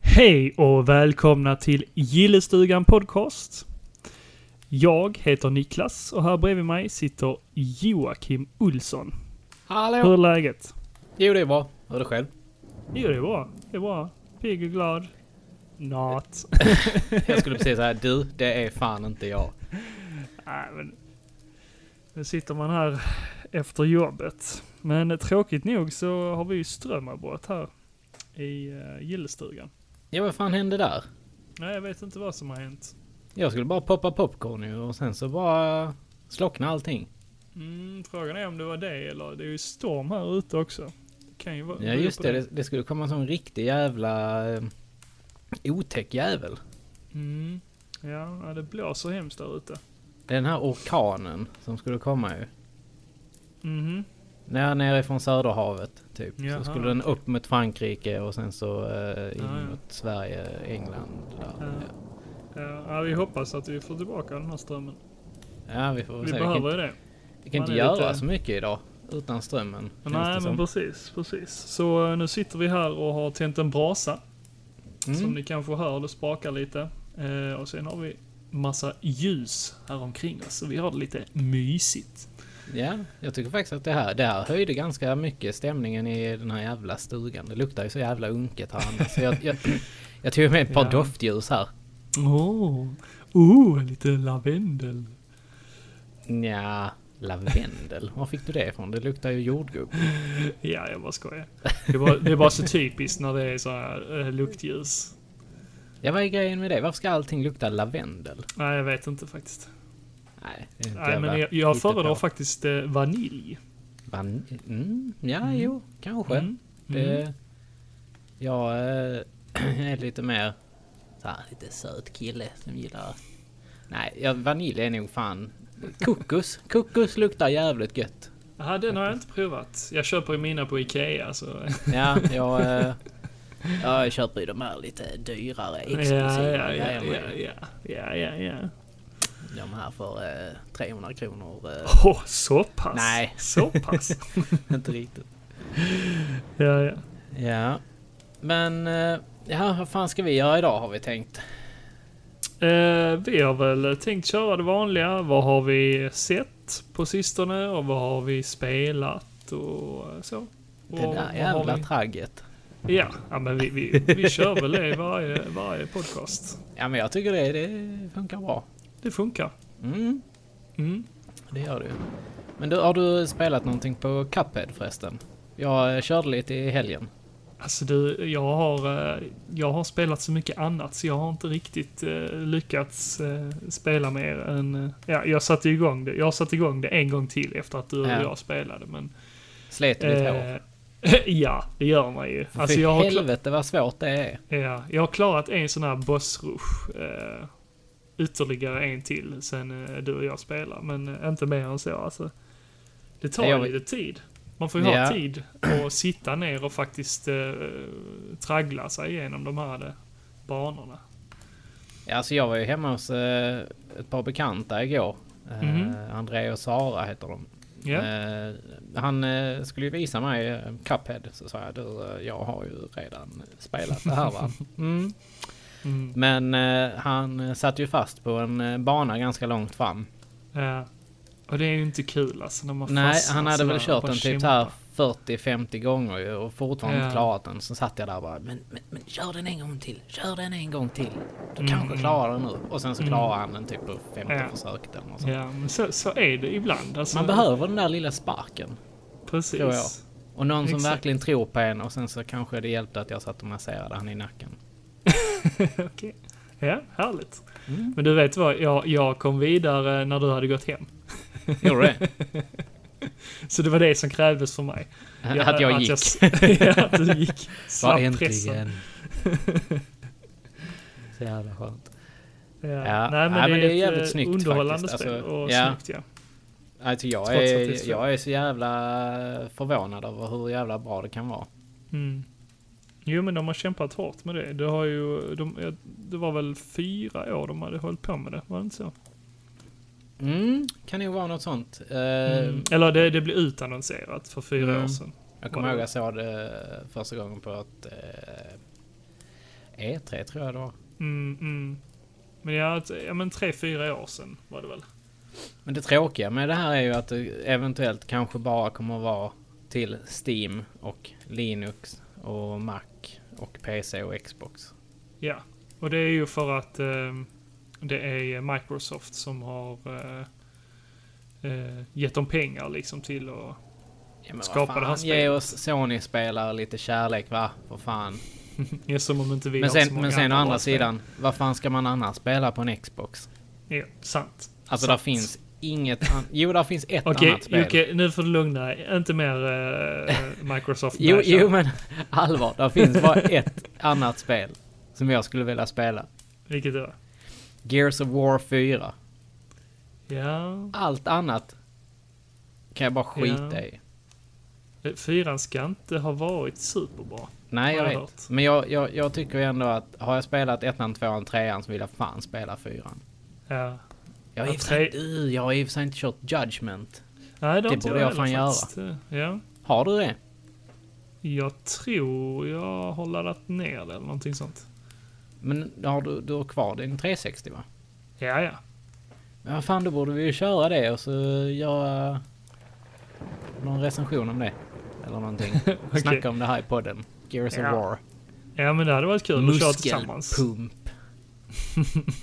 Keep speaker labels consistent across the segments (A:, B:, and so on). A: Hej och välkomna till Gillestugan Podcast. Jag heter Niklas och här bredvid mig sitter Joakim Olsson. Hur
B: Hallå!
A: är läget?
B: Jo, det är bra. Hur är det själv?
A: Jo, det är bra. Det är bra. Pigg och glad. Not.
B: Jag skulle precis säga, du, det är fan inte jag.
A: Nej, men... Nu sitter man här efter jobbet. Men tråkigt nog så har vi ju strömavbrott här i eh, Gillestugan.
B: Ja, vad fan hände där?
A: Nej, jag vet inte vad som har hänt.
B: Jag skulle bara poppa popcorn ju och sen så bara slockna allting.
A: Mm, frågan är om det var det eller det är ju storm här ute också. Det kan ju vara,
B: Ja,
A: bero
B: just
A: på
B: det. Det, det skulle komma en sån riktig jävla eh, otäck jävel.
A: Mm. Ja, ja, det blåser hemskt där ute.
B: Den här orkanen som skulle komma ju.
A: Mhm.
B: Nere, nere från Söderhavet, typ.
A: Jaha,
B: så skulle den upp mot Frankrike och sen så eh, in
A: Ja, ja.
B: mot Sverige, England. Där.
A: Ja. Ja, vi hoppas att vi får tillbaka den här strömmen.
B: Ja. ja, vi får väl
A: vi
B: se. Vi kan,
A: behöver
B: inte-
A: ju det.
B: vi kan
A: man
B: inte
A: är
B: göra
A: lite-
B: så mycket idag utan strömmen. känns det
A: Nej,
B: som.
A: men precis, precis. Så eh, nu sitter vi här och har tänt en brasa. Som
B: Mm.
A: ni kanske hör, det sprakar lite. Eh, och sen har vi massa ljus här omkring oss. Så vi har det lite mysigt.
B: Ja, jag tycker faktiskt att det här, det här höjde ganska mycket stämningen i den här jävla stugan. Det luktar ju så jävla unket här annars. Så jag, jag, jag tog med ett par
A: Ja.
B: doftljus här.
A: Åh! Oh, lite lavendel.
B: Nja, lavendel. Var fick du det ifrån? Det luktar ju jordgubb.
A: Ja, jag bara skojar. Det är bara, det är bara så typiskt när det är så här eh, luktljus.
B: Ja, vad är grejen med det? Varför ska allting lukta lavendel?
A: Nej, jag vet inte faktiskt.
B: Nej, det är inte
A: Nej, men
B: jävla
A: jag, jag
B: hittepå.
A: föredrar faktiskt eh, vanilj.
B: Van... Mm, ja, jo, kanske.
A: Mm. Mm.
B: Det, jag eh, är lite mer så här, lite söt kille som gillar... Nej, ja, vanilj är nog fan... Kokos. Kokos luktar jävligt gött.
A: Aha, den har jag inte provat. Jag köper ju mina på Ikea, så...
B: Ja, jag... eh, ja, jag köper ju de här lite dyrare,
A: Ja,
B: exklusiva
A: ja, ja,
B: grejerna.
A: ja, ja, ja, ja, ja.
B: De här för eh, 300 kronor. eh,
A: Åh, så pass?
B: Nej.
A: Så pass?
B: inte riktigt.
A: ja, ja.
B: Ja. Men... eh, ja, vad fan ska vi göra idag har vi tänkt.
A: Eh, vi har väl tänkt köra det vanliga. Vad har vi sett på sistone och vad har vi spelat och så?
B: Det
A: Och vad
B: där
A: har
B: jävla
A: vi-
B: tragget.
A: Ja, ja men vi, vi, vi kör väl det i varje, varje podcast.
B: Ja, men jag tycker det, det funkar bra.
A: Det funkar.
B: Mm.
A: Mm.
B: Det gör du. Men du, har du spelat någonting på Cuphead förresten? Jag eh, körde lite i helgen.
A: Alltså du, jag har, eh, jag har spelat så mycket annat så jag har inte riktigt eh, lyckats eh, spela mer än... eh, Ja, jag satte igång det. Jag har satt igång det en gång till efter att du och
B: Ja.
A: jag spelade men...
B: Slet ditt hår.
A: eh, ja, det gör man ju. Alltså
B: Fy
A: jag har, kla-
B: helvete vad svårt det är.
A: ja, jag har klarat en sån här bossrush. Eh, ytterligare en till sen eh, du och jag spelar men eh, inte mer än så alltså. Det tar
B: Jag-
A: ju lite tid. Man får ju ha
B: Ja.
A: tid och sitta ner och faktiskt eh, traggla sig igenom de här eh, banorna.
B: Ja, Alltså jag var ju hemma hos eh, ett par bekanta igår.
A: Mhm.
B: Eh, André och Sara heter de.
A: Ja,
B: Eh, han eh, skulle ju visa mig eh, Cuphead. Så sa jag, du eh, jag har ju redan spelat det här va? Mm.
A: mm,
B: Men eh, han eh, satt ju fast på en eh, bana ganska långt fram.
A: ja. Och det är ju inte kul alltså när man
B: Nej,
A: fastnar
B: han hade väl
A: sådär och
B: kört
A: bara
B: den typ så
A: kämpar.
B: här 40-50 gånger ju och fortfarande
A: Ja.
B: inte klarat den. Så satt jag där och bara, men, men, men kör den en gång till, kör den en gång till. Du
A: Mm,
B: kanske
A: mm.
B: klarar den nu. Och sen så klarar han den typ på 50
A: Ja.
B: försök eller något sånt.
A: Ja, men så, så är det ibland. Alltså,
B: Man behöver den där lilla sparken.
A: Precis.
B: tror jag. Och någon som
A: Exakt.
B: verkligen tror på en och sen så kanske det hjälpte att jag satt och masserade han i nacken.
A: Okej. Ja, härligt.
B: Mm.
A: Men du vet vad, jag, jag kom vidare när du hade gått hem.
B: Gjorde det?
A: Så det var det som krävdes för mig.
B: att jag gick.
A: ja, att du gick.
B: Bara
A: Slapp pressen.
B: äntligen. så jävla skönt.
A: Ja.
B: Ja.
A: Nej, men,
B: Nej,
A: det,
B: men
A: är jävligt snyggt underhållande
B: faktiskt.
A: spel
B: Alltså,
A: och
B: ja.
A: snyggt ja.
B: Alltså jag
A: Trots att det är
B: är,
A: svårt.
B: jag är så jävla förvånad över hur jävla bra det kan vara.
A: Mm. Jo men de har kämpat hårt med det. Det, har ju, de, det var väl fyra år de hade hållit på med det, var det inte så?
B: Mm, kan ju vara något sånt. Eh,
A: Mm. Eller det, det blev utannonserat för fyra
B: Mm.
A: år sedan.
B: Jag kommer ihåg jag såg det första gången på ett eh, E3 eh, tror jag det var.
A: Mm, mm. Men ja, ett- ja, men tre, fyra år sedan var det väl.
B: Men det tråkiga med det här är ju att det eventuellt kanske bara kommer att vara till Steam och Linux och Mac och PC och Xbox.
A: Ja, och det är ju för att eh, det är Microsoft som har eh, eh, gett dem pengar liksom till att...
B: Ja, men
A: Skapa det här
B: vad fan, ge
A: spelet.
B: oss Sony-spelare lite kärlek va? För fan.
A: Ja, som om inte vi
B: Men
A: har så
B: sen,
A: många
B: men sen å
A: bra
B: andra
A: spel.
B: sidan, vad fan ska man annars spela på en Xbox?
A: Ja, sant.
B: Alltså
A: Sant.
B: där finns inget an- Jo, där finns ett
A: Okej,
B: annat spel.
A: Jocke, nu får du lugna dig. Inte mer eh, Microsoft
B: Jo,
A: Bash.
B: jo, men allvar. Där finns bara ett annat spel som jag skulle vilja spela.
A: Vilket det var.
B: Gears of War 4.
A: Ja,
B: Allt annat kan jag bara skita
A: Ja.
B: i.
A: eh, fyran ska inte ha varit superbra.
B: Nej, jag
A: Har jag
B: vet.
A: hört.
B: Men jag, jag, jag tycker ju ändå att har jag spelat ettan, tvåan, trean så vill jag fan spela fyran.
A: Ja.
B: Jag har
A: Ja,
B: i och för sig
A: tre-
B: inte- jag har i och för sig inte kört Judgment.
A: Nej, det, har
B: Det
A: inte
B: borde jag
A: heller
B: fan göra.
A: faktiskt. eh, Ja.
B: Har du det?
A: Jag tror jag har laddat ner det eller någonting sånt.
B: Men har du, du har kvar din 360 va?
A: Ja, ja.
B: Men vad fan, då borde vi ju köra det och så göra någon recension om det. Eller någonting.
A: Okej.
B: Snacka om det här i podden. Gears
A: Ja.
B: of War.
A: Ja, men det hade varit kul att köra tillsammans.
B: Muskelpump.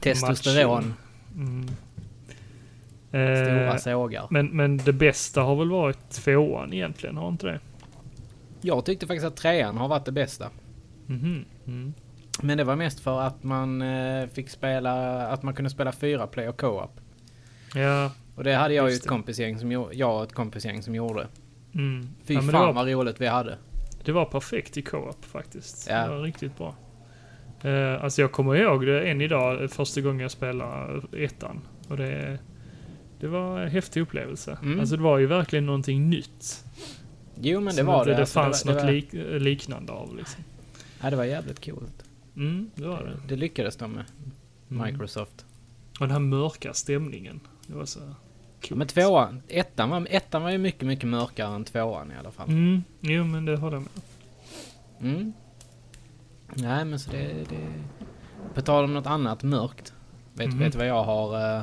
B: Testosteron.
A: Mm.
B: Stora
A: Eh,
B: sågar.
A: men, men det bästa har väl varit tvåan egentligen, har inte det?
B: Jag tyckte faktiskt att trean har varit det bästa.
A: Mhm. Mm.
B: Men det var mest för att man eh, fick spela, att man kunde spela fyra player co-op.
A: Ja.
B: Och det hade jag ju
A: Just
B: ett
A: det.
B: kompisgäng som, gjo- jag och ett kompisgäng som gjorde.
A: Mm.
B: Fy
A: ja, men
B: fan
A: det, var,
B: vad roligt vi hade.
A: det var perfekt i co-op faktiskt.
B: Ja.
A: Det var riktigt bra. Eh, alltså jag kommer ihåg det än idag, eh, första gången jag spelade ettan. Och det, det var en häftig upplevelse.
B: Mm.
A: Alltså det var ju verkligen någonting nytt.
B: Jo men det
A: som
B: var
A: inte
B: det.
A: det
B: alltså,
A: fanns
B: var-
A: något
B: var-
A: lik, liknande av liksom.
B: Ja det var jävligt coolt.
A: Mm, det var det.
B: Det lyckades de med.
A: Mm.
B: Microsoft.
A: Och den här mörka stämningen. Det var så coolt.
B: Men tvåan, ettan var, ettan var ju mycket, mycket mörkare än tvåan i alla fall.
A: Mm, jo men det håller jag med.
B: Mm. Nej, men så det, det... På tal om något annat mörkt. Vet,
A: Mhm.
B: vet du vad jag har... eh,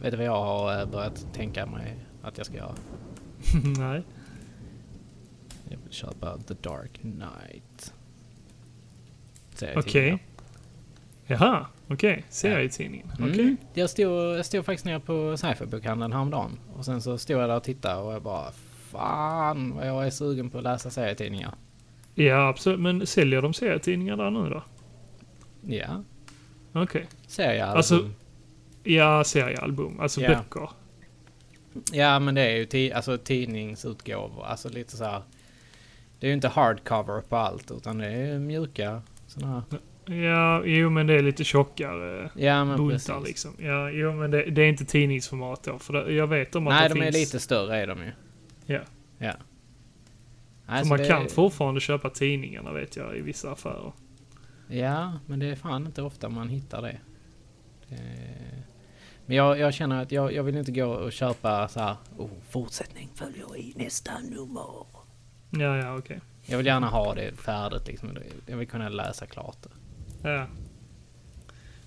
B: vet du vad jag har eh, börjat tänka mig att jag ska göra?
A: Nej.
B: Jag vill köpa The Dark Knight.
A: Okej. Jaha, okej. Serietidningen.
B: Mm.
A: Okej.
B: Jag, stod, jag stod faktiskt nere på sci-fi-bokhandeln häromdagen. Och sen så stod jag där och tittade och jag bara... Fan vad jag är sugen på att läsa serietidningar.
A: Ja, absolut. Men säljer de serietidningar där nu då?
B: Ja,
A: Okej.
B: seriealbum.
A: Alltså- Ja, seriealbum. Alltså
B: Ja.
A: böcker.
B: Ja, men det är ju ti- alltså, tidningsutgåvor. Alltså lite så här. Det är ju inte hardcover på allt, utan det är mjuka sådana här.
A: Ja, jo men det är lite tjockare.
B: Ja, men
A: Buntar
B: precis.
A: liksom. Ja, jo men det, det är inte tidningsformat då. För det, jag vet om att
B: Nej,
A: det
B: de är
A: finns...
B: lite större är de ju.
A: Ja.
B: Ja.
A: för
B: Nej, så
A: man
B: alltså det-
A: kan fortfarande köpa tidningarna vet jag i vissa affärer.
B: Ja, men det är fan inte ofta man hittar det. det... Men jag, jag känner att jag, jag vill inte gå och köpa så här. Oh, fortsättning följer i nästa nummer.
A: Ja, ja, okej.
B: Jag vill gärna ha det färdigt liksom. Jag vill kunna läsa klart det.
A: Ja.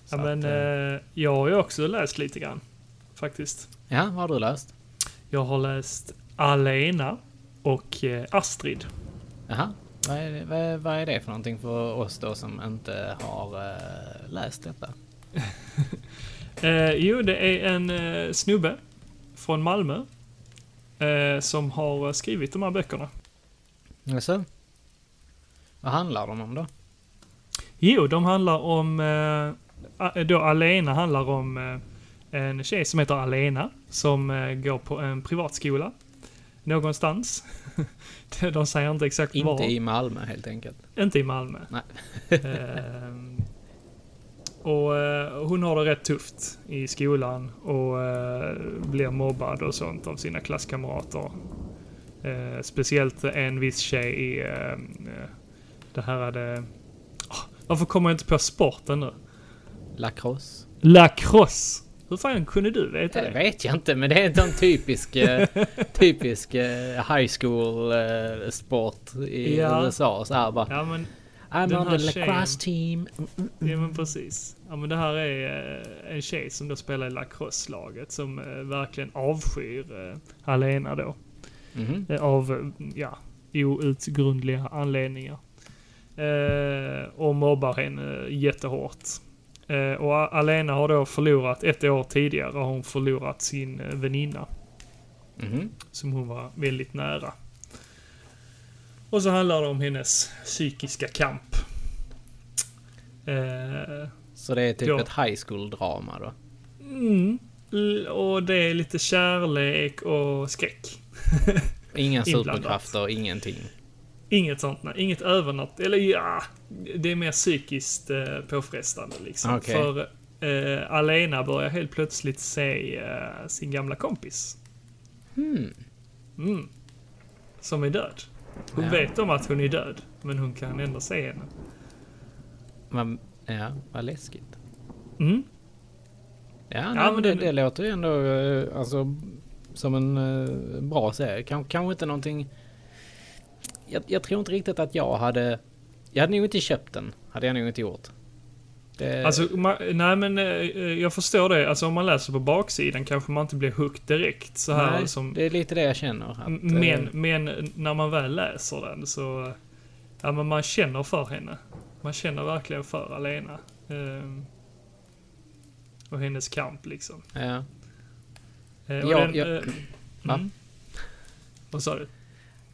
B: Så
A: Ja, men
B: att, eh,
A: eh, jag har ju också läst lite grann. Faktiskt.
B: ja, vad har du läst?
A: Jag har läst Alena och eh, Astrid.
B: Jaha. Vad är, det, vad, vad är det för någonting för oss då som inte har eh, läst detta?
A: Eh, jo, det är en eh, snubbe från Malmö eh, som har skrivit de här böckerna.
B: Jaså? Vad handlar de om då?
A: Jo, de handlar om... Eh, a- då Alena handlar om eh, en tjej som heter Alena som eh, går på en privatskola någonstans. de säger inte exakt
B: Inte
A: var.
B: i Malmö helt enkelt.
A: Inte i Malmö.
B: Nej.
A: Ehm, och eh, hon har det rätt tufft i skolan och eh, blir mobbad och sånt av sina klasskamrater. Eh, speciellt en viss tjej i eh, det här är det... Ah, varför kommer jag inte på sporten nu?
B: Lacrosse.
A: Lacrosse Hur fan kunde du veta
B: Det
A: det?
B: vet jag inte, men det är inte en typisk, eh, typisk eh, high school eh, sport i
A: Ja.
B: USA. Så här bara,
A: Ja men, den
B: I'm on
A: här
B: the
A: tjejen.
B: lacrosse team.
A: ja, men precis. Ja, men det här är eh, en tjej som då spelar i lacrosse-laget som eh, verkligen avskyr eh, Alena då.
B: Mhm.
A: Eh, av eh, ja, outgrundliga anledningar. Eh, och mobbar henne jättehårt. Eh, och A- Alena har då förlorat, ett år tidigare har hon förlorat sin eh, väninna mm-hmm.
B: Mhm.
A: som hon var väldigt nära. Och så handlar det om hennes psykiska kamp. Eh,
B: Så det är typ
A: Ja.
B: ett high school drama då.
A: mm, l- och det är lite kärlek och skräck.
B: Inga
A: Inblandat.
B: superkrafter, ingenting.
A: Inget sånt, nej. inget övernat. Eller ja, det är mer psykiskt eh, påfrestande liksom.
B: Okej.
A: För eh, Alena börjar helt plötsligt se eh, sin gamla kompis.
B: Hmm.
A: Mm. Som är död. Hon
B: Ja.
A: vet om att hon är död, men hon kan ändå se henne.
B: Vad, ja, vad läskigt.
A: Mm.
B: Ja, nej, men
A: men
B: det,
A: den-
B: det låter ju ändå eh, alltså, som en eh, bra serie. Kan, kanske inte någonting... Jag, jag tror inte riktigt att jag hade... Jag hade nog inte köpt den. Hade jag nog inte gjort. Det,
A: Alltså, ma- nej men eh, eh, jag förstår det. Alltså om man läser på baksidan kanske man inte blir hooked direkt så här
B: nej,
A: som
B: det är lite det jag känner. Att,
A: M-
B: eh,
A: Men, men när man väl läser den så... Ja, men man känner för henne. Man känner verkligen för Alena. Ehm, och hennes kamp liksom.
B: ja.
A: Eh, och
B: Ja,
A: den,
B: ja.
A: eh,
B: Va?
A: mm. Vad sa du?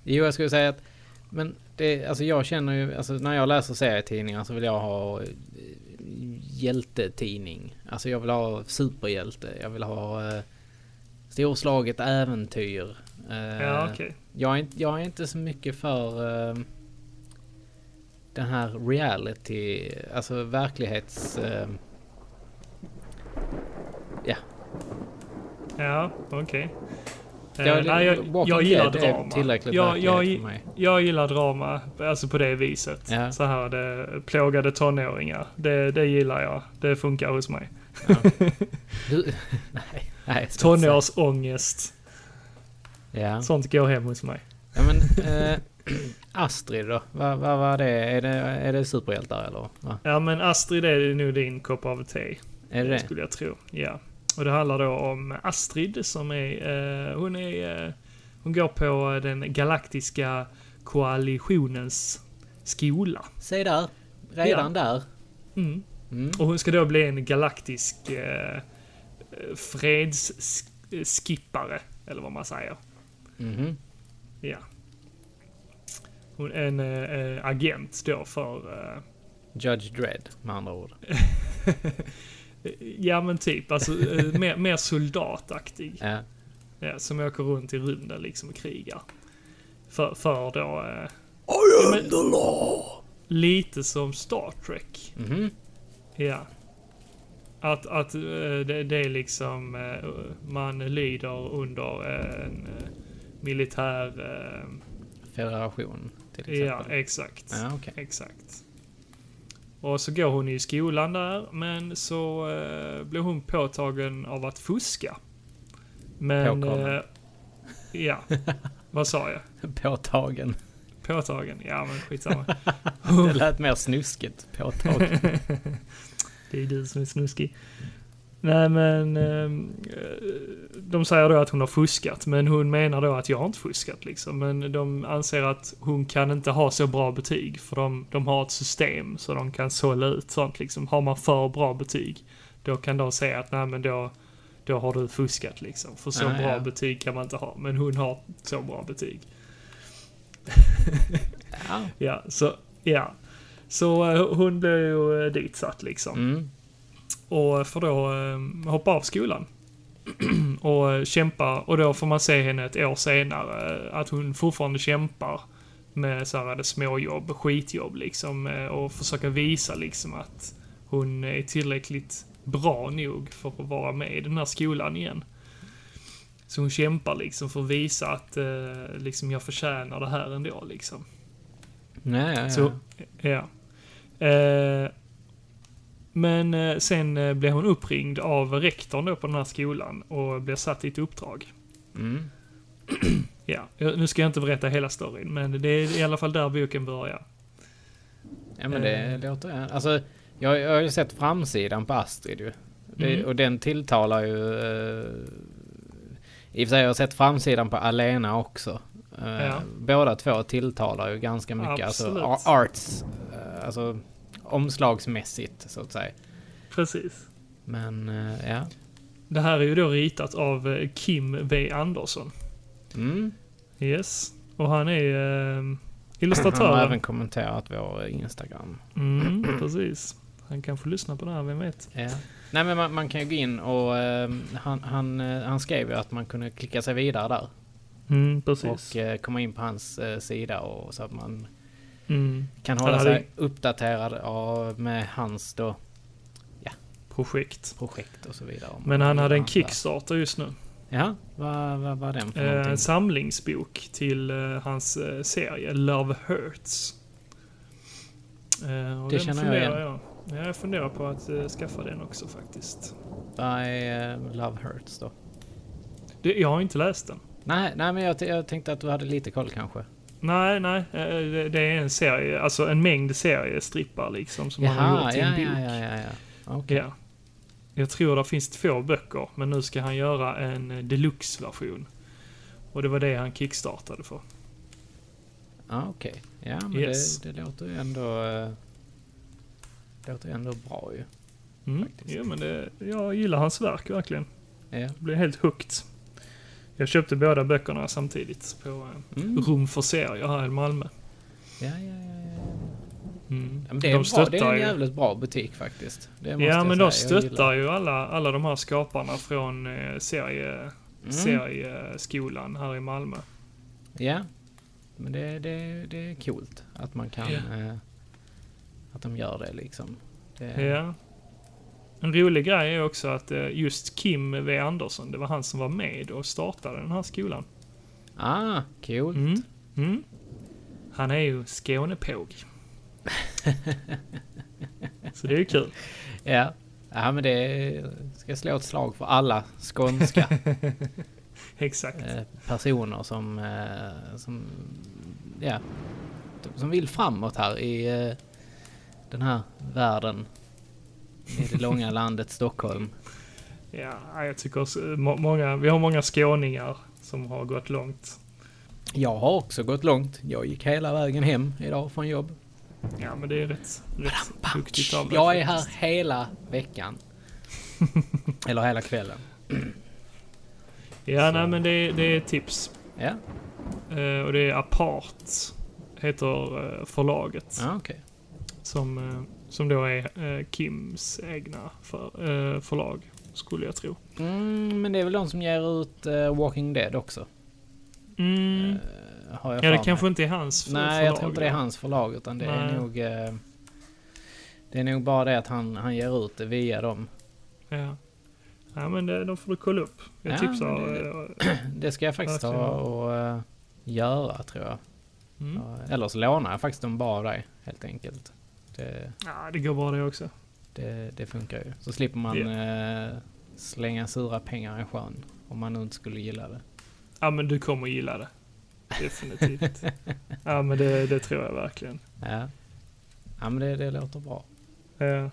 B: Jo, jag skulle säga att... Men det, alltså jag känner ju... Alltså när jag läser serietidningar så vill jag ha eh, hjältetidning. Alltså jag vill ha superhjälte. Jag vill ha eh, storslaget äventyr. Eh,
A: Ja, okej.
B: jag, är, inte- jag är inte så mycket för eh, den här reality, alltså verklighets... Eh,
A: Ja, okej. Eh,
B: jag,
A: nej, jag,
B: Walking
A: jag gillar
B: Dead är
A: drama.
B: tillräckligt
A: Jag,
B: verklighet
A: jag,
B: för mig.
A: jag gillar drama, alltså på det viset.
B: Ja.
A: Så här, det, plågade tonåringar. Det, det gillar jag. Det funkar hos mig.
B: Du, nej, nej. jag ska inte säga.
A: Tonårsångest.
B: Ja.
A: Sånt går hem hos mig.
B: Ja men eh, Astrid då? Vad vad var det? Är det, är det superhjältar eller? Va?
A: Ja men Astrid är nog din kopp av te.
B: Är det det?
A: Skulle jag tro. Ja. Och det handlar då om Astrid som är, eh, hon är, eh, hon går på eh, den galaktiska koalitionens skola.
B: Se där! Redan där.
A: Mm.
B: Mm.
A: Och hon ska då bli en galaktisk eh, fredsskippare, eller vad man säger.
B: Mhm.
A: Ja. Hon är en eh, eh, agent då för eh,
B: Judge Dredd med andra ord.
A: Ja men typ, alltså eh, mer, mer soldataktig.
B: Ja.
A: Ja, som åker runt i rymden liksom och krigar. För, för då... Eh, ja, men- Lite som Star Trek.
B: Mhm.
A: Ja. Att, att eh, det, det är liksom... eh, Man lyder under en eh, militär... eh,
B: Federation till
A: Ja,
B: exempel.
A: exakt.
B: Ja, okej.
A: Exakt. Och så går hon i skolan där, men så eh, blir hon påtagen av att fuska. Men...
B: Påkommen.
A: Eh, ja, vad sa jag?
B: Påtagen.
A: Påtagen? Ja, men skitsamma.
B: Det lät mer snuskigt. Påtagen.
A: Det är du som är snuskig. Nej, men... ehm, Eh, de säger då att hon har fuskat, men hon menar då att jag har inte fuskat liksom. Men de anser att hon kan inte ha så bra betyg, för de, de har ett system så de kan sålla ut sånt liksom. Har man för bra betyg, då kan de säga att nej, men då, då har du fuskat liksom. För så
B: Ah,
A: bra
B: ja.
A: betyg kan man inte ha, men hon har så bra betyg.
B: Ja.
A: Ja, så, ja. Så eh, hon blir ju eh, ditsatt liksom.
B: Mm.
A: Och får då eh, hoppa av skolan. och eh, kämpa. Och då får man se henne ett år senare. eh, Att hon fortfarande kämpar med så här, småjobb, skitjobb liksom. eh, Och försöka visa liksom att hon är tillräckligt bra nog för att vara med i den här skolan igen. Så hon kämpar liksom för att visa att eh, liksom, jag förtjänar det här ändå liksom.
B: Nej, ja, ja.
A: Så, ja. Eh, Men eh, sen eh, blev hon uppringd av rektorn då på den här skolan och blev satt i ett uppdrag.
B: Mm.
A: Ja, jag- nu ska jag inte berätta hela storyn, men det är i alla fall där boken börjar.
B: Ja men det
A: Eh.
B: låter... Alltså, jag, jag har ju sett framsidan på Astrid ju. Det,
A: Mm.
B: Och den tilltalar ju... eh, I och för sig har jag sett framsidan på Alena också. Eh,
A: Ja.
B: Båda två tilltalar ju ganska mycket. Alltså,
A: Absolut.
B: a- arts... eh, Alltså omslagsmässigt så att säga.
A: Precis.
B: Men eh, ja.
A: Det här är ju då ritat av eh, Kim B. Andersson.
B: Mm.
A: Yes. Och han är eh,
B: Han har även
A: illustratör.
B: kommenterat vår Instagram.
A: Mm, precis. Han kanske lyssnar på det här, vem vet?
B: Ja. Nej men man, man kan ju gå in och eh, han, han, eh, han skrev ju att man kunde klicka sig vidare där.
A: Mm, precis.
B: Och eh, komma in på hans eh, sida och så att man
A: Mm.
B: kan
A: Han
B: hålla
A: hade-
B: sig uppdaterad av, med hans då
A: Projekt.
B: projekt och så vidare. Om
A: Men
B: man
A: han
B: gillar
A: hade en
B: där.
A: Kickstarter just nu.
B: Ja, vad vad var den för
A: Eh, en
B: någonting?
A: samlingsbok till eh, hans eh, serie Love Hurts. Eh, och
B: Det
A: den
B: känner jag
A: funderar jag Ja, jag funderar på att eh, skaffa den också faktiskt.
B: Vad är eh, Love Hurts då?
A: Det, jag har inte läst den.
B: Nej, nej men jag, t- jag tänkte att du hade lite koll kanske.
A: Nej, nej. eh, Det, det är en serie, alltså en mängd seriestrippar liksom som han har
B: Jaha,
A: gjort
B: ja,
A: till
B: ja,
A: en bok.
B: ja, ja, ja. Okej.
A: Ja. Jag tror det finns två böcker, men nu ska han göra en eh, deluxe-version. Och det var det han kickstartade för.
B: Ja, okej. Ja, men
A: Yes.
B: det, det låter ju ändå... eh, Det låter ju ändå bra ju.
A: Mm.
B: Faktiskt.
A: Ja, men det, jag gillar hans verk verkligen.
B: Ja.
A: Jag blev helt hooked. Jag köpte båda böckerna samtidigt på eh,
B: Mm.
A: Rum för serier här i Malmö.
B: Ja, ja, ja, ja, ja.
A: Mm.
B: Ja, men det, är en bra,
A: stöttar
B: det är en
A: ju-
B: jävligt bra butik faktiskt. Det måste
A: Ja,
B: jag
A: men de
B: säga. Jag gillar-
A: stöttar ju alla, alla de här skaparna från eh, serie,
B: Mm.
A: serieskolan här i Malmö.
B: Ja. Men det, det, det är coolt att man kan...
A: Ja.
B: Eh, att de gör det liksom. Det,
A: Ja. En rolig grej är också att eh, just Kim V. Andersson, det var han som var med och startade den här skolan.
B: Ah, coolt.
A: Mm. Mm. Han är ju Skånepåg. Så det är ju kul.
B: Ja. Ja, men det ska jag slå ett slag för alla skånska
A: Exakt.
B: eh, personer som, eh, som, ja, som vill framåt här i eh, den här världen. I det långa landet Stockholm.
A: Ja, jag tycker också, må, många, vi har många skåningar som har gått långt.
B: Jag har också gått långt. Jag gick hela vägen hem idag från jobb.
A: Ja, men det är rätt, rätt duktigt av dig
B: Jag är här
A: faktiskt.
B: hela veckan. Eller hela kvällen.
A: Ja, nej, men det, är- det är ett tips.
B: Ja,
A: Eh, och det är Apart, heter eh, förlaget.
B: ja okej.
A: Som, eh, som då är eh, Kims egna för, eh, förlag, skulle jag tro.
B: Mm, men det är väl de som ger ut eh, Walking Dead också?
A: Mm.
B: Eh, har jag
A: Ja, det
B: för
A: kanske
B: mig.
A: inte är hans f-
B: Nej,
A: förlag.
B: jag tror inte det är
A: då.
B: hans förlag utan det
A: Nej.
B: är nog... Eh, det är nog bara det att han, han ger ut det via dem.
A: Ja. ja, men det, de får du kolla upp. Jag
B: Ja,
A: tipsar...
B: men det-
A: eh,
B: Det ska jag faktiskt ta
A: Verkligen.
B: och eh, göra tror jag.
A: Mm.
B: Ja, Eller så lånar jag faktiskt dem bara av dig helt enkelt. Det,
A: Ja, det går bra det också.
B: Det, det funkar ju. Så slipper man eh, slänga sura pengar i sjön. Om man nu inte skulle gilla det.
A: Ja, men du kommer gilla det. Definitivt. ja, men det, det tror jag verkligen.
B: Ja, ja men det, det låter bra.
A: Ja,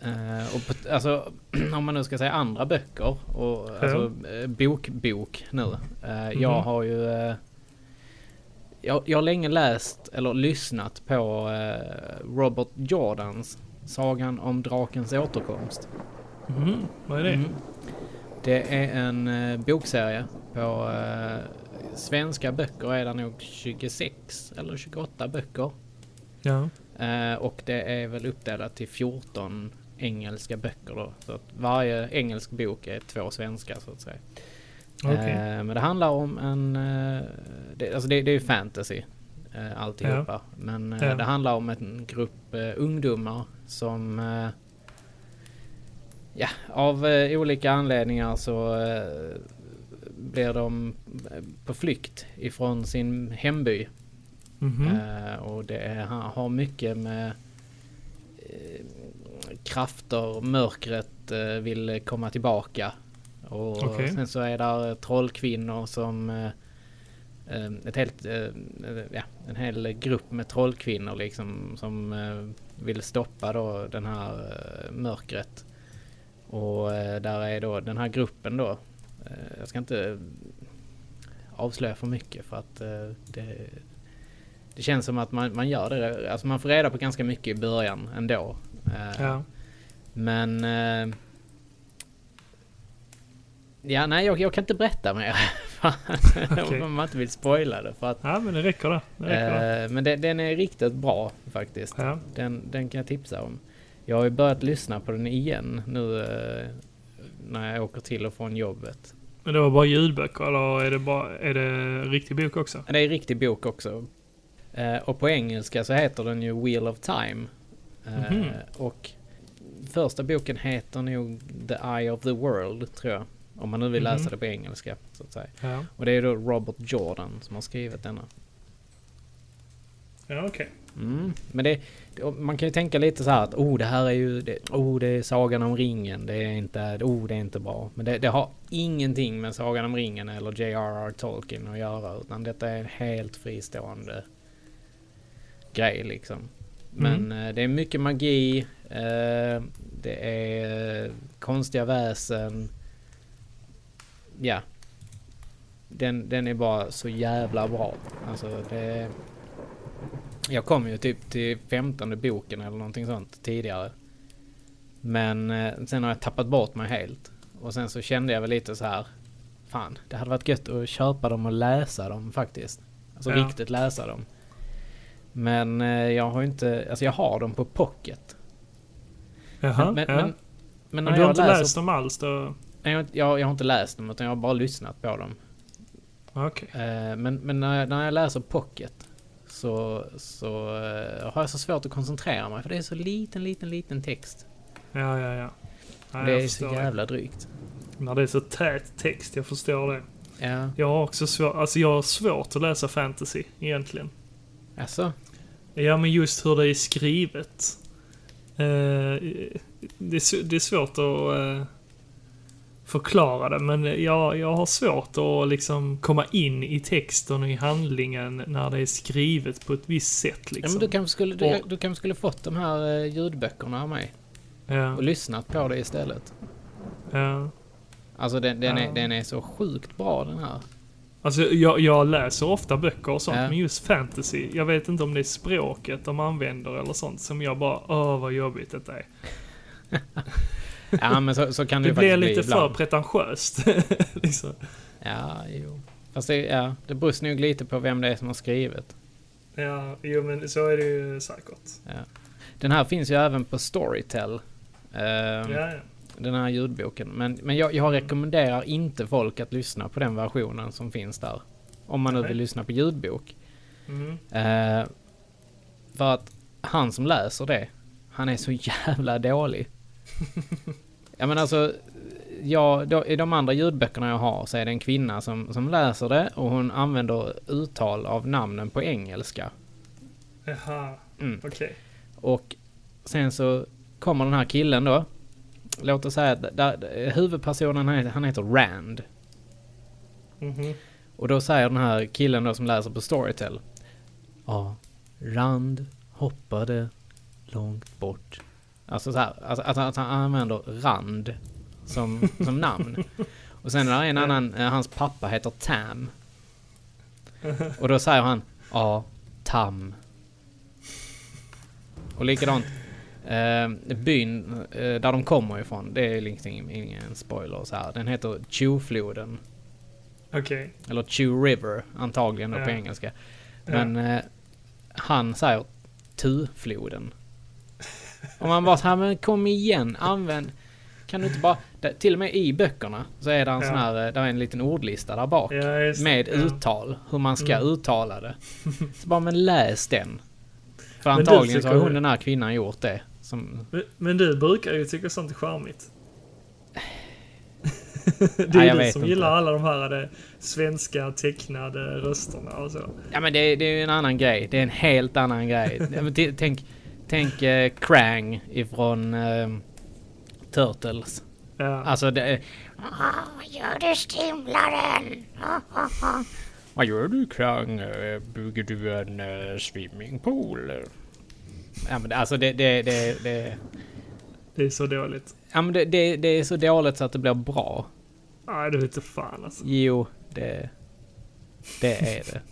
B: Eh, och på, alltså, om man nu ska säga andra böcker. Och,
A: Ja.
B: alltså eh, bokbok nu. Eh, Jag
A: Mhm.
B: har ju... Eh, jag, jag har länge läst eller lyssnat på eh, Robert Jordans Sagan om Drakens återkomst.
A: Mhm, vad är det?
B: Mm. Det är en eh, bokserie på eh, svenska böcker är det nog 26 eller 28 böcker.
A: Ja.
B: Eh, och det är väl uppdelat till 14 engelska böcker då. Så att varje engelsk bok är två svenska så att säga.
A: Okej.
B: Eh, men det handlar om en... Eh, det, alltså det, det är ju fantasy eh, alltihopa. Men eh,
A: Ja.
B: det handlar om en grupp eh, ungdomar som... Eh, ja, av eh, olika anledningar så eh, blir de eh, på flykt ifrån sin hemby.
A: Mhm.
B: Eh, och det är, han har mycket med eh, krafter, mörkret eh, vill komma tillbaka. Och
A: Okej.
B: sen så är där trollkvinnor som eh, eh, ett helt, eh, ja, en hel grupp med trollkvinnor liksom som eh, vill stoppa då den här eh, mörkret. Och eh, där är då den här gruppen då. Eh, jag ska inte avslöja för mycket för att eh, det, det känns som att man, man gör det. Alltså man får reda på ganska mycket i början ändå. Eh,
A: Ja.
B: Men... Eh, ja, nej, jag, jag kan inte berätta mer.
A: Okej.
B: Om man inte vill spoila det. För att,
A: ja, men det räcker det. det, räcker det.
B: eh, men den, den är riktigt bra faktiskt.
A: Ja.
B: Den, den kan jag tipsa om. Jag har ju börjat lyssna på den igen nu eh, när jag åker till och från jobbet.
A: Men det var bara ljudböcker eller är det, bara, är det riktig bok också?
B: Det är en riktig bok också. Eh, och på engelska så heter den ju Wheel of Time. Eh,
A: Mhm.
B: Och första boken heter nog The Eye of the World, tror jag. Om man nu vill läsa
A: Mhm.
B: det på engelska, så att säga.
A: Ja,
B: Och det är då Robert Jordan som har skrivit denna.
A: ja okej.
B: Mm. Men det, det- och man kan ju tänka lite så här att oh, det här är ju, det, oh, det är Sagan om ringen, det är inte, oh, det är inte bra. Men det, det har ingenting med Sagan om ringen eller J.R.R. Tolkien att göra, utan detta är en helt fristående grej liksom. Men eh, det är mycket magi, eh, det är eh, konstiga väsen. Ja. Den, den är bara så jävla bra. Alltså det... Jag kom ju typ till femtonde boken eller någonting sånt tidigare. Men eh, sen har jag tappat bort mig helt. Och sen så kände jag väl lite så här. Fan, det hade varit gött att köpa dem och läsa dem faktiskt. Alltså
A: Ja.
B: riktigt läsa dem. Men eh, jag har ju inte, alltså jag har dem på pocket.
A: Jaha,
B: men,
A: ja.
B: men, men
A: men,
B: när
A: du har
B: jag
A: inte
B: läser
A: läst dem alls då?
B: Nej, jag, jag, jag har inte läst dem utan jag har bara lyssnat på dem.
A: Okej.
B: Eh, men men när, jag, när jag läser Pocket så, så eh, har jag så svårt att koncentrera mig för det är så liten, liten, liten text.
A: Ja, ja, ja. ja
B: det
A: jag
B: är så
A: förstår
B: jävla drygt.
A: det. När det är så tät text, jag förstår det.
B: Ja,
A: Jag har också svårt, alltså jag har svårt att läsa fantasy egentligen.
B: alltså.
A: Ja, men just hur det är skrivet. Eh, det, är, s- det är svårt att eh, förklara det, men jag, jag har svårt att liksom komma in i texten och i handlingen när det är skrivet på ett visst sätt.
B: Ja, men
A: Liksom.
B: du kanske skulle, du,
A: Och-
B: du kanske skulle fått de här eh, ljudböckerna av mig
A: Ja,
B: och lyssnat på det istället.
A: ja.
B: Alltså den, den,
A: Ja.
B: är, den är så sjukt bra den här.
A: Alltså, jag, jag läser ofta böcker och sånt,
B: Ja.
A: men just fantasy, jag vet inte om det är språket de använder eller sånt som jag bara, åh vad jobbigt detta är.
B: Ja men så, så kan
A: Det
B: det ju faktiskt
A: blir
B: bli
A: lite för
B: ibland.
A: pretentiöst. liksom.
B: Ja, jo. Fast det, ja, det beror nog lite på vem det är som har skrivit.
A: Ja, jo men så är det ju säkert.
B: Den här finns ju även på Storytel. eh,
A: Ja, ja.
B: Den här ljudboken. Men, men jag, jag rekommenderar inte folk att lyssna på den versionen som finns där. Om man nu
A: Nej.
B: vill lyssna på ljudbok.
A: Mm.
B: Eh, för att han som läser det, han är så jävla dålig. ja men alltså, ja, då, i de andra ljudböckerna jag har så är det en kvinna som, som läser det och hon använder uttal av namnen på engelska.
A: Jaha,
B: Mm.
A: okej.
B: Och sen så kommer den här killen då. Låt oss säga att där, huvudpersonen han heter, han heter Rand.
A: Mhm.
B: Och då säger den här killen då som läser på Storytel. Ja, Rand hoppade långt bort. Alltså så här, alltså, att han- att han använder Rand som, som namn. Och sen är det en annan, eh, hans pappa heter Tam. Och då säger han, ja, Tam. Och likadant, eh, byn eh, där de kommer ifrån, det är liksom ingen spoiler så här. Den heter Tjofloden.
A: Okej.
B: Eller Chew River antagligen då
A: Ja.
B: på engelska.
A: Ja.
B: Men eh, han säger Tu-floden. Och man bara så här, men kom igen, använd. Kan du inte bara... Där, till och med i böckerna så är det en
A: Ja.
B: sån här, eh, där är en liten ordlista där bak.
A: Ja, just det.
B: med
A: Ja.
B: uttal, hur man ska
A: Mm.
B: uttala det. Så bara, men läs den. För
A: Men du
B: antagligen så har
A: tycker-
B: hon den här kvinnan gjort det. Som,
A: Men, men du brukar ju tycka sånt är charmigt. det är
B: Nej, jag
A: ju du
B: vet
A: som
B: inte.
A: gillar alla de här eh, svenska tecknade rösterna och så.
B: Ja men det, är- det är ju en annan grej. Det är en helt annan grej. Ja, men t- tänk, Tänk eh, Krang ifrån eh, Turtles.
A: Ja.
B: Alltså det är...
C: Vad gör du strimlaren?
B: Vad gör du Krang? Eh, Bygger du en eh, swimmingpool? Ja men det- alltså det... det, det, det
A: Det är så dåligt.
B: Ja men det, det, det är så dåligt så att det blir bra.
A: Nej, det vete fan alltså.
B: Jo, det... Det är det.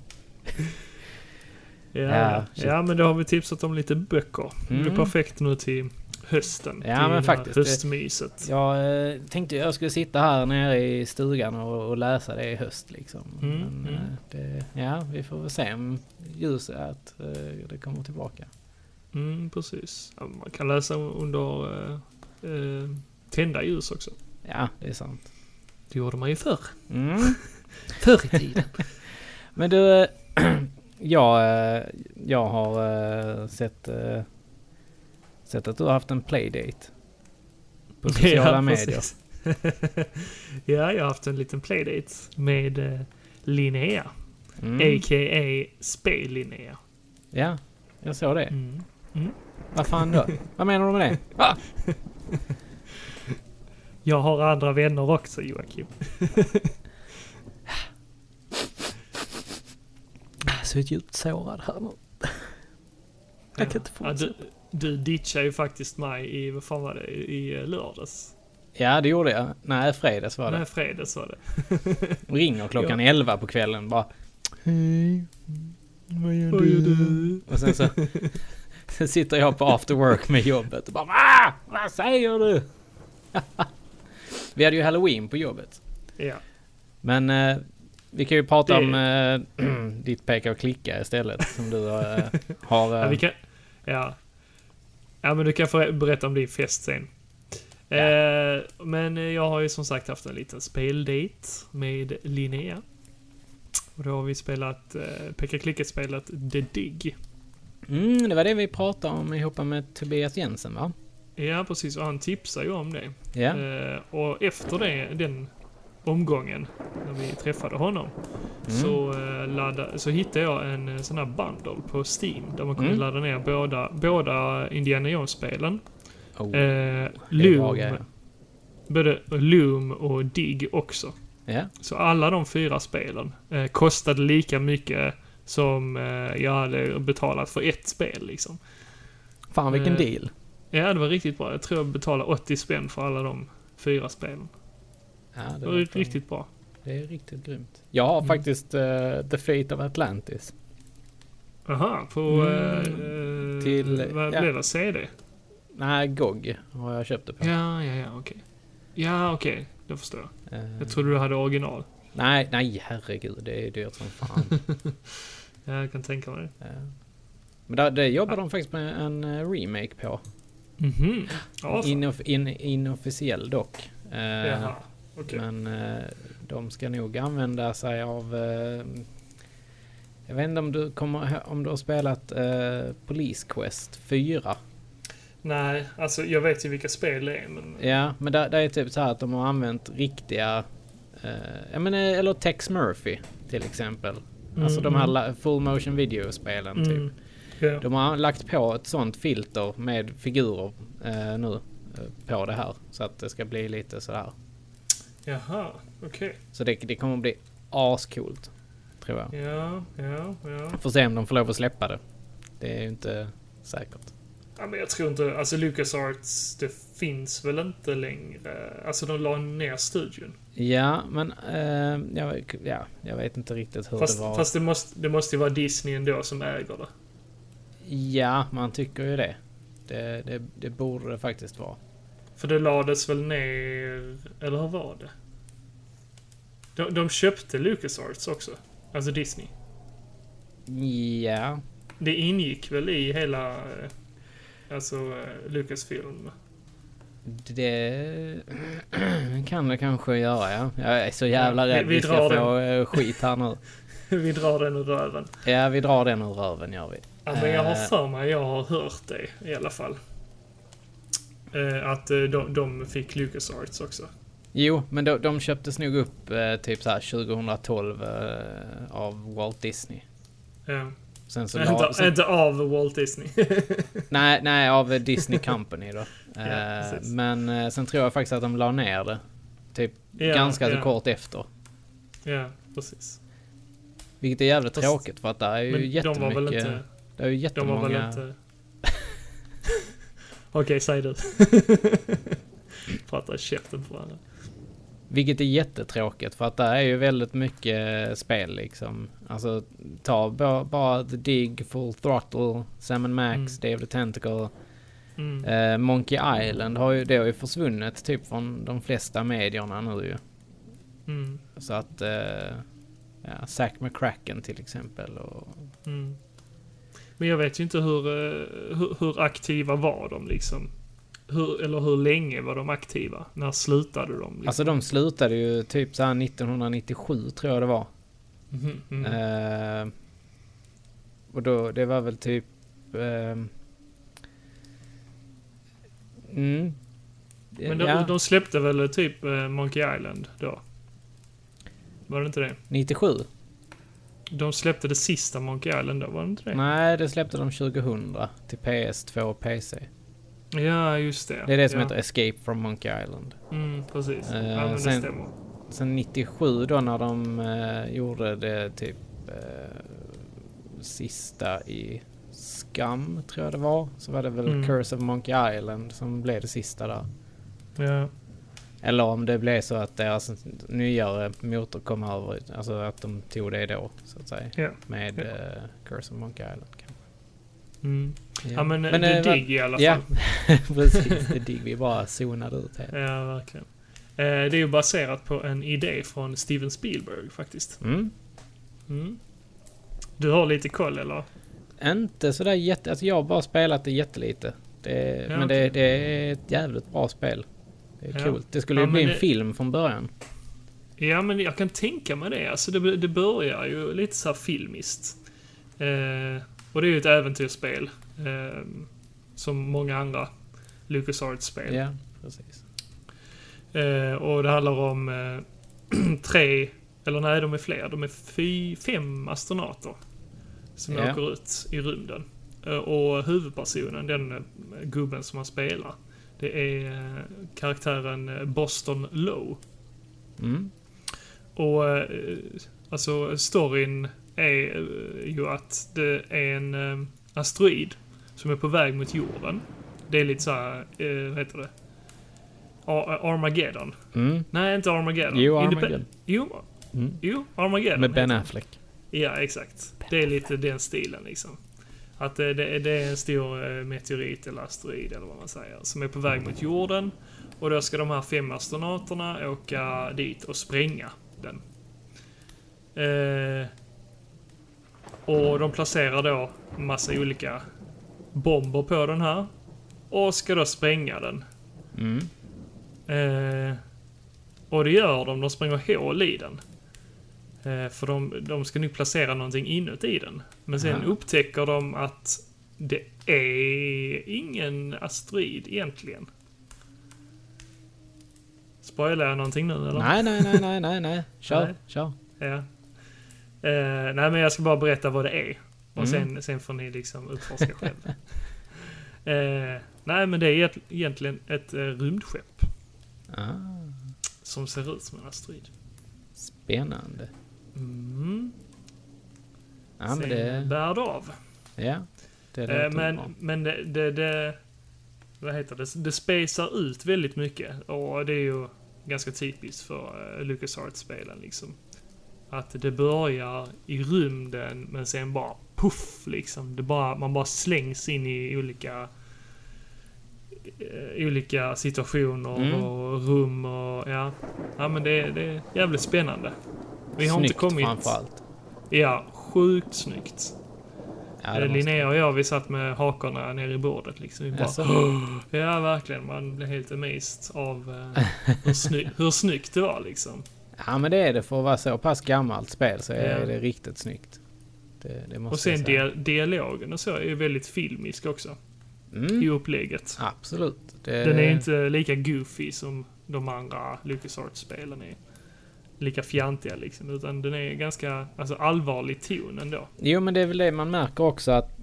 A: Ja,
B: Ja,
A: ja,
B: shit.
A: men då har vi tipsat om lite böcker. Det
B: Mm.
A: är perfekt nu till hösten.
B: Ja,
A: till
B: men
A: det här
B: faktiskt, det-
A: Höstmyset.
B: Jag eh, tänkte jag skulle sitta här nere i stugan och, och läsa det i höst liksom.
A: Mm,
B: Men, eh,
A: mm.
B: Det, ja, vi får väl se om ljuset att eh, det kommer tillbaka.
A: Mm, precis. Ja, man kan läsa under eh, eh, tända ljus också.
B: Ja, det är sant.
A: Det gjorde man ju förr.
B: Mm.
A: Förr i tiden.
B: Men du, eh, jag, eh, jag har eh, sett, eh, sett att du har haft en playdate på sociala medier.
A: precis. ja, jag har haft en liten playdate med eh, Linnea.
B: Mm.
A: A.k.a. Spel-Linnea.
B: Ja, jag såg det.
A: Mm.
B: Vad fan då? Vad menar du med det? Ah!
A: Jag har andra vänner också, Joakim.
B: Jag är så djupt sårad här nu. Jag kan inte
A: Ja,
B: fortsätta.
A: du, du ditchade ju faktiskt mig i, vad fan var det, i eh, lördags.
B: Ja, det gjorde jag. Nej, fredags var det.
A: Nej, fredags var det.
B: Ringer klockan 11 på kvällen bara. Hej, vad gör
A: Vad gör
B: du?
A: du?
B: Och sen så sen sitter jag på after work med jobbet och bara Va? Vad säger du? Vi hade ju halloween på jobbet.
A: Ja.
B: Men eh, vi kan ju prata
A: Det-
B: om eh, ditt peka och klicka istället som du eh, har.
A: Ja,
B: Eh,
A: vi kan, ja. ja, men du kan få berätta om din fest sen.
B: Ja.
A: Eh, men jag har ju som sagt haft en liten speldate med Linnea. Och då har vi spelat, eh, peka klicka-spelet The Dig.
B: mm, det var det vi pratade om ihop med Tobias Jensen va?
A: Ja, precis. Och han tipsade ju om det.
B: Ja.
A: Eh, och efter det, den omgången, när vi träffade honom,
B: Mm.
A: så, eh, ladda, så hittade jag en eh, sån här bundle på Steam där man kunde
B: Mm.
A: ladda ner båda, båda Indiana Jones-spelen.
B: Oh,
A: Eh,
B: det är bra
A: Loom,
B: grejer.
A: både Loom och Dig också.
B: Ja.
A: Så alla de fyra spelen eh, kostade lika mycket som eh, jag hade betalat för ett spel liksom.
B: Fan vilken
A: Eh,
B: deal.
A: Ja, det var riktigt bra. Jag tror jag betalade 80 spänn för alla de fyra spelen.
B: Ja,
A: Det var
B: låter-
A: riktigt bra.
B: Det är riktigt grymt. Jag har faktiskt eh, The Fate of Atlantis.
A: Aha, på... eh,
B: Mm. Till-
A: Vad
B: ja.
A: blev det? CD?
B: Nej, GOG har jag köpt det på.
A: Ja, ja, ja, okej. Ja, okej. Det förstår jag.
B: Eh,
A: Jag trodde du hade original.
B: Nej, nej herregud. Det är dyrt som fan.
A: Ja, jag kan tänka mig det.
B: Eh, Men där, det jobbar de faktiskt med en eh, remake på.
A: Mhm. Ja, fan.
B: Inof, Mm. in, inofficiell dock. Eh,
A: Jaha, okej.
B: Men eh, de ska nog använda sig av... eh, jag vet inte om du, kommer, ihå- om du har spelat eh, Police Quest 4?
A: Nej, alltså jag vet ju vilka spel det är, men...
B: Ja, men där, där är typ så här att de har använt riktiga... Eh, jag menar, eller Tex Murphy till exempel. Alltså de här la- full motion videospelen
A: Mm.
B: typ.
A: Ja.
B: De har lagt på ett sånt filter med figurer eh, nu eh, på det här. Så att det ska bli lite så här.
A: Jaha, okej.
B: Så det, det kommer bli ascoolt. Tror jag.
A: Ja, ja, ja.
B: Får se om de får lov att släppa det. Det är ju inte säkert.
A: Ja, men jag tror inte... Alltså LucasArts, det finns väl inte längre... Alltså de la ner studion.
B: Ja, men eh, jag, ja, jag vet inte riktigt hur
A: Fast,
B: det var.
A: fast det, måste, det måste ju vara Disney ändå som äger det.
B: Ja, man tycker ju det. Det, det, det borde det faktiskt vara.
A: För det lades väl ner... Eller hur var det? De, de köpte LucasArts också. Alltså Disney.
B: Ja,
A: Det ingick väl i hela... eh, Alltså eh, Lucasfilm.
B: det kan det kanske göra ja. Jag är så jävla
A: Ja, vi-
B: rädd vi,
A: vi
B: ska
A: drar
B: få eh, skit här nu.
A: Vi drar den ur röven.
B: Ja, vi drar den ur röven gör vi.
A: Ja, men jag har
B: Eh.
A: för mig, jag har hört det i alla fall. Eh, Att eh, de, de fick LucasArts också.
B: Jo, men de, de köptes nog upp eh, typ så här 2012 eh, av Walt Disney.
A: Ja.
B: Sen så la,
A: Inte,
B: sen,
A: inte av Walt Disney.
B: nej, nej, av eh, Disney Company då. Eh,
A: precis.
B: men eh, sen tror jag faktiskt att de la ner det. Typ
A: Ja,
B: ganska så
A: ja.
B: kort efter.
A: ja, precis.
B: Vilket är jävligt
A: Fast-
B: tråkigt för att där är ju
A: Men de var väl
B: jättemycket...
A: inte...
B: Det är ju
A: De var
B: jättemånga...
A: väl inte... Okej, säg du. Pratar i käften på varandra.
B: Vilket är jättetråkigt för att det är ju väldigt mycket spel liksom. Alltså ta ba- bara The Dig, Full Throttle, Sam and Max,
A: Mm.
B: Day of the Tentacle.
A: Mm.
B: Eh, Monkey Island har ju, det har ju försvunnit typ från de flesta medierna nu ju.
A: Mm.
B: Så att... Eh, ja, Zack McCracken till exempel. Och,
A: Mm. Men jag vet ju inte hur, eh, hur, hur aktiva var de liksom. Hur, eller hur länge var de aktiva? När slutade de? Liksom?
B: alltså de slutade ju typ så här 1997 tror jag det var.
A: Mhm, mhm.
B: Eh, och då, det var väl typ... ehm, mm.
A: Men de,
B: ja,
A: de släppte väl typ eh, Monkey Island då? Var det inte det?
B: 97?
A: De släppte det sista Monkey Island då, var det inte det?
B: Nej, det släppte de 2000 till PS2 och PC.
A: Ja, just det.
B: Det är det som
A: ja.
B: heter Escape from Monkey Island.
A: Mm, precis.
B: Eh,
A: ja, men det
B: sen-
A: stämmer.
B: Sen 97 då när de eh, gjorde det typ eh, sista i Skam, tror jag det var. Så var det väl
A: Mm.
B: Curse of Monkey Island som blev det sista där.
A: Ja.
B: Eller om det blev så att deras nyare motor kom över, alltså att de tog det då så att säga.
A: Ja.
B: Med
A: Ja.
B: eh, Curse of Monkey Island kanske.
A: Mm. Ja, men,
B: Men,
A: det
B: eh, va-
A: digg i alla fall.
B: Ja, precis. Det digg vi bara zonade ut helt.
A: Ja, verkligen. Eh, Det är ju baserat på en idé från Steven Spielberg faktiskt.
B: Mm.
A: Mm. Du har lite koll eller?
B: Inte sådär jätte... Alltså jag har bara spelat det jättelite. Det,
A: Ja,
B: men
A: okej.
B: det, det är ett jävligt bra spel. Det är
A: Ja.
B: coolt. Det skulle ju
A: Ja,
B: bli
A: men
B: en
A: det-
B: film från början.
A: Ja, men jag kan tänka mig det. Alltså, det, det börjar ju lite så här filmiskt. Eh, och det är ju ett äventyrsspel. Eh, som många andra LucasArts-spel.
B: Ja, precis.
A: Eh, och det handlar om eh, tre, eller nej de är fler, de är fy, fem astronauter. Som
B: Ja.
A: åker ut i rymden. Eh, och huvudpersonen, den eh, gubben som han spelar, det är eh, karaktären eh, Boston Low.
B: Mm.
A: Och eh, alltså storyn är eh, ju att det är en eh, asteroid som är på väg mot jorden. Det är lite såhär, eh, vad heter det? Ar- Armageddon.
B: Mm.
A: Nej, inte Armageddon.
B: Jo,
A: Indep-
B: Armageddon.
A: Jo,
B: Mm.
A: jo, Armageddon.
B: Med Ben
A: heter
B: Affleck.
A: det. Ja, exakt. Det är lite den stilen liksom. Att det, det, är- det är en stor eh, meteorit eller asteroid eller vad man säger som är på väg mot jorden. Och då ska de här fem astronauterna åka dit och spränga den. Eh, och de placerar då massa olika bomber på den här. Och ska då spränga den.
B: Mm.
A: Eh, och det gör de. De spränger hål i den. Eh, för de, de ska nu placera någonting inuti den. Men sen
B: Aha.
A: upptäcker de att det är ingen asteroid egentligen. Spoilar jag någonting nu eller?
B: Nej, nej, nej, nej, nej, nej. Kör,
A: Nej.
B: kör.
A: Ja. Eh, nej, men jag ska bara berätta vad det är. Och
B: Mm.
A: sen, sen får ni liksom uppforska själva. eh, nej, men det är egent- egentligen ett eh, rymdskepp
B: Ah,
A: som ser ut som en asteroid.
B: spännande.
A: Mm.
B: Ja, men
A: sen
B: det...
A: bär det av.
B: Ja. Det
A: Eh,
B: låter
A: men
B: bra.
A: men det, det, det... Vad heter det? Det spejsar ut väldigt mycket. Och det är ju ganska typiskt för eh, LucasArts-spelen liksom. Att det börjar i rymden men sen bara puff liksom. Det bara, man bara slängs in i olika eh, olika situationer
B: Mm.
A: och rum och ja. Ja men det, det är jävligt spännande. Vi har
B: Snyggt
A: inte kommit...
B: framförallt.
A: Ja, sjukt snyggt.
B: Ja, det
A: Eh,
B: måste...
A: Linnea och jag, vi satt med hakorna nere i bordet liksom. Vi bara,
B: Alltså.
A: Ja, verkligen. Man blev helt amazed av eh, hur, sny- hur snyggt det var liksom.
B: Ja, men det är det. För att vara så pass gammalt spel så är
A: Ja.
B: det riktigt snyggt. Det, det måste
A: Och sen
B: jag säga.
A: dia- dialogen och så är ju väldigt filmisk också i
B: Mm, Eh.
A: upplägget.
B: absolut. Det,
A: Den är inte lika goofy som de andra LucasArts-spelen är. lika fjantiga liksom, utan den är ganska alltså, allvarlig ton ändå.
B: Jo, men det är väl det man märker också att...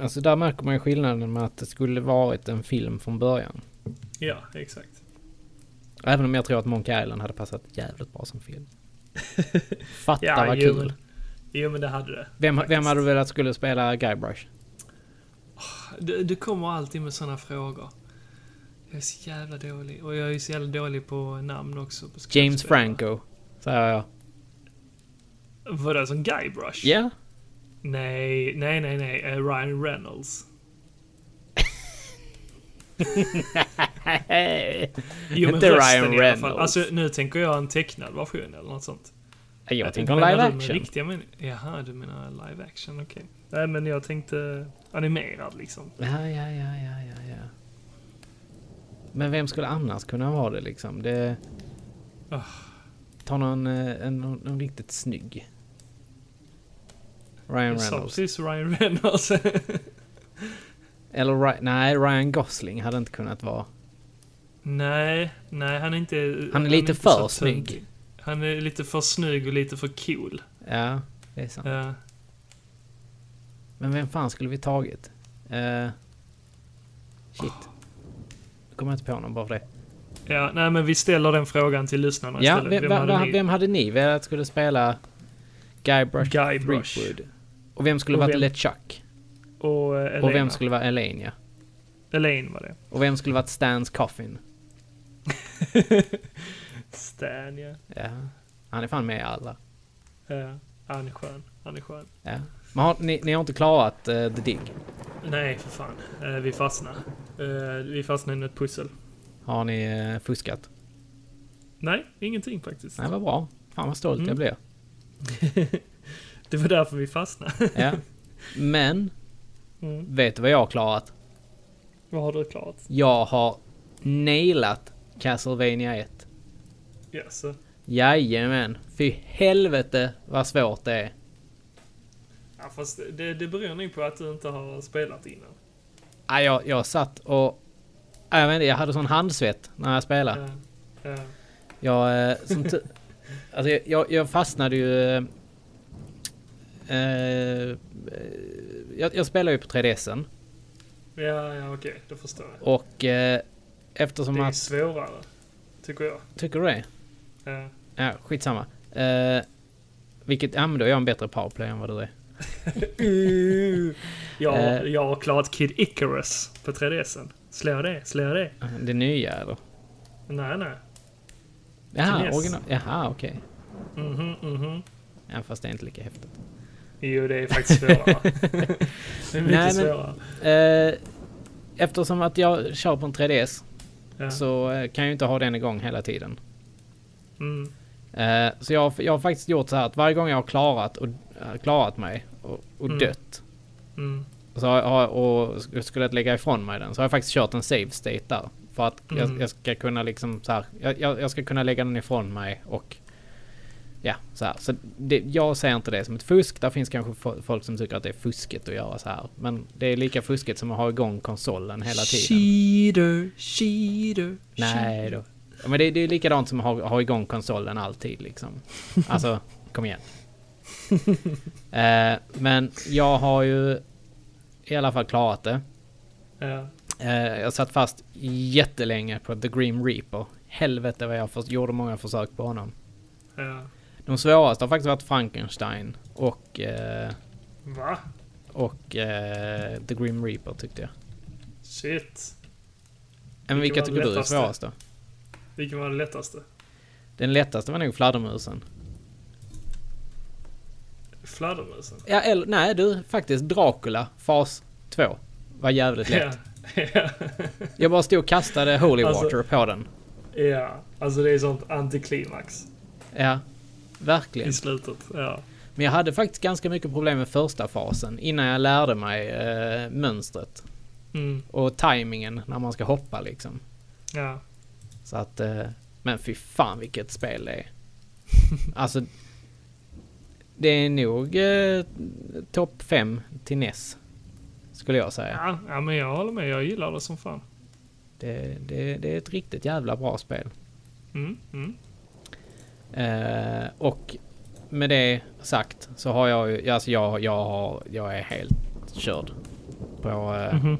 B: Alltså där märker man ju skillnaden med att det skulle varit en film från början.
A: Ja, exakt.
B: Även om jag tror att Monkey Island hade passat jävligt bra som film. Fatta
A: Ja,
B: vad
A: jo,
B: kul!
A: men- Jo, men det hade det.
B: Vem, vem
A: faktiskt.
B: hade du velat skulle spela Guybrush?
A: Du, du kommer alltid med såna frågor. Jag är så jävla dålig. Och jag är ju så jävla dålig på namn också. På
B: James
A: skådespelare.
B: Franco, säger jag.
A: Vadå, som Guybrush?
B: Ja,
A: Nej, nej, nej, nej. Eh, Ryan Reynolds.
B: Eh,
A: Jo, men rösten
B: Inte Ryan
A: i alla fall.
B: Reynolds.
A: Alltså, nu tänker jag en tecknad version eller något sånt.
B: jag tänker
A: tänkte,
B: om
A: menar
B: live
A: du med
B: action.
A: Riktiga men... Jaha, du menar live action, okej. Nej, men jag tänkte animerad liksom.
B: Ja, ja, ja, ja, ja, ja. Men vem skulle annars kunna vara det liksom? Det...
A: Ah.
B: Ta någon, eh, en, någon, någon riktigt snygg. Ryan
A: Jag sa
B: Reynolds.
A: precis Ryan Reynolds.
B: Eller Ry- nej, Ryan Gosling hade inte kunnat vara.
A: nej, nej, han är inte...
B: Han är lite
A: inte
B: för
A: så tunt.
B: snygg.
A: Han är lite för snygg och lite för cool.
B: Ja, det är sant.
A: Eh,
B: Men vem fan skulle vi tagit? Eh, shit. Nu kommer jag inte på någon bara för det.
A: ja, nej, men vi ställer den frågan till lyssnarna
B: Ja,
A: istället.
B: vem, vem, hade
A: ni-
B: vem hade ni velat skulle spela Guybrush,
A: Guybrush.
B: Threepwood? Och vem skulle
A: Och
B: varit
A: vem-
B: LeChuck?
A: Och eh, Elena.
B: Och vem skulle vara Elaine, ja.
A: Elaine var det.
B: Och vem skulle varit Stans Coffin?
A: Stan, ja.
B: Ja. Han är fan med i alla.
A: Eh, han är skön. Han är skön.
B: Ja. Men har, ni, ni har inte klarat eh, The Dig?
A: Nej, för fan. Eh, vi fastnar. Eh, vi fastnar i ett pussel.
B: Har ni eh, fuskat?
A: Nej, ingenting faktiskt.
B: Nej, vad bra. Fan vad stolt
A: Mm.
B: jag blir.
A: Det var därför vi fastnade.
B: Ja. Men,
A: Mm.
B: vet du vad jag har klarat?
A: Vad har du klarat?
B: Jag har nailat Castlevania 1.
A: Yes.
B: Jajamän. Fy helvete vad svårt det är.
A: Ja, fast det, det beror nog på att du inte har spelat innan.
B: Ja, jag, jag satt och... Ja, Jag, vet inte, jag hade sån handsvett när jag spelade.
A: Eh, eh,
B: Jag, eh, som tu- alltså, jag- jag, jag fastnade ju... eh, Eh, jag, jag spelar ju på 3DSen
A: ja, ja okej. Då förstår jag.
B: och eh, eftersom
A: Det är
B: att...
A: svårare, tycker jag.
B: Tycker du det?
A: Eh,
B: Ja, skitsamma. Eh, vilket... Ja, men då är jag en bättre powerplay än vad du är.
A: jag,
B: Eh.
A: jag har klarat Kid Icarus på 3DSen. Slår det? Slår det?
B: Det nya eller?
A: Nej, nej.
B: Jaha,
A: Kines.
B: original. Jaha, okej.
A: Mhm, mhm.
B: Ja, fast det är inte lika häftigt.
A: Jo, det är faktiskt svårare. det är mycket
B: Nej, men-
A: svårare.
B: Eh, eftersom att jag kör på en 3DS
A: Ja.
B: så eh, kan jag ju inte ha den igång hela tiden.
A: Mm.
B: Eh, Så jag, har- jag har faktiskt gjort så här att varje gång jag har klarat, och, eh, klarat mig och, och
A: Mm.
B: dött
A: Mm.
B: så har, har, och sk- skulle jag lägga ifrån mig den så har jag faktiskt kört en save state där. För att
A: Mm.
B: jag, jag ska kunna liksom så här, jag, jag, jag ska kunna lägga den ifrån mig och ja, så här. Så det, jag ser inte det som ett fusk. Där finns kanske fo- folk som tycker att det är fusket att göra så här. Men det är lika fusket som att ha igång konsolen hela tiden.
A: Cheater, cheater,
B: Nej då. Ja, Men det, det är likadant som att ha, ha igång konsolen alltid liksom. Alltså, kom igen. Eh, men jag har ju i alla fall klarat det.
A: Ja.
B: Eh, jag satt fast jättelänge på The Grim Reaper. Helvete vad jag för, gjorde många försök på honom.
A: Ja.
B: De svåraste har faktiskt varit Frankenstein och, eh,
A: Va?
B: och eh, The Grim Reaper tyckte jag.
A: Shit.
B: Men vilka
A: Vilken var
B: tycker du är
A: lättast?
B: svårast då?
A: Vilken var den lättaste?
B: Den lättaste var nog fladdermusen.
A: Fladdermusen?
B: Ja, eller nej du, faktiskt Dracula, fas 2. Var jävligt lätt.
A: Ja.
B: Jag bara stod och kastade Holy
A: Alltså-
B: Water på den.
A: ja, alltså det är sånt antiklimax
B: Ja, verkligen.
A: i slutet. Ja.
B: Men jag hade faktiskt ganska mycket problem med första fasen innan jag lärde mig eh, mönstret.
A: Mm.
B: Och tajmingen när man ska hoppa liksom.
A: Ja.
B: Så att, eh, men fy fan vilket spel det är. alltså, det är nog eh, topp 5 till NES. Skulle jag säga.
A: Ja, ja, men jag håller med. Jag gillar det som fan.
B: Det, det, det är ett riktigt jävla bra spel.
A: Mm. Mm.
B: Eh, och med det sagt så har jag ju, alltså jag, jag, har, jag är helt körd på eh,
A: Mhm.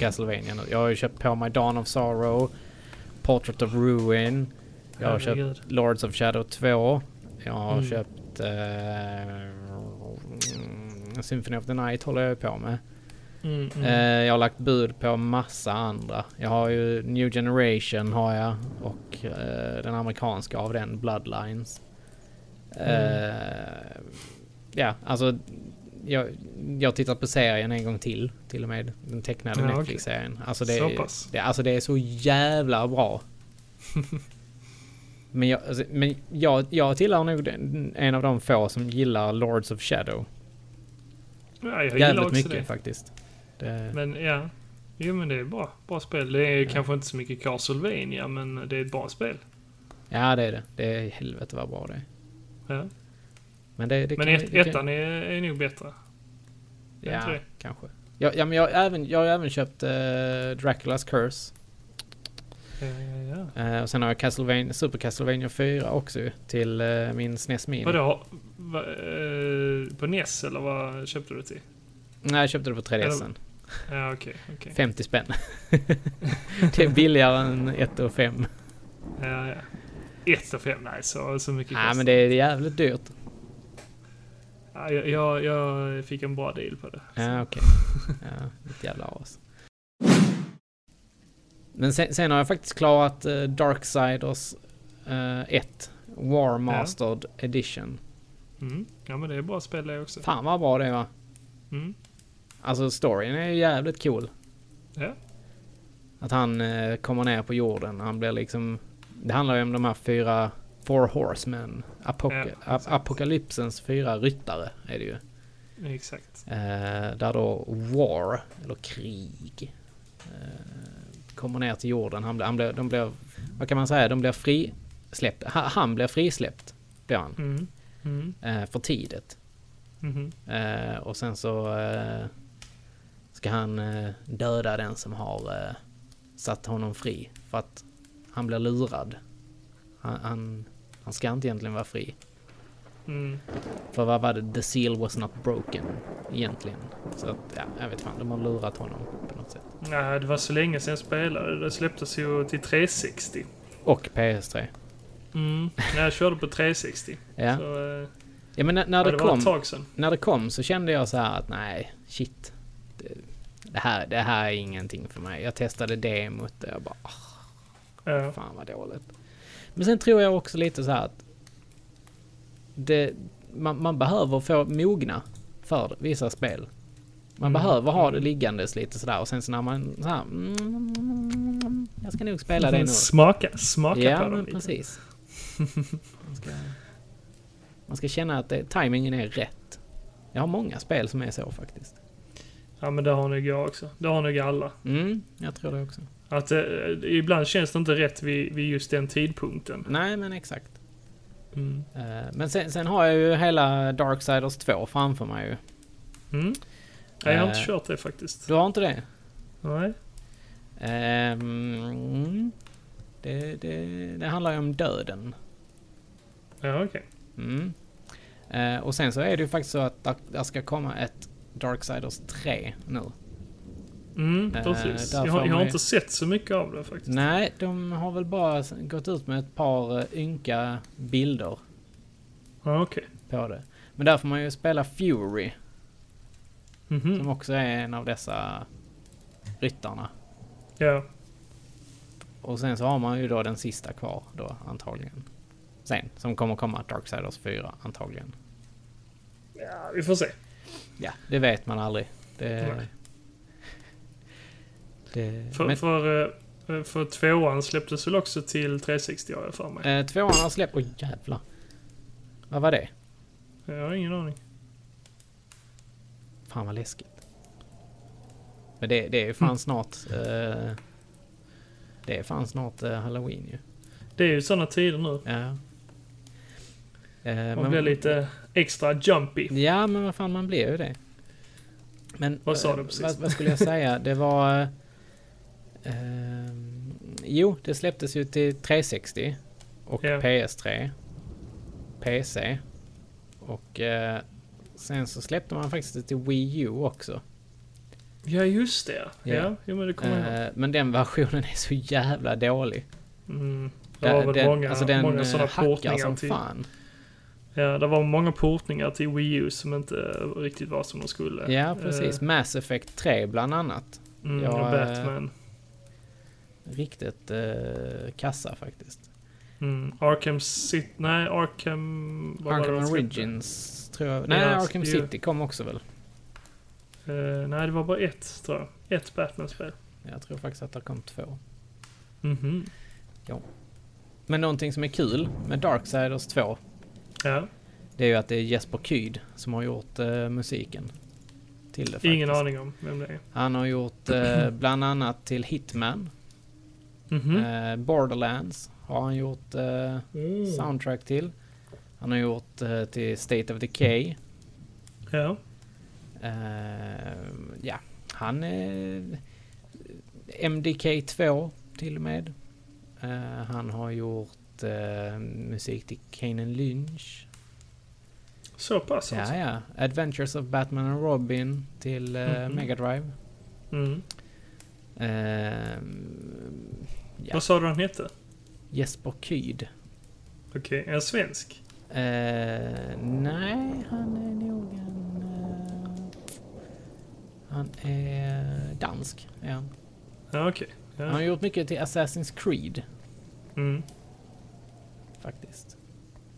B: Castlevania nu. Jag har ju köpt på mig Dawn of Sorrow, Portrait of Ruin, jag har köpt
A: Herregud.
B: Lords of Shadow 2, jag har
A: Mm.
B: köpt eh, Symphony of the Night håller jag ju på med.
A: Mm, mm.
B: Eh, jag har lagt bud på massa andra. Jag har ju New Generation har jag och eh, den amerikanska av den, Bloodlines.
A: Mm.
B: Eh, ja, alltså jag, jag har tittat på serien en gång till, till och med den tecknade
A: Ja, okej.
B: Netflix-serien. Alltså, det,
A: Så
B: är-
A: pass.
B: det, alltså det är så jävla bra. men jag, alltså, men jag, jag tillhör nog den, en av de få som gillar Lords of Shadow.
A: ja, jag gillar
B: Jävligt
A: också
B: mycket
A: det.
B: faktiskt. Det,
A: Men ja. Jo men det är bra. Bra spel. Det är kanske inte så mycket Castlevania men det är ett bra spel.
B: Ja, det är det. Det är helvete vad bra det är.
A: Ja.
B: Men, det, det
A: Men
B: kan-
A: ett,
B: det kan-
A: ettan är, är nog bättre. är inte
B: Ja,
A: det?
B: kanske. Ja, ja, men jag, har även, jag har även köpt eh, Draculas Curse.
A: Ja, ja, ja.
B: Eh, och sen har jag Castlevania, Super Castlevania 4 också ju, till eh, min SNES Mini.
A: Vadå? Va, eh, på NES eller vad köpte du det till?
B: Nej, jag köpte det på 3DSen.
A: Ja okej. okej.
B: 50 spänn. det är billigare än 1 och 5.
A: Ja, ja. Eh, Ett och fem? Nej så, så mycket
B: Nej,
A: kostar
B: men det är jävligt dyrt.
A: Ja, jag, jag, jag fick en bra deal på det.
B: Ja, okej. Ja, ett jävla as. Men sen, sen har jag faktiskt klarat eh, Darksiders eh, 1. War Mastered Edition.
A: Mm. Ja, men det är bra spel det också.
B: Fan vad bra det var.
A: Mm.
B: Alltså storyn är ju jävligt cool.
A: Ja.
B: Att han eh, kommer ner på jorden. Han blir liksom... Det handlar ju om de här fyra... Four Horsemen. Apoka-
A: Ja,
B: ap- apokalypsens fyra ryttare är det ju.
A: Exakt.
B: Eh, där då War, eller krig, eh, kommer ner till jorden. Han blir, han blir, de blir, vad kan man säga, de blir frisläppt. Ha, han blir frisläppt, blir han,
A: Mm. Mm.
B: eh, för tidigt.
A: Mhm.
B: Eh, och sen så eh, ska han eh, döda den som har eh, satt honom fri. För att han blir lurad. Han, han, han ska inte egentligen vara fri.
A: Mm.
B: För vad var det? The seal was not broken egentligen. Så att, ja, jag vet fan. De har lurat honom på något sätt.
A: Nej, det var så länge sedan jag spelade. Det släpptes ju till 360.
B: Och PS3.
A: Mm. När jag körde på 360.
B: Ja,
A: Så, eh,
B: ja men när, när,
A: ja,
B: det
A: det var ett
B: kom,
A: tag sedan.
B: när det kom så kände jag så här att nej, shit. Det, det, här, det här är ingenting för mig. Jag testade demot och jag bara, ah,
A: Ja.
B: fan vad dåligt. Men sen tror jag också lite så här att det, man, man behöver få mogna för vissa spel. Man
A: Mm.
B: behöver ha det liggandes lite sådär och sen så när man så här, mm, jag ska nog spela det nu.
A: Smaka, smaka
B: Ja,
A: på dem
B: men
A: lite.
B: precis. Man ska, man ska känna att det, tajmingen är rätt. Jag har många spel som är så faktiskt.
A: Ja, men det har nog jag också. Det har nog alla.
B: Mm, jag tror det också.
A: Att, eh, ibland känns det inte rätt vid, vid just den tidpunkten.
B: Nej, men exakt.
A: Mm.
B: Eh, Men sen, sen har jag ju hela Darksiders 2 framför mig ju.
A: Mm. Nej, jag har inte
B: Eh.
A: kört det faktiskt.
B: Du har inte det?
A: Nej.
B: Ehm, det, det, det handlar ju om döden.
A: Ja, okej.
B: Mm. Eh, och sen så är det ju faktiskt så att där, där ska komma ett Darksiders 3 nu.
A: Mm,
B: Eh,
A: precis.
B: där
A: jag, har- jag
B: får
A: har
B: man ju-
A: inte sett så mycket av det faktiskt.
B: Nej, de har väl bara s- gått ut med ett par eh, ynka bilder
A: Ja, okej.
B: på det. Men där får man ju spela Fury,
A: Mhm.
B: som också är en av dessa ryttarna.
A: Ja.
B: Och sen så har man ju då den sista kvar då, antagligen. Sen, som kommer komma Darksiders 4, antagligen.
A: ja, vi får se.
B: Ja, det vet man aldrig. Det...
A: Nej.
B: det...
A: För,
B: Men,
A: för, eh, för tvåan släpptes väl också till 360 har jag för mig.
B: eh, tvåan har släppt... Oj, jävlar. Vad var det? Eh.
A: Jag har ingen aning.
B: Fan vad läskigt. Men det, det är ju fan
A: Mm.
B: snart... Eh, det är fan snart eh, halloween ju.
A: Det är ju sådana tider nu.
B: Ja. Eh,
A: Man blir lite extra jumpy.
B: Ja, men vad fan, man blir ju det. Men,
A: Vad sa du
B: eh,
A: precis?
B: Vad, vad skulle jag säga? Det var... eh, ehm, jo, det släpptes ju till 360 och
A: Ja.
B: PS3. PC. Och eh, sen så släppte man faktiskt det till Wii U också.
A: Ja, just det. Ja,
B: Ja.
A: jo, men det kommer jag ihåg.
B: Eh, men den versionen är så jävla dålig.
A: Mm. Det var väl många,
B: alltså Eh. den
A: många
B: eh,
A: sådana
B: hackar
A: portningar
B: som
A: till...
B: fan.
A: Ja, det var många portningar till Wii U som inte eh, riktigt var som de skulle.
B: Ja, precis. Mass Effect 3 bland annat.
A: Eh, mm,
B: Ja,
A: och
B: eh,
A: Batman.
B: Riktigt eh, kassa faktiskt.
A: Mm. Arkham City... Nej, Arkham... vad var det
B: Arkham
A: de släppte?
B: Origins tror jag. Nej, Arkham
A: ju-
B: City kom också väl?
A: Eh, nej, det var bara ett, tror jag. Ett Batman-spel.
B: Jag tror faktiskt att det kom två.
A: Mhm.
B: Men någonting som är kul med Darksiders 2
A: Ja,
B: Det är ju att det är Jesper Kyd som har gjort eh, musiken. Till det faktiskt.
A: ingen aning om vem det är.
B: Han har gjort eh, bland annat till Hitman.
A: Mhm.
B: Eh, Borderlands har han gjort eh,
A: Mm.
B: soundtrack till. Han har gjort eh, till State of Decay.
A: Ja.
B: Eh, ja, han är eh, MDK 2 till och med. Eh, han har gjort eh, musik till Kanan Lynch.
A: Så pass alltså.
B: Ja, ja. Adventures of Batman and Robin till eh,
A: Mhm.
B: Mega Drive. Eh,
A: Mm.
B: Ehm, Ja.
A: Vad sa du han hette?
B: Jesper Kyd.
A: Okej, en svensk?
B: Eh, nej, han är nog en... eh, han är dansk. Är han.
A: Ja, okej.
B: han har
A: Ja.
B: gjort mycket till Assassin's Creed
A: Mm.
B: faktiskt.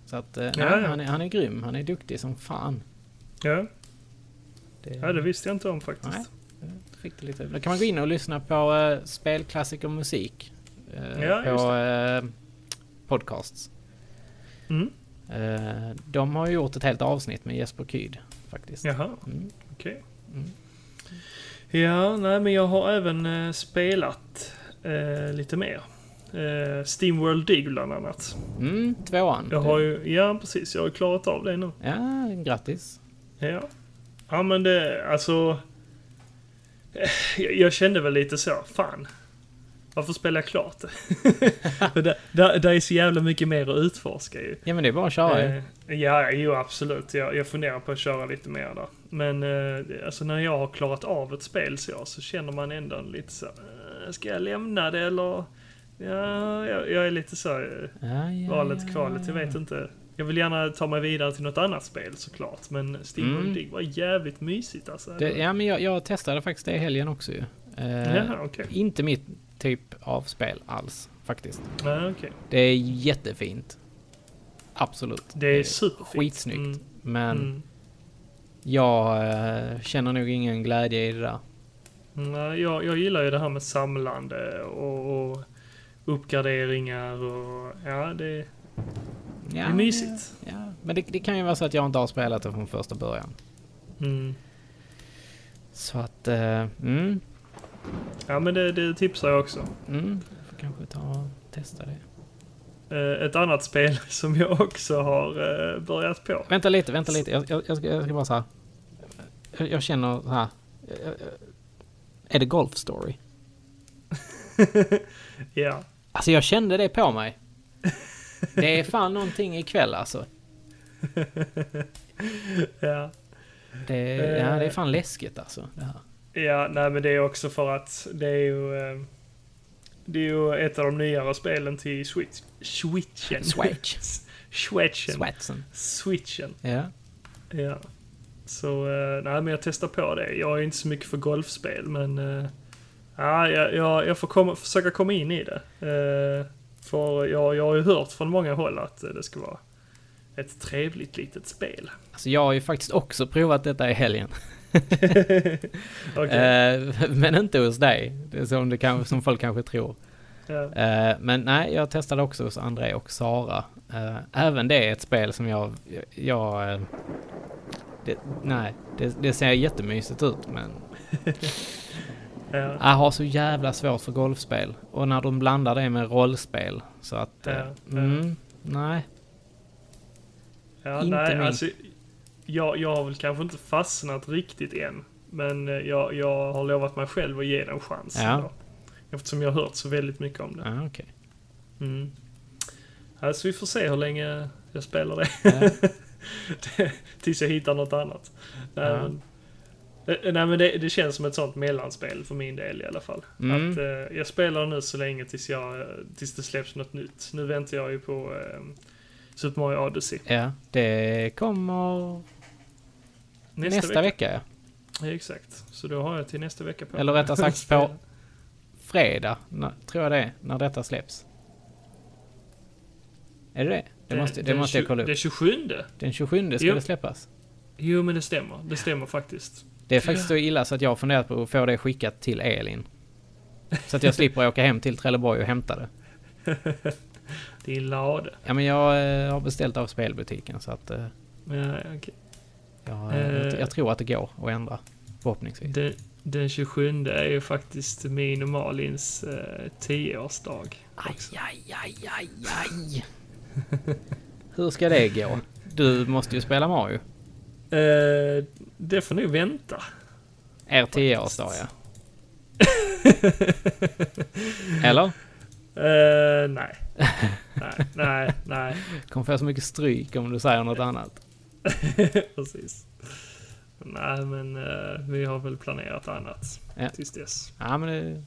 B: Så att eh,
A: Ja,
B: nej,
A: ja.
B: Han, är, han är grym. Han är duktig som fan.
A: Ja.
B: Det,
A: ja, det visste jag inte om faktiskt.
B: Mm. Nej. Fick lite. Då kan man gå in och lyssna på eh, spelklassiker och musik. eh,
A: Ja, just
B: på eh, podcasts.
A: Mm.
B: Eh, de har ju gjort ett helt avsnitt med Jesper Kyd faktiskt.
A: Jaha.
B: Mm.
A: Okej.
B: Mm.
A: Ja, nej men jag har även eh, spelat eh, lite mer. Eh, Steamworld Dig bland annat.
B: Mm, tvåan.
A: Jag har ju, ja precis, jag har ju klarat av det nu.
B: Ja, grattis.
A: Ja. Ja men det, alltså. eh, Jag, jag kände väl lite så, fan. Varför spelar jag klart det? För där, där, där är så jävla mycket mer att utforska ju.
B: Ja men det är bara att köra ju.
A: Eh, ja, jo absolut. Jag, jag funderar på att köra lite mer där. Men eh, alltså när jag har klarat av ett spel så, så känner man ändå lite så eh, Ska jag lämna det eller? Ja, jag, jag är lite så eh,
B: Ja, ja,
A: valet
B: ja,
A: kvalet, jag
B: ja.
A: vet inte. Jag vill gärna ta mig vidare till något annat spel såklart. Men Steam
B: Mm.
A: mm. Dig var jävligt mysigt alltså.
B: Det, ja men jag, jag testade faktiskt det i helgen också ju. Eh,
A: Jaha, okej.
B: Inte mitt typ av spel alls faktiskt.
A: Ja, okej.
B: Det är jättefint. Absolut.
A: Det är superfint.
B: eh, skitsnyggt.
A: Mm.
B: Men
A: Mm.
B: jag eh, känner nog ingen glädje i det där.
A: Nej, jag, jag gillar ju det här med samlande och, och uppgraderingar och ja, det,
B: Ja,
A: det är mysigt.
B: Ja, ja. Men det, det kan ju vara så att jag inte har spelat det från första början.
A: Mm.
B: Så att, eh, mm,
A: Ja, men det, det tipsar jag också.
B: mm. Jag får kanske ta och testa det.
A: Eh, Ett annat spel som jag också har eh, börjat på.
B: Vänta lite, vänta lite. Jag, jag, jag, ska, jag ska bara så här. Jag, jag känner så här. Eh, eh, Är det Golf Story?
A: Ja,
B: Alltså jag kände det på mig. Det är fan någonting ikväll alltså.
A: ja.
B: Det, ja, det är
A: Eh.
B: fan läskigt alltså. Det här.
A: Ja, nej men det är också för att det är ju... eh, Det är ju ett av de nyare spelen till Switch. Switchen.
B: Switch.
A: Switchen.
B: Swatsen.
A: Switchen.
B: Ja.
A: Ja. Så, eh, nej men jag testar på det. Jag är inte så mycket för golfspel, men... eh, Ja, jag, jag, jag får komma, försöka komma in i det. Eh, För jag, jag har ju hört från många håll att eh, det ska vara ett trevligt litet spel.
B: Alltså jag har ju faktiskt också provat detta i helgen.
A: Okej.
B: Eh, men inte hos dig. Det är som, det kan, som folk kanske tror.
A: ja.
B: Eh, men nej, jag testade också hos André och Sara. Eh, även det är ett spel som jag... jag, jag eh, det, nej, det, det ser jättemysigt ut men
A: Ja.
B: jag har så jävla svårt för golfspel. Och när de blandar det med rollspel så att... eh,
A: Ja, ja.
B: mm, nej.
A: Ja,
B: Inte
A: nej,
B: min.
A: alltså, jag, jag har väl kanske inte fastnat riktigt än. Men eh, jag, jag har lovat mig själv att ge det en chans.
B: Ja.
A: idag. Eftersom jag har hört så väldigt mycket om det.
B: Ah, okej.
A: Mm. Alltså vi får se hur länge, Jag spelar det. Det- Tills jag hittar något annat. Nej,
B: Ja.
A: men, Eh, nej, men det, det känns som ett sånt mellanspel för min del i alla fall.
B: Mm.
A: Att, eh, jag spelar nu så länge tills, jag, eh, tills det släpps något nytt. Nu väntar jag ju på eh, Super Mario Odyssey.
B: Ja, det kommer nästa, vecka. ja.
A: Ja, exakt. Så då har jag till nästa vecka på
B: Eller
A: mig.
B: rättare sagt på fredag, när, tror jag det är, när detta släpps. Är det det? Det måste, det
A: den
B: måste jag
A: tju-
B: kolla upp.
A: Den 27.
B: Den 27 ska
A: Jo.
B: det släppas.
A: Jo, men det stämmer. Det stämmer faktiskt.
B: Det är faktiskt så illa så att jag har funderat på att få det skickat till Elin. Så att jag slipper åka hem till Trelleborg och hämta det.
A: Din lade.
B: Ja, men jag eh, har beställt av spelbutiken så att eh,
A: Ja, okej.
B: jag, eh, jag,
A: Eh.
B: jag tror att det går att ändra. Förhoppningsvis.
A: den, den 27 är ju faktiskt min och Malins eh, 10-årsdag.
B: Aj, aj, aj, aj, aj. Hur ska det gå? Du måste ju spela Mario.
A: Eh, det får ni vänta.
B: Er tioårsdag, ja. Eller?
A: Eh, nej. nej. Nej, nej,
B: Kommer få så mycket stryk om du säger något annat.
A: precis. Nej, men eh, vi har väl planerat annat
B: Ja.
A: tills dess.
B: Ja, men det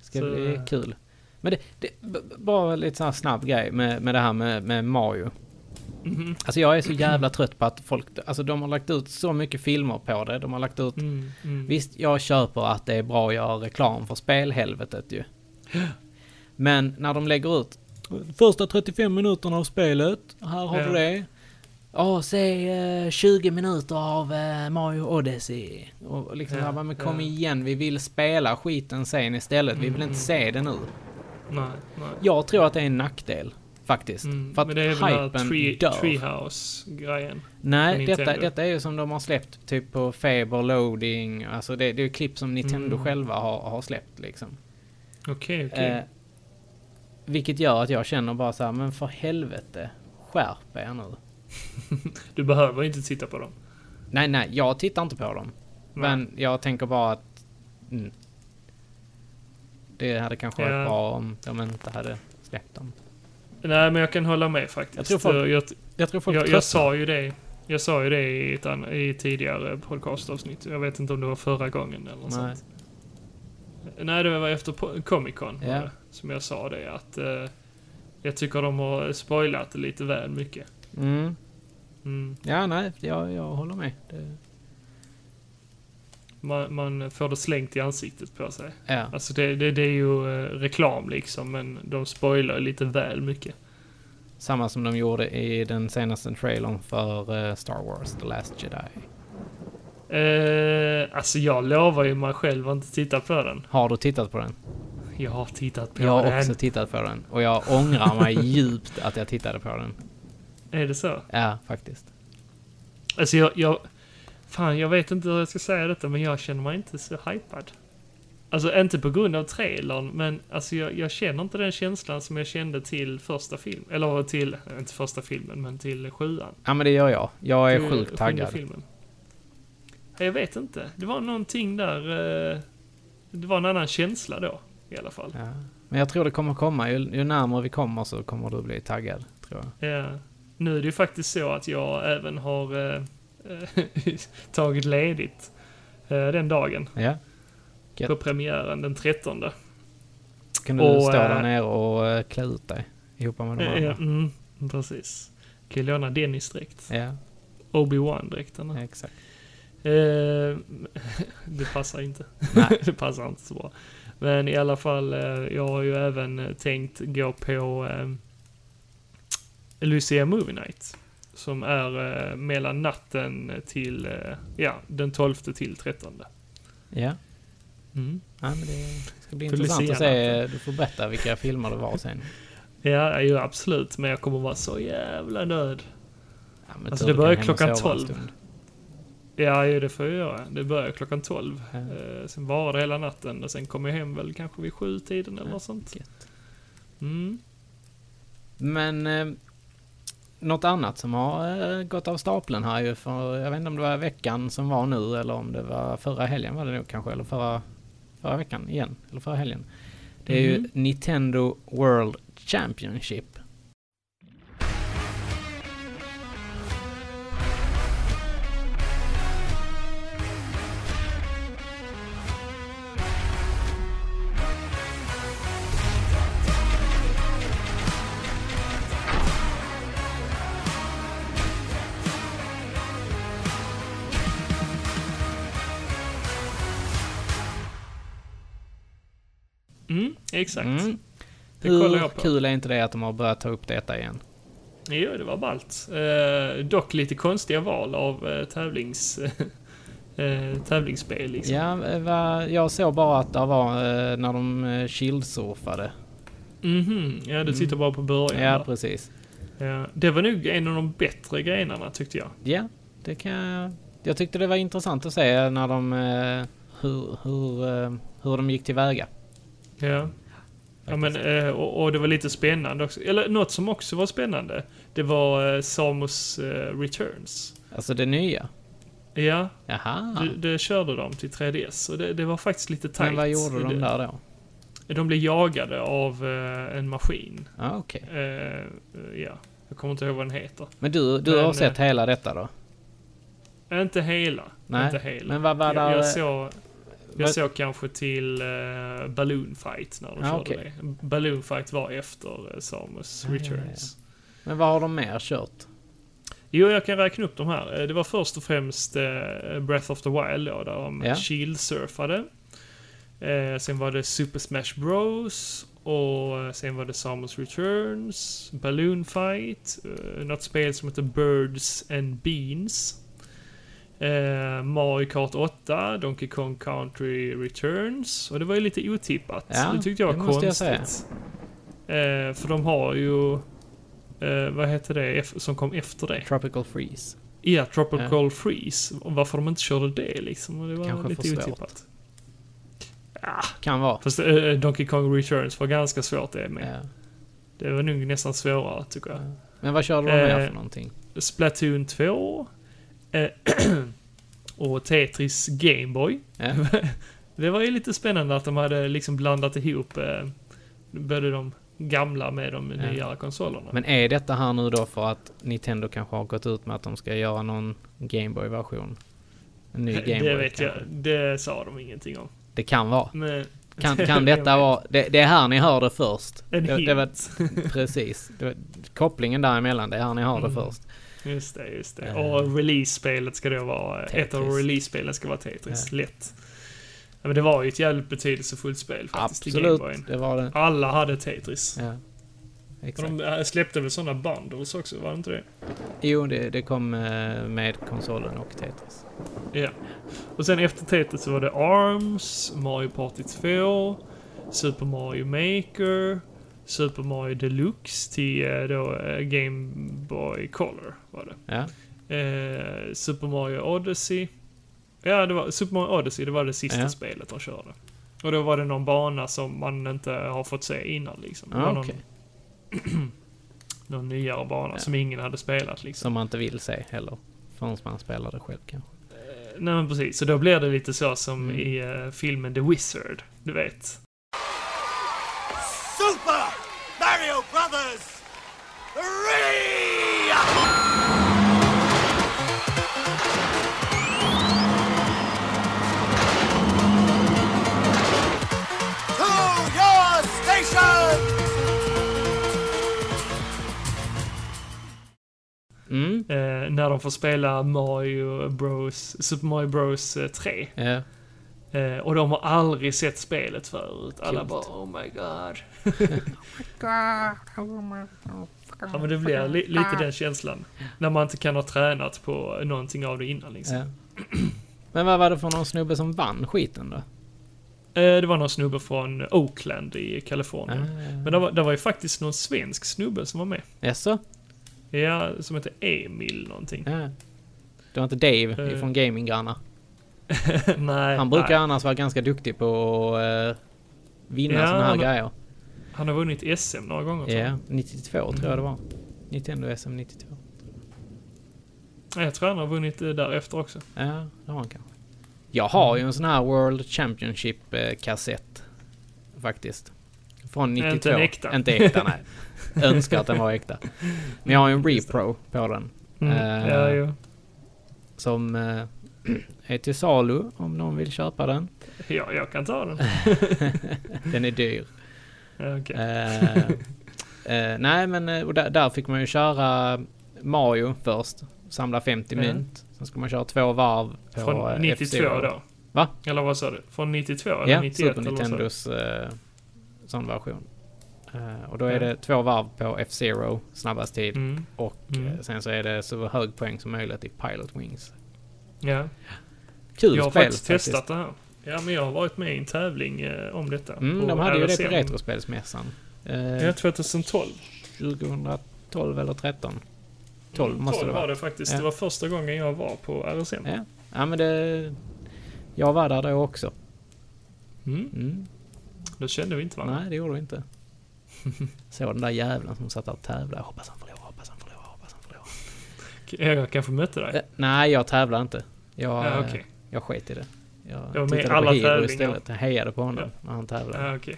B: ska
A: Så,
B: bli
A: eh,
B: kul. Men det, det, b- b- bara lite sån här snabb grej med, med det här med, med Mario.
A: Mhm.
B: Alltså jag är så jävla trött på att folk, alltså de har lagt ut så mycket filmer på det. De har lagt ut,
A: Mm, mm.
B: visst jag köper att det är bra att göra reklam för spelhelvetet ju. Men när de lägger ut första 35 minuterna av spelet, här har
A: Ja.
B: du det. Ja, se eh, 20 minuter av eh, Mario Odyssey. Och och liksom,
A: Ja,
B: ja, men kom
A: ja.
B: igen, vi vill spela skiten sen istället. Vi vill
A: Mm,
B: inte
A: mm.
B: se det nu.
A: Nej, nej.
B: Jag tror att det är en nackdel, faktiskt.
A: Mm,
B: För att
A: men det är väl den
B: hypen
A: här tree,
B: dör.
A: Treehouse-grejen.
B: Nej,
A: Nintendo.
B: detta, detta är ju som de har släppt typ på Faber Loading. Alltså det, det är ju klipp som Nintendo
A: Mm.
B: själva har, har släppt liksom.
A: Okej, okej.
B: Eh, vilket gör att jag känner bara så här, men för helvete. Skärp er nu.
A: Du behöver inte titta på dem.
B: Nej, nej, jag tittar inte på dem. Men jag tänker bara att... Mm, det hade kanske varit
A: Ja.
B: bra om de inte hade släppt dem.
A: Nej, men jag kan hålla med faktiskt.
B: Jag tror folk-
A: jag,
B: Jag tror folk
A: jag,
B: tröttnar.
A: jag sa ju det. Jag sa ju det i, ett ann- i tidigare podcastavsnitt. Jag vet inte om det var förra gången eller något
B: Nej.
A: sånt. Nej, det var efter po- Comic Con var
B: Ja.
A: det, som jag sa det att eh, jag tycker de har spoilat det lite väl mycket.
B: Mm.
A: Mm.
B: Ja, nej, jag, jag håller med. Det,
A: Man, man får det slängt i ansiktet på sig.
B: ja.
A: Alltså det, det, det är ju eh, reklam liksom, men de spoilar lite väl mycket.
B: Samma som de gjorde i den senaste trailern för eh, Star Wars The Last Jedi.
A: Eh, alltså jag lovar ju mig själv att inte titta på den.
B: Har du tittat på den?
A: Jag har tittat på
B: Jag har
A: den.
B: också tittat på den. Och jag ångrar mig djupt att jag tittade på den.
A: Är det så?
B: Ja, faktiskt.
A: Alltså jag, jag... Fan, jag vet inte hur jag ska säga detta, men jag känner mig inte så hypad. Alltså inte på grund av trailern, men alltså jag, jag känner inte den känslan som jag kände till första filmen. Eller till, inte första filmen, men till sjuan.
B: Ja, men det gör jag. Jag är
A: Till
B: sjukt
A: sjunde
B: taggad.
A: Filmen. Ja, Jag vet inte. Det var någonting där... eh, Det var en annan känsla då, i alla fall.
B: Ja. Men jag tror det kommer komma. Ju, ju närmare vi kommer så kommer du bli taggad, tror jag.
A: Ja. Eh, Nu är det ju faktiskt så att jag även har eh, tagit ledigt eh, den dagen.
B: Ja.
A: på premiären den 13.
B: Kan du
A: Och,
B: stå där
A: eh,
B: nere och eh, klä ut dig ihop med de
A: Eh,
B: andra?
A: Mm, precis. Kan ju låna Dennis-dräkt.
B: Ja,
A: Obi-Wan-dräkten.
B: ja, exakt.
A: Eh, det passar inte.
B: Nej.
A: det passar inte så bra. Men i alla fall, eh, jag har ju även eh, tänkt gå på eh, Lucia Movie Night. Som är eh, mellan natten till, eh, ja, den 12 till 13.
B: Ja.
A: Mm.
B: ja, men det ska bli
A: För
B: intressant att se.
A: Lucia-natten.
B: Du får berätta vilka filmer det var sen.
A: Ja, ju absolut, men jag kommer vara så jävla nöjd.
B: Ja, men
A: Alltså,
B: tur
A: det
B: du
A: börjar
B: kan hem och
A: klockan
B: sova en
A: 12.
B: stund.
A: Ja, ju det får jag göra. Det börjar klockan 12.
B: Ja.
A: Eh, sen varar det hela natten och sen kommer jag hem väl kanske vid sjutiden eller
B: Ja,
A: något sånt.
B: gött.
A: Mm.
B: Men eh, något annat som har eh, gått av stapeln här ju. För, jag vet inte om det var veckan som var nu eller om det var förra helgen var det nog kanske. Eller förra, förra veckan igen. Eller förra helgen. Det är ju
A: Mhm.
B: Nintendo World Championship.
A: Mm, exakt.
B: Mm.
A: Det kollar
B: Hur
A: jag på.
B: kul är inte det att de har börjat ta upp detta igen?
A: Jo, det var ballt. Eh, dock lite konstiga val av eh, tävlings... eh, tävlingsspel liksom.
B: Ja, eh, va, jag såg bara att det var eh, när de eh, shieldsurfade.
A: Mhm, ja du tittar bara på början
B: Mm. Ja,
A: ja,
B: precis.
A: ja, Det var nog en av de bättre grejerna tyckte jag.
B: Ja, det kan jag... Jag tyckte det var intressant att se när de... eh, Hur, hur, eh, hur de gick tillväga.
A: Ja. Ja, men, eh, och, och det var lite spännande också. Eller något som också var spännande. Det var eh, Samus eh, Returns.
B: Alltså det nya.
A: Ja,
B: Jaha.
A: det, det körde de till 3DS. Och det, det var faktiskt lite tajt.
B: Men vad gjorde de där då?
A: De, de blev jagade av eh, en maskin.
B: Ja, okej.
A: Eh, eh, ja, jag kommer inte ihåg vad den heter.
B: Men du, du
A: Men,
B: har
A: eh,
B: sett hela detta då?
A: Inte hela.
B: Nej,
A: Inte hela.
B: men vad var
A: jag,
B: där-
A: jag, såg, jag
B: vad-
A: såg kanske till eh, Balloon Fight när de
B: Ah,
A: körde
B: okej.
A: det. Balloon Fight var efter eh, Samus
B: ja,
A: Returns.
B: Men vad har de mer kört?
A: Jo, jag kan räkna upp de här. Eh, Det var först och främst eh, Breath of the Wild då, där de
B: Ja.
A: shield-surfade. Eh, sen var det Super Smash Bros. Och eh, sen var det Samus Returns, Balloon Fight, eh, något spel som heter Birds and Beans. Eh, Mario Kart 8, Donkey Kong Country Returns. Och det var ju lite otippat.
B: Ja,
A: det tyckte jag var
B: det måste jag
A: konstigt.
B: säga.
A: Eh, för de har ju, eh, vad heter det, F- som kom efter det?
B: Tropical Freeze.
A: Ja, Tropical Freeze. Och Varför de inte körde det liksom. Det var
B: Kanske
A: lite
B: för svårt.
A: otippat.
B: Kan vara.
A: Fast eh, Donkey Kong Returns var ganska svårt det med.
B: Ja.
A: Det var nog nästan svårare tycker jag.
B: Men vad körde de mer
A: Eh,
B: för någonting?
A: Splatoon 2. Eh, och Tetris Gameboy.
B: Ja.
A: Det var ju lite spännande att de hade liksom blandat ihop eh, både de gamla med de
B: Ja.
A: nyare konsolerna.
B: Men är detta här nu då för att Nintendo kanske har gått ut med att de ska göra någon Gameboy-version? En ny Gameboy
A: det vet jag.
B: kanske.
A: Det sa de ingenting om.
B: Det kan vara.
A: Men
B: Kan,
A: Det
B: kan detta
A: vet.
B: vara... Det, det är här ni hör det först.
A: en
B: det,
A: hint.
B: det var, precis. Det var, kopplingen däremellan, det är här ni
A: Mm.
B: hör det först.
A: Just det, just det.
B: Eh.
A: Och release-spelet ska då vara... eh, Ett av
B: Tetris.
A: release-spelen ska vara Tetris. Lätt. Ja, men det var ju ett jävligt betydelsefullt spel faktiskt till Gameboyen.
B: Absolut, det var det.
A: Alla hade Tetris.
B: Ja.
A: Och
B: Exakt.
A: de äh, släppte väl sådana bundles också, var det inte det?
B: Jo, det, det kom eh, med konsolen och Tetris.
A: Ja. Och sen efter Tetris så var det Arms, Mario Party 2, Super Mario Maker, Super Mario Deluxe till eh, då eh, Game Boy Color var det.
B: Ja.
A: Eh, Super Mario Odyssey. Ja, det var Super Mario Odyssey, det var det sista
B: Ja.
A: spelet de körde. Och då var det någon bana som man inte har fått se innan liksom. Det var
B: Ah,
A: någon,
B: Okej.
A: någon nyare bana
B: Ja.
A: som ingen hade spelat liksom.
B: Som man inte vill se heller. Förrän man spelar det själv kanske.
A: Nej men precis, så då blir det lite så som
B: Mm.
A: i eh, filmen The Wizard, du vet.
D: Super Mario Brothers 3! To your station!
B: Mm.
A: Eh, när de får spela Mario Bros, Super Mario Bros eh, 3.
B: Ja.
A: Eh, och de har aldrig sett spelet förut. Alla
B: Coolt.
A: bara oh my god. Ja men det blir li- lite den känslan. När man inte kan ha tränat på någonting av det innan liksom.
B: ja. Men vad var det för någon snubbe som vann skiten då?
A: Eh, det var någon snubbe från Oakland i Kalifornien. Men
B: Ah,
A: det var, det var ju faktiskt någon svensk snubbe som var med.
B: Jaså?
A: Ja, som heter Emil någonting.
B: Ja. Det var inte Dave
A: Eh.
B: från Gaminggrannar?
A: nej,
B: Han brukar
A: nej.
B: annars vara ganska duktig på att eh, vinna
A: Ja,
B: såna här
A: han-
B: grejer.
A: Han har vunnit SM några gånger.
B: Ja,
A: tror Mm. jag.
B: 92 tror jag det var. Nintendo SM 92.
A: Nej, Jag tror han har vunnit eh, därefter också.
B: Ja, det har han kanske. Jag har ju en sån här World Championship-kassett. Faktiskt. Från
A: Inte
B: 92.
A: en äkta.
B: Inte äkta, nej. Önskar att den var äkta. Men jag har ju en repro på den. Eh,
A: Mm. Ja, jo.
B: Som eh, är till salu om någon vill köpa den.
A: Ja, jag kan ta den.
B: Den är dyr.
A: Ja, okej.
B: Eh, eh, nej, men eh, och där, där fick man ju köra Mario först. Samla 50
A: Ja.
B: mynt. Sen ska man köra två varv på eh,
A: Från 92
B: F-Zero.
A: då.
B: Va?
A: Eller vad sa du? Från 92 eller
B: Ja,
A: 91
B: Super
A: eller vad sa du?
B: Nintendos eh, sån version. Eh, och då är det två varv på F-Zero, snabbast tid.
A: Mm.
B: Och
A: Mm.
B: eh, sen så är det så hög poäng som möjligt i Pilot Wings.
A: Ja.
B: Kul
A: Jag har
B: spel
A: faktiskt testat det här. Ja, men jag har varit med i en tävling eh, om detta.
B: Mm,
A: på
B: de hade ju det på
A: RSM.
B: Retrospelsmässan. Eh,
A: Ja, 2012.
B: 2012 eller 13. 12 måste
A: 12
B: det vara.
A: var det faktiskt.
B: Ja.
A: Det var första gången jag var på RSM.
B: Ja. ja, men det... Jag var där då också.
A: Mm.
B: Mm.
A: Då kände vi inte varandra.
B: Nej, det gjorde vi inte. Såg den där jävlen som satt där och tävlade. Hoppas han förlorar, hoppas han förlorar, hoppas han förlorar.
A: Jag kanske mötte dig.
B: Eh, nej, jag tävlade inte. Jag,
A: Ja,
B: eh,
A: okej.
B: jag sket i det. Jag,
A: var med i
B: tittade
A: alla
B: på Hero
A: tävlingar.
B: istället. Jag hejade på honom när han tävlade.
A: Ja, okej.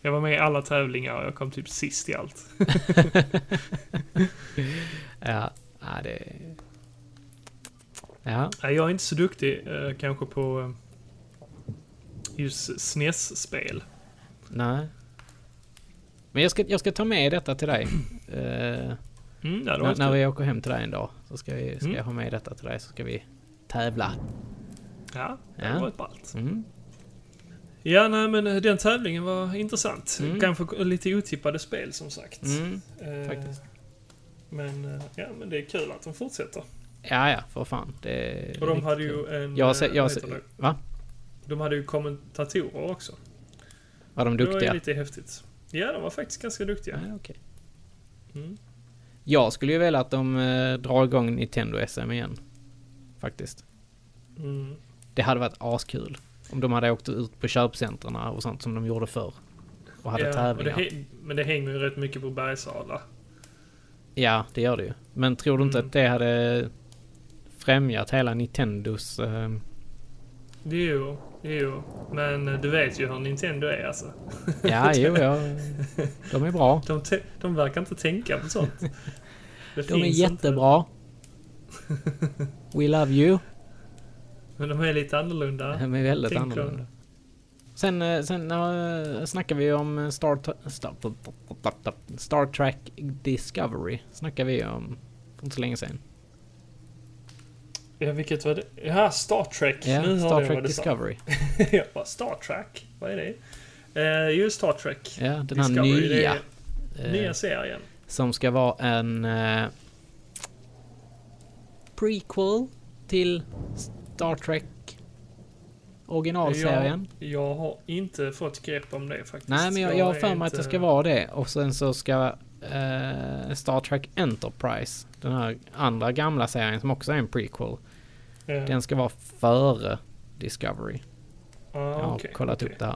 A: Jag var med i alla tävlingar och jag kom typ sist i allt.
B: Ja, ja det... Ja,
A: Nej, jag är inte så duktig eh, kanske på eh, just E SNES-spel.
B: nej. Men jag ska, jag ska ta med detta till dig. Eh,
A: Mm, ja, det var
B: när, när
A: inte...
B: vi åker hem till dig en dag så ska, vi, ska
A: Mm.
B: jag ha med detta till dig så ska vi tävla.
A: ja, det
B: Ja.
A: var ett ballt.
B: Mm.
A: Ja, nej, men eh, den tävlingen var intressant.
B: Mm.
A: Kanske lite otippade spel som sagt.
B: Mm.
A: Eh,
B: faktiskt.
A: Men, eh, ja, men det är kul att de fortsätter.
B: Ja, ja, för fan. Det är
A: Och de
B: riktigt
A: hade
B: kul.
A: ju en...
B: Jag har
A: eh,
B: sett... Jag har
A: vad
B: sett
A: heter det?
B: va?
A: de hade ju kommentatorer också.
B: Var de
A: Det var
B: duktiga?
A: ju lite häftigt. Ja, de var faktiskt ganska duktiga.
B: Ja, okej.
A: Mm.
B: Jag skulle ju vilja att de eh, drar igång Nintendo SM igen. Faktiskt.
A: Mm.
B: Det hade varit askul. Om de hade åkt ut på köpcentren och sånt som de gjorde förr. Och hade
A: ja, och det,
B: tävlingar.
A: hä- men det hänger ju rätt mycket på Bergsala.
B: Ja, det gör det ju. Men tror du inte
A: Mm.
B: att det hade främjat hela Nintendos... Eh,
A: Jo, jo. Men eh, du vet ju hur Nintendo är alltså.
B: ja, jo, ja. De är bra.
A: De, te- de verkar inte tänka på sånt. Det
B: De är
A: finns
B: jättebra. We love you.
A: Inte, men de är lite annorlunda.
B: De är väldigt
A: tänker
B: annorlunda. Sen, eh, sen uh, snackar vi om eh, Star, Ta- Star, Star Trek Discovery. Snackar vi om för inte så länge sedan.
A: Ja, vilket var det? Ja, Star Trek.
B: Ja,
A: nu
B: Star
A: hörde jag
B: Trek
A: vad du sa.
B: Discovery.
A: Jag bara, Star Trek? Vad är det? Eh, ju Star Trek.
B: Ja, den här
A: Discovery, det
B: nya. eh,
A: är Nya serien.
B: Som ska vara en eh, prequel till Star Trek originalserien.
A: Jag, jag har inte fått grepp om det faktiskt.
B: Nej, men jag, jag har
A: är
B: för mig att det
A: inte-
B: ska vara det. Och sen så ska eh, Star Trek Enterprise, den här andra gamla serien som också är en prequel,
A: Ja.
B: den ska vara före Discovery.
A: Ah,
B: Jag har
A: okej,
B: kollat
A: okej.
B: upp det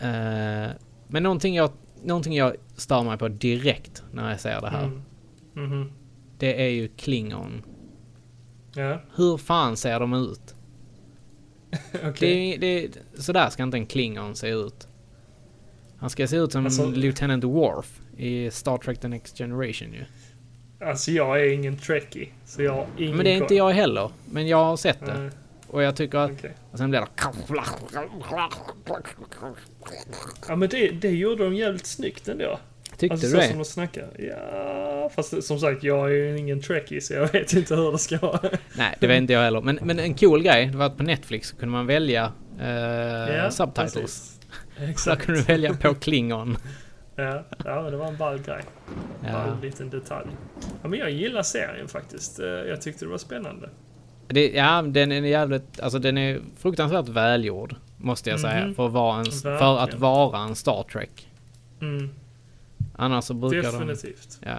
B: här. Eh, men någonting jag, någonting jag stör mig på direkt när jag ser det här,
A: Mm. Mhm.
B: det är ju Klingon.
A: Ja,
B: Hur fan ser de ut?
A: okej.
B: Det, det, sådär ska inte en Klingon se ut. Han ska se ut som
A: Alltså-
B: Lieutenant Worf i Star Trek The Next Generation ju.
A: Alltså jag är ingen trekkie, så jag har ingen
B: Men det är
A: koll.
B: inte jag heller. Men jag har sett det.
A: Nej,
B: Och jag tycker att...
A: okej.
B: Och sen blir det...
A: Ja men det, det gjorde de jävligt snyggt ändå.
B: Tyckte
A: Alltså
B: du
A: så
B: det?
A: som de snackar. Ja, fast det- som sagt jag är ju ingen trekkie så jag vet inte hur det ska vara.
B: Nej, det var inte jag heller. Men, men en cool grej, det var att på Netflix så kunde man välja eh, subtitles.
A: precis.
B: Där
A: Exakt.
B: kunde du välja på Klingon.
A: Ja, ja, men det var en ball grej.
B: Ja.
A: Ball liten detalj. Ja, men jag gillar serien faktiskt. Eh, Jag tyckte det var spännande.
B: Det, ja, den är jävligt... Alltså den är fruktansvärt välgjord. Måste jag säga.
A: Mhm.
B: För att vara en, för att
A: Verkligen.
B: vara en Star Trek.
A: Mm,
B: Annars så brukar de...
A: definitivt.
B: Ja.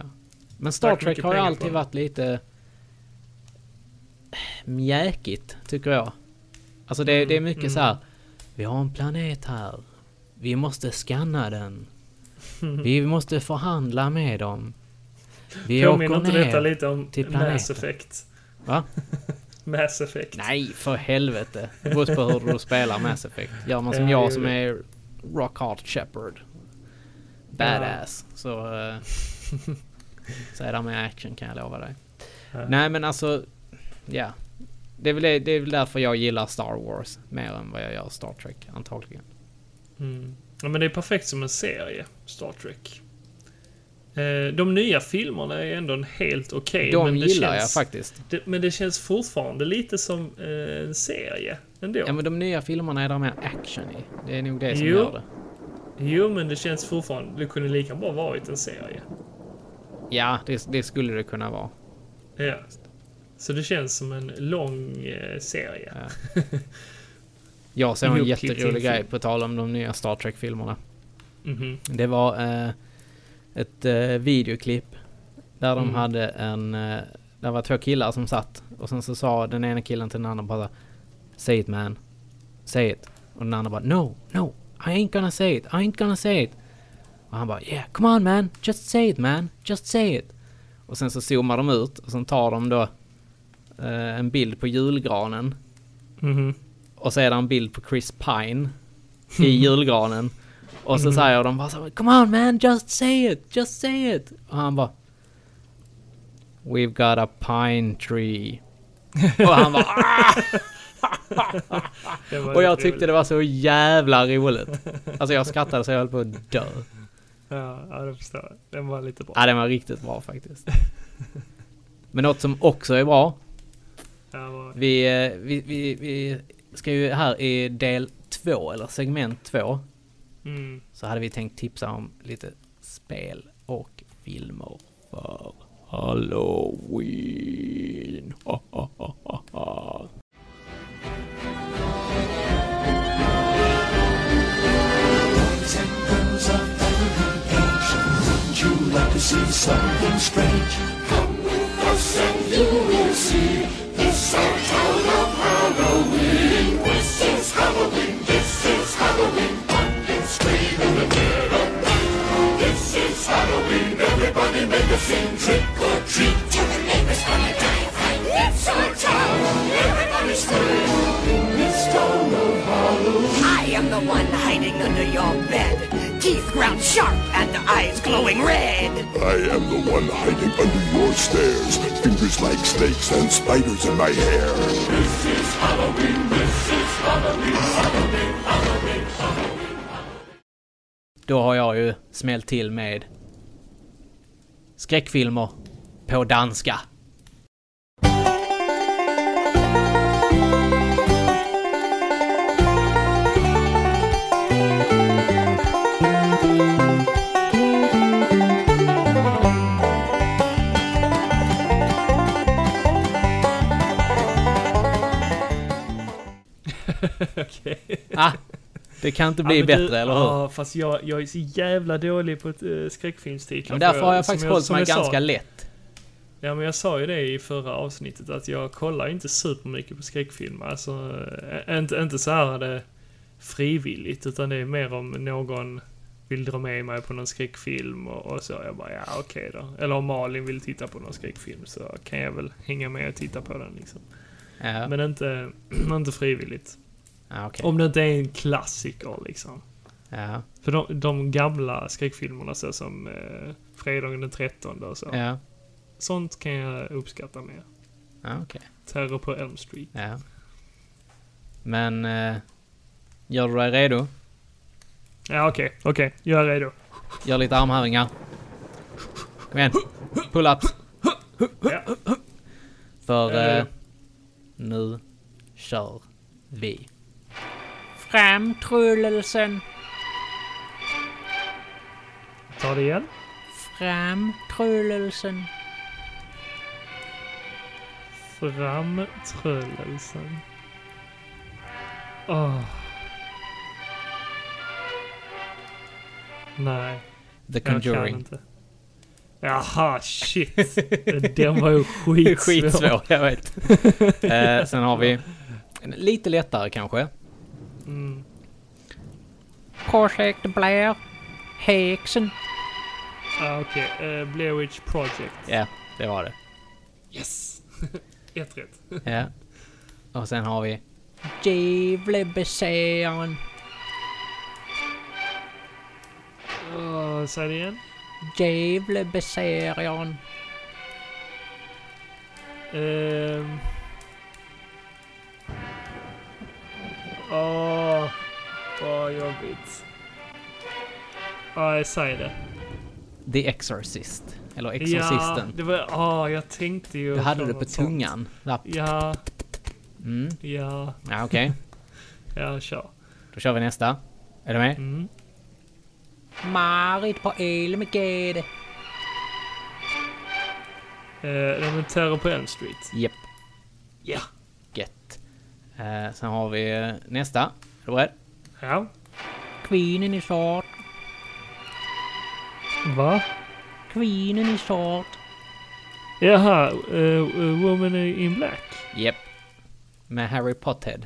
B: Men Star
A: Tack
B: Trek
A: mycket
B: har ju
A: pengar
B: alltid
A: på.
B: varit lite mjäkigt, tycker jag. Alltså det,
A: Mm,
B: det är mycket så här. Vi har en planet här. Vi måste scanna den. Vi måste förhandla med dem. Vi
A: Påminner
B: åker
A: inte
B: ner.
A: detta lite om
B: till planeten.
A: Mass Effect?
B: Va?
A: Mass Effect.
B: Nej, för helvete. Det beror på hur du spelar Mass Effect. Gör man som
A: Ja,
B: jag
A: jo,
B: som
A: jo.
B: är Rockhard Shepard. Badass. Så... eh, så är det med action kan jag lova dig.
A: Ja.
B: Nej men alltså... Ja. Det är, väl, det är väl därför jag gillar Star Wars mer än vad jag gör Star Trek antagligen.
A: Mm. Ja, men det är perfekt som en serie, Star Trek. Eh, De nya filmerna är ändå en helt okej.
B: De
A: men det
B: gillar
A: känns,
B: jag faktiskt.
A: Det, men det känns fortfarande lite som eh, en serie ändå.
B: Ja men de nya filmerna är där mer action i. Det är nog det som
A: Jo.
B: gör det.
A: Jo, men det känns fortfarande... Det kunde lika bra varit en serie.
B: Ja, det, det skulle det kunna vara.
A: Ja. Så det känns som en lång eh, serie.
B: Jag såg en
A: Ihopklippt i en
B: jätterolig grej
A: film.
B: på tal om de nya Star Trek-filmerna.
A: Mhm.
B: Det var eh, ett eh, videoklipp där de
A: Mm.
B: hade en... Eh, där var två killar som satt och sen så sa den ena killen till den andra bara Say it man. Say it. Och den andra bara No, no. I ain't gonna say it. I ain't gonna say it. Och han bara Yeah, come on man. Just say it man. Just say it. Och sen så zoomar de ut och sen tar de då eh, en bild på julgranen.
A: Mhm.
B: Och så är det en bild på Chris Pine i julgranen. Och så säger de bara så här, Come on man, just say it, just say it. Och han bara We've got a pine tree. Och han bara "Ah!"
A: Det var
B: Och jag
A: rätt
B: tyckte
A: roligt.
B: det var så jävla roligt. Alltså jag skrattade så jag höll på att dö.
A: Ja, ja, det förstår jag. Den var lite bra.
B: Ja, den var riktigt bra faktiskt. Men något som också är bra
A: Den var...
B: Vi, eh, vi, vi, vi ska ju här i del två, eller segment två,
A: Mm.
B: så hade vi tänkt tipsa om lite spel och filmer för Halloween. Ha, ha, ha, ha, ha.
E: Temples of every age. Would you like to see something strange? Come with us and you will see. This our town of Halloween. This is Halloween. This is Halloween. Up and scream in the dead of night. This is Halloween. Everybody make a scene. Trick or treat. Tell the neighbors gonna die of fright. It's our town. Everybody scream. In this town of
F: I am the one hiding under your bed. Teeth ground sharp and eyes glowing red.
E: I am the one hiding under your stairs. Fingers like snakes and spiders in my hair.
B: Då har jag ju smält till med skräckfilmer på danska.
A: Okej.
B: Ah, det kan inte bli
A: Ja, men du-
B: bättre, eller hur?
A: Ja, fast jag, jag är så jävla dålig på uh, skräckfilmstitlar.
B: Men därför
A: För
B: har jag
A: som
B: faktiskt
A: som
B: hållit mig
A: jag sa-
B: ganska lätt.
A: Ja, men jag sa ju det i förra avsnittet att jag kollar inte supermycket på skräckfilmer. Alltså, eh, inte, inte så här det frivilligt, utan det är mer om någon vill dra med mig på någon skräckfilm och, och så. Jag bara, ja okej då. Eller om Malin vill titta på någon skräckfilm så kan jag väl hänga med och titta på den liksom.
B: Ja,
A: Men inte, inte frivilligt.
B: ah, okej.
A: Om det inte är en klassiker liksom.
B: Ja,
A: För de, de gamla skräckfilmerna så som eh, Fredagen den 13 och så.
B: ja,
A: Sånt kan jag uppskatta mer.
B: ah, okej.
A: Terror på Elm Street.
B: Ja. Men eh, gör du dig redo?
A: Ja, okej, okej. Jag är redo.
B: Gör lite armhävningar. Kom igen. Pull-ups.
A: Ja.
B: För
A: Ja, ja.
B: eh, nu kör vi. Framtrulelsen.
A: Ta det igen.
B: Framtrulelsen.
A: Framtrölelsen. Åh. Nej,
B: The
A: jag kan
B: Conjuring.
A: inte. Jaha, shit. Den var ju skitsvår.
B: Skitsvår, jag vet. eh, sen har vi en lite lättare kanske.
A: Mm.
B: Project Blair. Häxen.
A: Ah, okej. Eh, Blair Witch Project.
B: Ja, det var det.
A: Yes! Ett rätt.
B: Ja. Och sen har vi... Djävlebesägaren.
A: Åh, säg det igen.
B: Djävlebesägaren.
A: Ehm. Åh, vad jobbigt. Ja, jag säger det.
B: The Exorcist. Eller Exorcisten.
A: Ja, det var... Ja, jag tänkte ju...
B: Liksom du hade
A: på
B: det på
A: något sånt.
B: tungan. Där.
A: Ja,
B: Mm.
A: ja,
B: Ja, okej.
A: ja, kör.
B: Då kör vi nästa. Är du med?
A: Mm.
B: Marit på Elmegade.
A: Eh, det är Terror på Elm Street.
B: Japp,
A: Ja.
B: gött. Eh, sen har vi eh, nästa. Är du beredd?
A: Ja.
B: Queenen är svart.
A: Va?
B: Queenen är svart.
A: Jaha, eh, Woman in Black.
B: Japp. Med Harry Potter.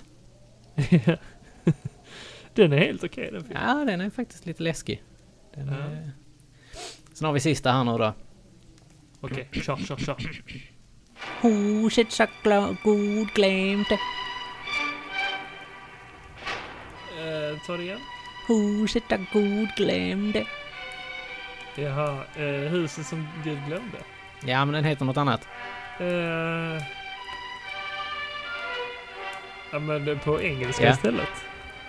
A: den är helt okej den filmen.
B: Ja, den är faktiskt lite läskig. Den är... Sen har vi sista här nu då.
A: Okej, kör, kör, kör.
B: Huset så god glömde.
A: Eh, ta det igen.
B: Huset så god glömde.
A: Jaha, eh, huset som Gud glömde.
B: Ja, men den heter något annat.
A: Eh, ja men det är på engelska
B: Ja.
A: istället.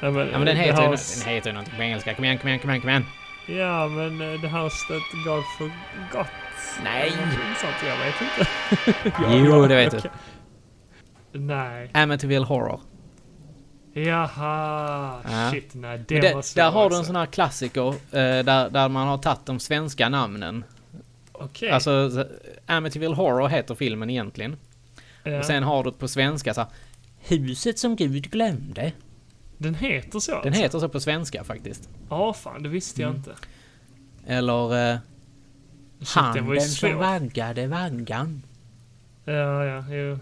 A: Ja men,
B: Ja, men den
A: eh,
B: heter,
A: the
B: ju,
A: house,
B: den heter ju någonting på engelska. Kom igen, kom igen, kom igen, kom igen.
A: Ja men eh, The House That God Forgot.
B: Nej.
A: Eller någonting Sånt, jag vet inte.
B: Jo, det vet du.
A: Nej.
B: Amityville Horror.
A: Jaha,
B: Ja.
A: shit nej det
B: Men det,
A: var svår
B: där har du en
A: också.
B: sån här klassiker eh, där, där man har tagit de svenska namnen.
A: Okej.
B: Alltså, så- Amityville Horror heter filmen egentligen.
A: ja.
B: Och sen har du på svenska så här, Huset som Gud glömde.
A: den heter så alltså?
B: Den heter Mm. så på svenska faktiskt.
A: Ja fan, det visste jag inte.
B: Eller eh,
A: Shit, den var ju
B: Handen
A: svår.
B: som vaggade vaggan.
A: Ja, ja, jo.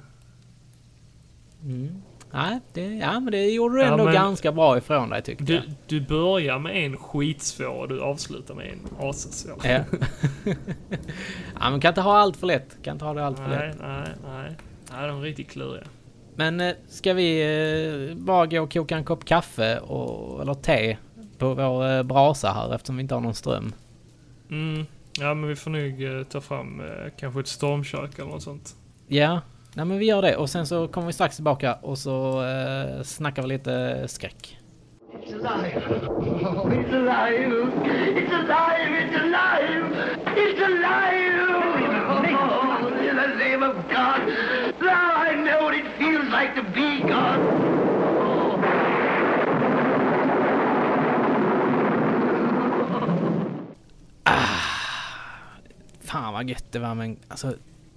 B: Nej, det, ja, men det gjorde du
A: Ja,
B: ändå
A: men-
B: ganska bra ifrån dig tyckte
A: Du, du börjar med en skitsvår och du avslutar med en assvår.
B: jag. Ja. ja, men kan inte ha allt för lätt. Kan inte ha det allt för lätt.
A: Nej, nej, nej. Nej, de är riktigt kluriga.
B: Men eh, ska vi eh, bara gå och koka en kopp kaffe och, eller te på vår eh, brasa här eftersom vi inte har någon ström?
A: Mm. Ja, men vi får nog eh, ta fram eh, kanske ett stormkök eller något sånt.
B: Ja, nej men vi gör det och sen så kommer vi strax tillbaka och så eh, snackar vi lite skräck.
G: It's alive! It's alive! It's alive! It's alive! Oh, in the name of God! Now I know what it feels like to be God!
B: Fan vad gött det var men alltså,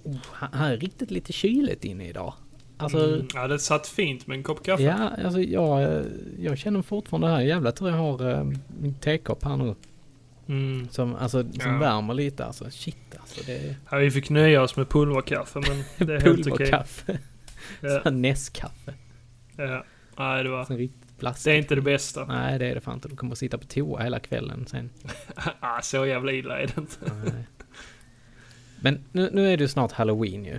B: oh, han- han är riktigt lite kyligt inne idag. Alltså,
A: Mm. Ja, det satt fint med en kopp kaffe.
B: ja, alltså jag, eh, jag känner fortfarande det här jävla tur jag har eh, min tekopp här nu.
A: Mm.
B: Som, alltså, som
A: Ja.
B: värmer lite alltså. Shit alltså. Det är
A: Ja, vi fick nöja oss med pulverkaffe, men det är helt okej.
B: pulverkaffe.
A: Ja,
B: Okay. Näskaffe.
A: ja. Nej, det var...
B: Alltså, riktigt
A: Det är
B: plastigt.
A: inte det bästa.
B: Nej det är det fan inte. Du kommer att sitta på toa hela kvällen sen.
A: Ah, så jävla illa är det inte.
B: Nej. Men nu, nu är det ju snart halloween ju.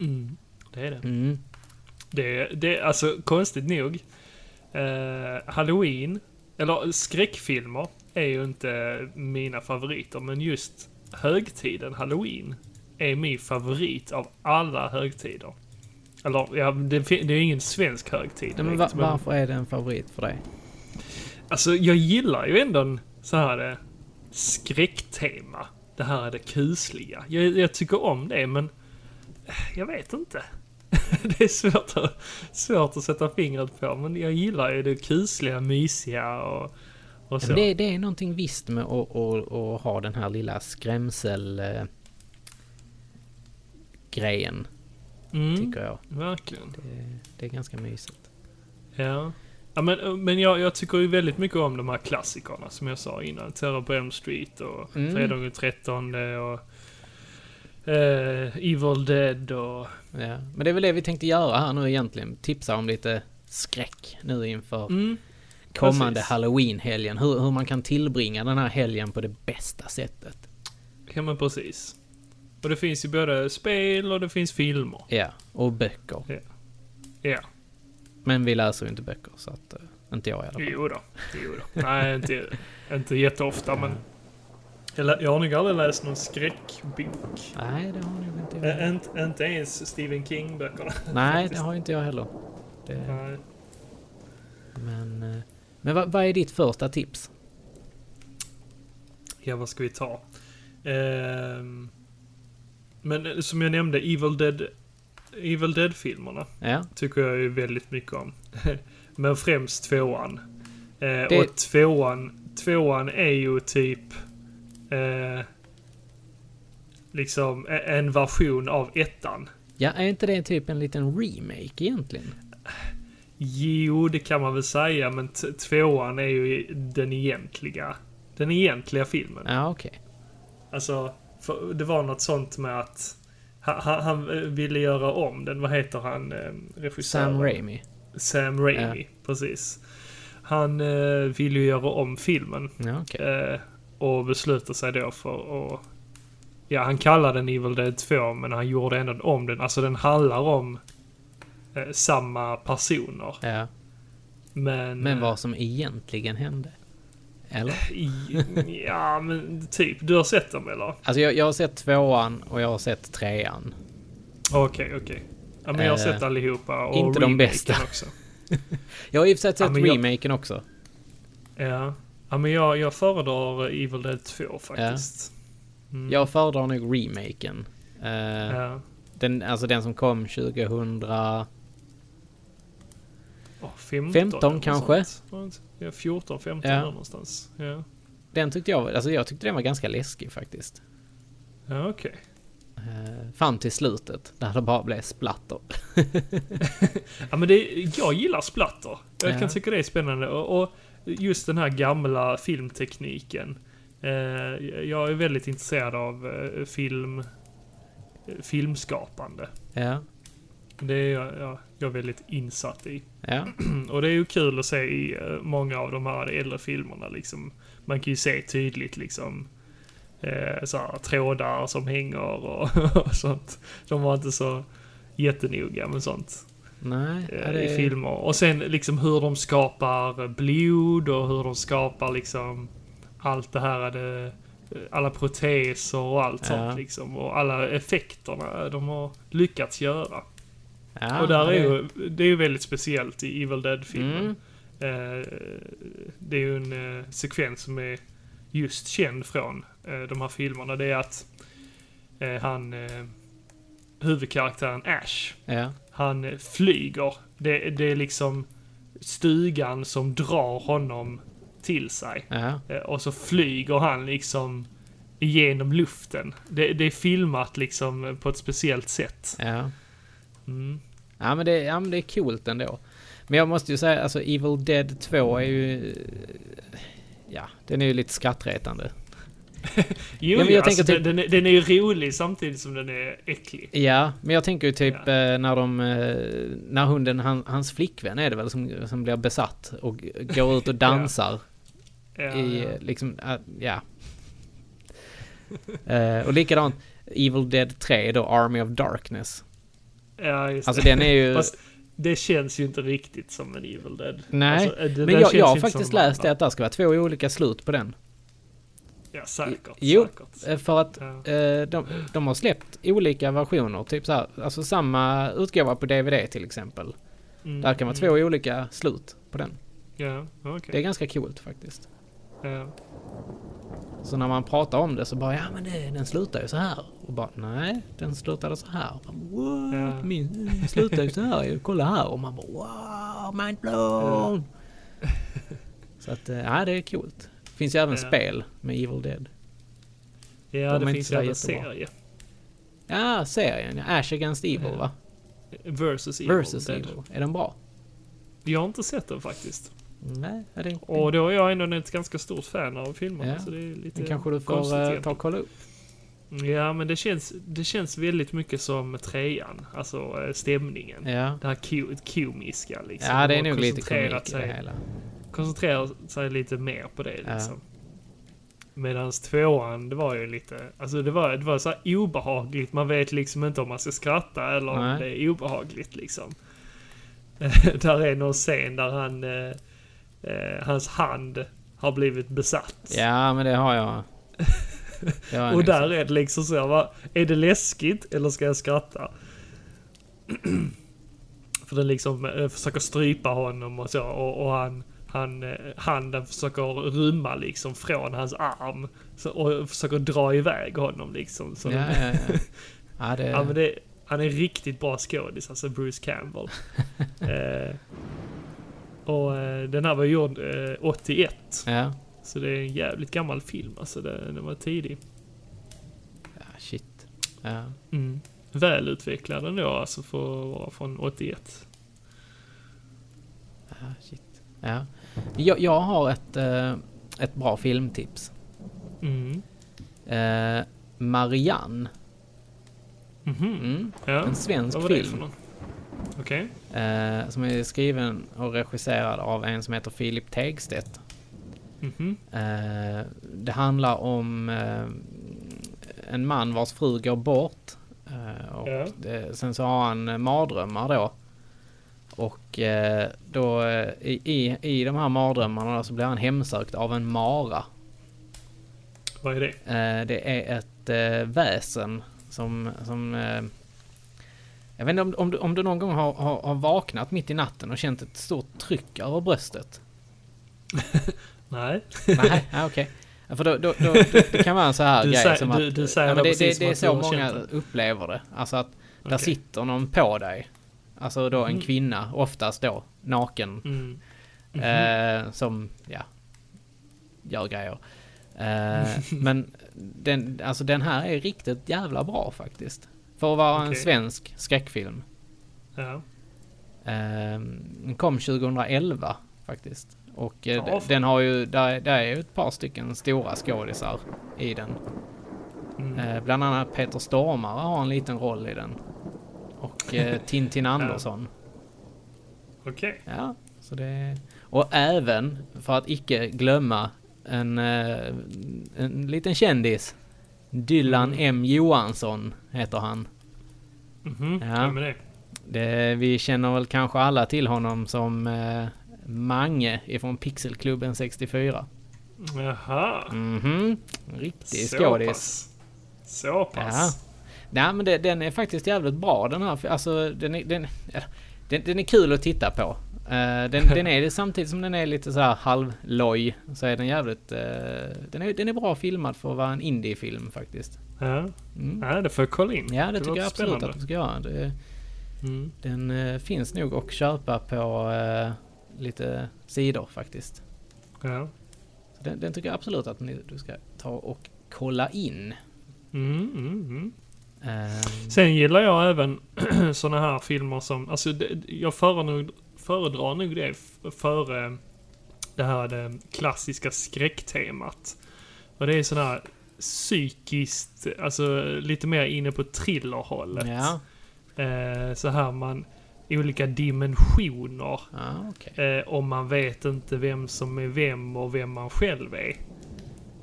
A: Mm. Det är det.
B: Mm.
A: Det, det alltså konstigt nog. Eh, Halloween, eller skräckfilmer, är ju inte mina favoriter. Men just högtiden Halloween är min favorit av alla högtider. Eller ja, det, fi- det är ju ingen svensk högtid.
B: Men, va,
A: direkt, men-
B: varför är det en favorit för dig?
A: Alltså jag gillar ju ändå en så här eh, skräcktema. Det här är det kusliga. Jag, jag tycker om det men eh, jag vet inte. Det är svårt att, svårt att sätta fingret på men jag gillar ju det kusliga, mysiga och, och så.
B: Men det, det är någonting visst med att, att, att ha den här lilla skrämsel... eh, grejen,
A: mm,
B: tycker jag.
A: verkligen.
B: Det, det är ganska mysigt.
A: Ja. Ja, men eh, men jag, jag tycker ju väldigt mycket om de här klassikerna som jag sa innan. Terror på Elm Street och
B: Mm.
A: Fredag den 13 och eh, Evil Dead och
B: Ja. Men det är väl det vi tänkte göra här nu egentligen. Tipsa om lite skräck nu inför
A: Mm.
B: kommande
A: precis.
B: halloween-helgen. Hur, hur man kan tillbringa den här helgen på det bästa sättet.
A: Ja men precis. Och det finns ju både spel och det finns filmer.
B: Ja, och böcker.
A: Ja.
B: Men vi läser ju inte böcker, så att... eh, Inte jag i alla fall.
A: Jo då. Jo då. Nej, inte, inte jätteofta men... Jag, lä- jag har nog aldrig läst någon skräckbok.
B: Nej, det har nog inte jag.
A: Ä- inte, inte ens Stephen King-böckerna.
B: Nej, det
A: faktiskt.
B: har inte jag heller. Det...
A: Nej.
B: Men, eh, men vad, vad är ditt första tips?
A: Ja, vad ska vi ta? Ehm, men eh, som jag nämnde, Evil Dead... Evil Dead-filmerna
B: Ja,
A: tycker jag ju väldigt mycket om. men främst tvåan. Eh,
B: Det-
A: Och tvåan tvåan är ju typ... Eh, liksom e- en version av ettan.
B: Ja, är inte det typ en liten remake egentligen?
A: Jo, det kan man väl säga, men t- tvåan är ju den egentliga, den egentliga filmen.
B: Ja, okej.
A: Alltså, för, det var något sånt med att han, han, han eh, ville göra om den. Vad heter han, eh, regissören?
B: Sam Raimi.
A: Sam Raimi, precis. Han eh, ville ju göra om filmen
B: Ja, okej.
A: eh, och beslutade sig då för att... Ja, han kallade den Evil Dead 2, men han gjorde ändå om den. Alltså, den handlar om eh, samma personer.
B: Ja.
A: Men...
B: Men vad som egentligen hände? Eller?
A: I- Ja, men typ. Du har sett dem eller?
B: Alltså jag, jag har sett tvåan och jag har sett trean.
A: Okej, okej. Ja, men jag har
B: Eh,
A: sett allihopa och
B: inte de
A: remaken
B: bästa.
A: också.
B: Jag har i och för sig sett
A: men jag-
B: remaken också.
A: Ja. ja, men jag, jag föredrar Evil Dead 2 faktiskt.
B: Jag föredrar nog remaken. Eh,
A: Mm. Ja.
B: den, alltså den som kom 2000...
A: Åh, 15,
B: 15
A: eller något
B: kanske?
A: sånt. Var det inte- Ja, 14, 15
B: Ja.
A: där någonstans. Ja,
B: Den tyckte jag, alltså jag tyckte den var ganska läskig faktiskt.
A: ja okej.
B: Eh, Fram till slutet, där det bara blev splatter.
A: Ja, men det, jag gillar splatter. Jag
B: Ja.
A: kan tycka det är spännande. Och, och just den här gamla filmtekniken. Eh, jag är väldigt intresserad av eh, film, filmskapande.
B: ja,
A: Det är jag, jag, jag är väldigt insatt i.
B: ja,
A: Och det är ju kul att se i eh, många av de här äldre filmerna liksom. Man kan ju se tydligt liksom eh, så här, trådar som hänger och, och sånt. De var inte så jättenoga med sånt
B: nej.
A: eh,
B: ja, det,
A: i filmer. Och sen liksom hur de skapar blod och hur de skapar liksom allt det här. Det, eh, alla proteser och allt
B: Ja.
A: sånt liksom. Och alla effekterna de har lyckats göra.
B: Ja,
A: Och där är
B: det-
A: ju, det är ju väldigt speciellt i Evil Dead-filmen.
B: Mm.
A: Eh, det är ju en eh, sekvens som är just känd från eh, de här filmerna. Det är att eh, han, eh, huvudkaraktären Ash,
B: Ja,
A: han eh, flyger. Det, det är liksom stugan som drar honom till sig.
B: ja,
A: Eh, Och så flyger han liksom genom luften. Det, det är filmat liksom eh, på ett speciellt sätt.
B: ja.
A: Mm.
B: Ja, men det, ja, men det är coolt ändå. Men jag måste ju säga, alltså Evil Dead 2 är ju... eh, Ja, den är ju lite skrattretande.
A: Jo,
B: Ja, men
A: jo,
B: jag
A: alltså,
B: tänker typ-
A: den, den, är- den är ju rolig samtidigt som den är äcklig.
B: Ja, men jag tänker ju typ eh, när de... eh, När hunden, han, hans flickvän är det väl, som, som blir besatt och g- går ut och dansar.
A: Ja,
B: i
A: ja.
B: eh, liksom, ah, ja. Eh, och likadant Evil Dead 3 då, Army of Darkness.
A: ja, just
B: Alltså
A: det.
B: den är ju...
A: Fast det känns ju inte riktigt som en Evil Dead.
B: nej,
A: Alltså, eh, det där
B: men jag,
A: känns ju
B: jag har
A: inte
B: faktiskt
A: som de
B: läst det
A: andra.
B: att det ska vara två olika slut på den.
A: Ja, säkert.
B: Jo,
A: säkert.
B: eh, för att
A: Ja.
B: eh, de, de har släppt olika versioner. Typ så här, alltså samma utgåva på DVD till exempel.
A: Mm,
B: Där kan vara två olika slut på den.
A: Ja, okej.
B: Det är ganska coolt faktiskt.
A: Ja.
B: Så när man pratar om det så bara, ja men det, den slutar ju så här. Och bara, nej, den slutade så här. Och bara, What?
A: Ja.
B: Min den slutar ju så här. ju. Kolla här. Och man bara, wow, mind blown. Så att, eh, ja det är coolt. Det finns ju även
A: Ja.
B: spel med Evil Dead.
A: ja,
B: De är
A: det
B: inte
A: finns ju
B: sådär
A: även en
B: jättebra.
A: serie.
B: Ja, serien. ja. Ash Against Evil va?
A: Versus Evil
B: Versus
A: Dead.
B: Evil. Är den bra?
A: Jag har inte sett den faktiskt.
B: Nej, är den,
A: Och då är jag ändå ett ganska stort fan av filmerna.
B: Ja.
A: Så det är lite
B: den kanske du
A: konstigt
B: får eh,
A: egentligen.
B: ta och kolla upp.
A: Ja, men det känns, det känns väldigt mycket som trean. Alltså eh, stämningen.
B: Ja.
A: Det här ko- komiska liksom.
B: Ja, det är
A: De har
B: nog lite
A: koncentrerat
B: komik i det
A: sig-
B: hela.
A: Koncentrerat sig lite mer på det
B: Ja.
A: liksom. Medan tvåan, det var ju lite... Alltså det var, det var så här obehagligt. Man vet liksom inte om man ska skratta eller om
B: Nej.
A: det är obehagligt liksom. där är någon scen där han... Eh, eh, hans hand har blivit besatt.
B: Ja, men det har jag. Det har jag
A: Och
B: nog
A: där är det liksom så här, va, är det läskigt eller ska jag skratta? För den liksom eh, försöker strypa honom och så och, och han, han, eh, handen försöker rymma liksom från hans arm. Så, och försöker dra iväg honom liksom. Så,
B: Ja, ja, ja. ja, det,
A: ja, men det, han är riktigt bra skådis, alltså Bruce Campbell. eh, och eh, den här var gjord eh, 81.
B: ja.
A: Så det är en jävligt gammal film alltså. Det, den var tidig.
B: Ja, shit. Ja.
A: Mm. Välutvecklad ändå alltså för att vara från 81.
B: Ja, shit. Ja. Jag, jag har ett, eh, ett bra filmtips.
A: Mm.
B: Eh, Marianne.
A: Mhm.
B: Mm.
A: Ja.
B: En svensk
A: Vad var det för
B: film.
A: någon? Okej.
B: Eh, som är skriven och regisserad av en som heter Filip Tegstedt.
A: Mhm.
B: Eh, det handlar om eh, en man vars fru går bort. Eh, och
A: Ja.
B: det, sen så har han eh, mardrömmar då. Och eh, då eh, i, i, i de här mardrömmarna då så blir han hemsökt av en mara.
A: Vad är det?
B: Eh, det är ett eh, väsen som... som eh, jag vet inte om, om, du, om du någon gång har, har, har vaknat mitt i natten och känt ett stort tryck över bröstet.
A: Nej.
B: Nej, ja, okej. Ja, För då, då, då, då, det kan vara en så här
A: Du
B: grej
A: säger-
B: som att...
A: du- du säger
B: ja,
A: det
B: men det,
A: precis
B: det,
A: som
B: det är
A: att du
B: så
A: har
B: många
A: känt
B: upplever det. Alltså att där
A: Okej.
B: sitter någon på dig. Alltså då en kvinna, oftast då naken.
A: Mm.
B: eh, som, ja, gör grejer. Eh, men den, alltså den här är riktigt jävla bra faktiskt. För att vara en
A: Okej.
B: svensk skräckfilm.
A: Ja.
B: Eh, Den kom 2011 faktiskt. Och eh,
A: Ja,
B: d-
A: fan.
B: den har ju, där, där är ju ett par stycken stora skådisar i den.
A: Mm.
B: Eh, Bland annat Peter Stormare har en liten roll i den. Och eh, Tintin Andersson.
A: Okej.
B: Ja, så det... Och även, för att icke glömma, en, eh, en liten kändis. Dylan
A: Mm.
B: M Johansson heter han.
A: Mhm.
B: Ja.
A: Vem är det?
B: Det, vi känner väl kanske alla till honom som eh, Mange ifrån Pixelklubben 64.
A: Jaha.
B: Mhm, riktig
A: Så
B: skådis.
A: pass. Så pass.
B: Nej men det, den är faktiskt jävligt bra den här. Alltså den är, den, ja, den, den är kul att titta på. Eh, den, den är det samtidigt som den är lite så här halvloj. Så är den jävligt... eh, den, är, den är bra filmad för att vara en indiefilm faktiskt.
A: Ja. ja, det får jag kolla in.
B: Mm. Ja det, tycker
A: låter
B: jag absolut
A: spännande.
B: att du ska göra. Det,
A: Mm.
B: Den eh, finns nog att köpa på eh, lite sidor faktiskt.
A: Ja.
B: Så den, den tycker jag absolut att ni, du ska ta och kolla in.
A: Mm, mm, mm.
B: Ehm,
A: Sen gillar jag även såna här filmer som, alltså det, jag föredrar, föredrar nog det f- före det här det klassiska skräcktemat. Och det är såna här psykiskt, alltså lite mer inne på thrillerhållet.
B: ja,
A: Eh, så här man, olika dimensioner.
B: ja ah, okej.
A: Eh, och man vet inte vem som är vem och vem man själv är.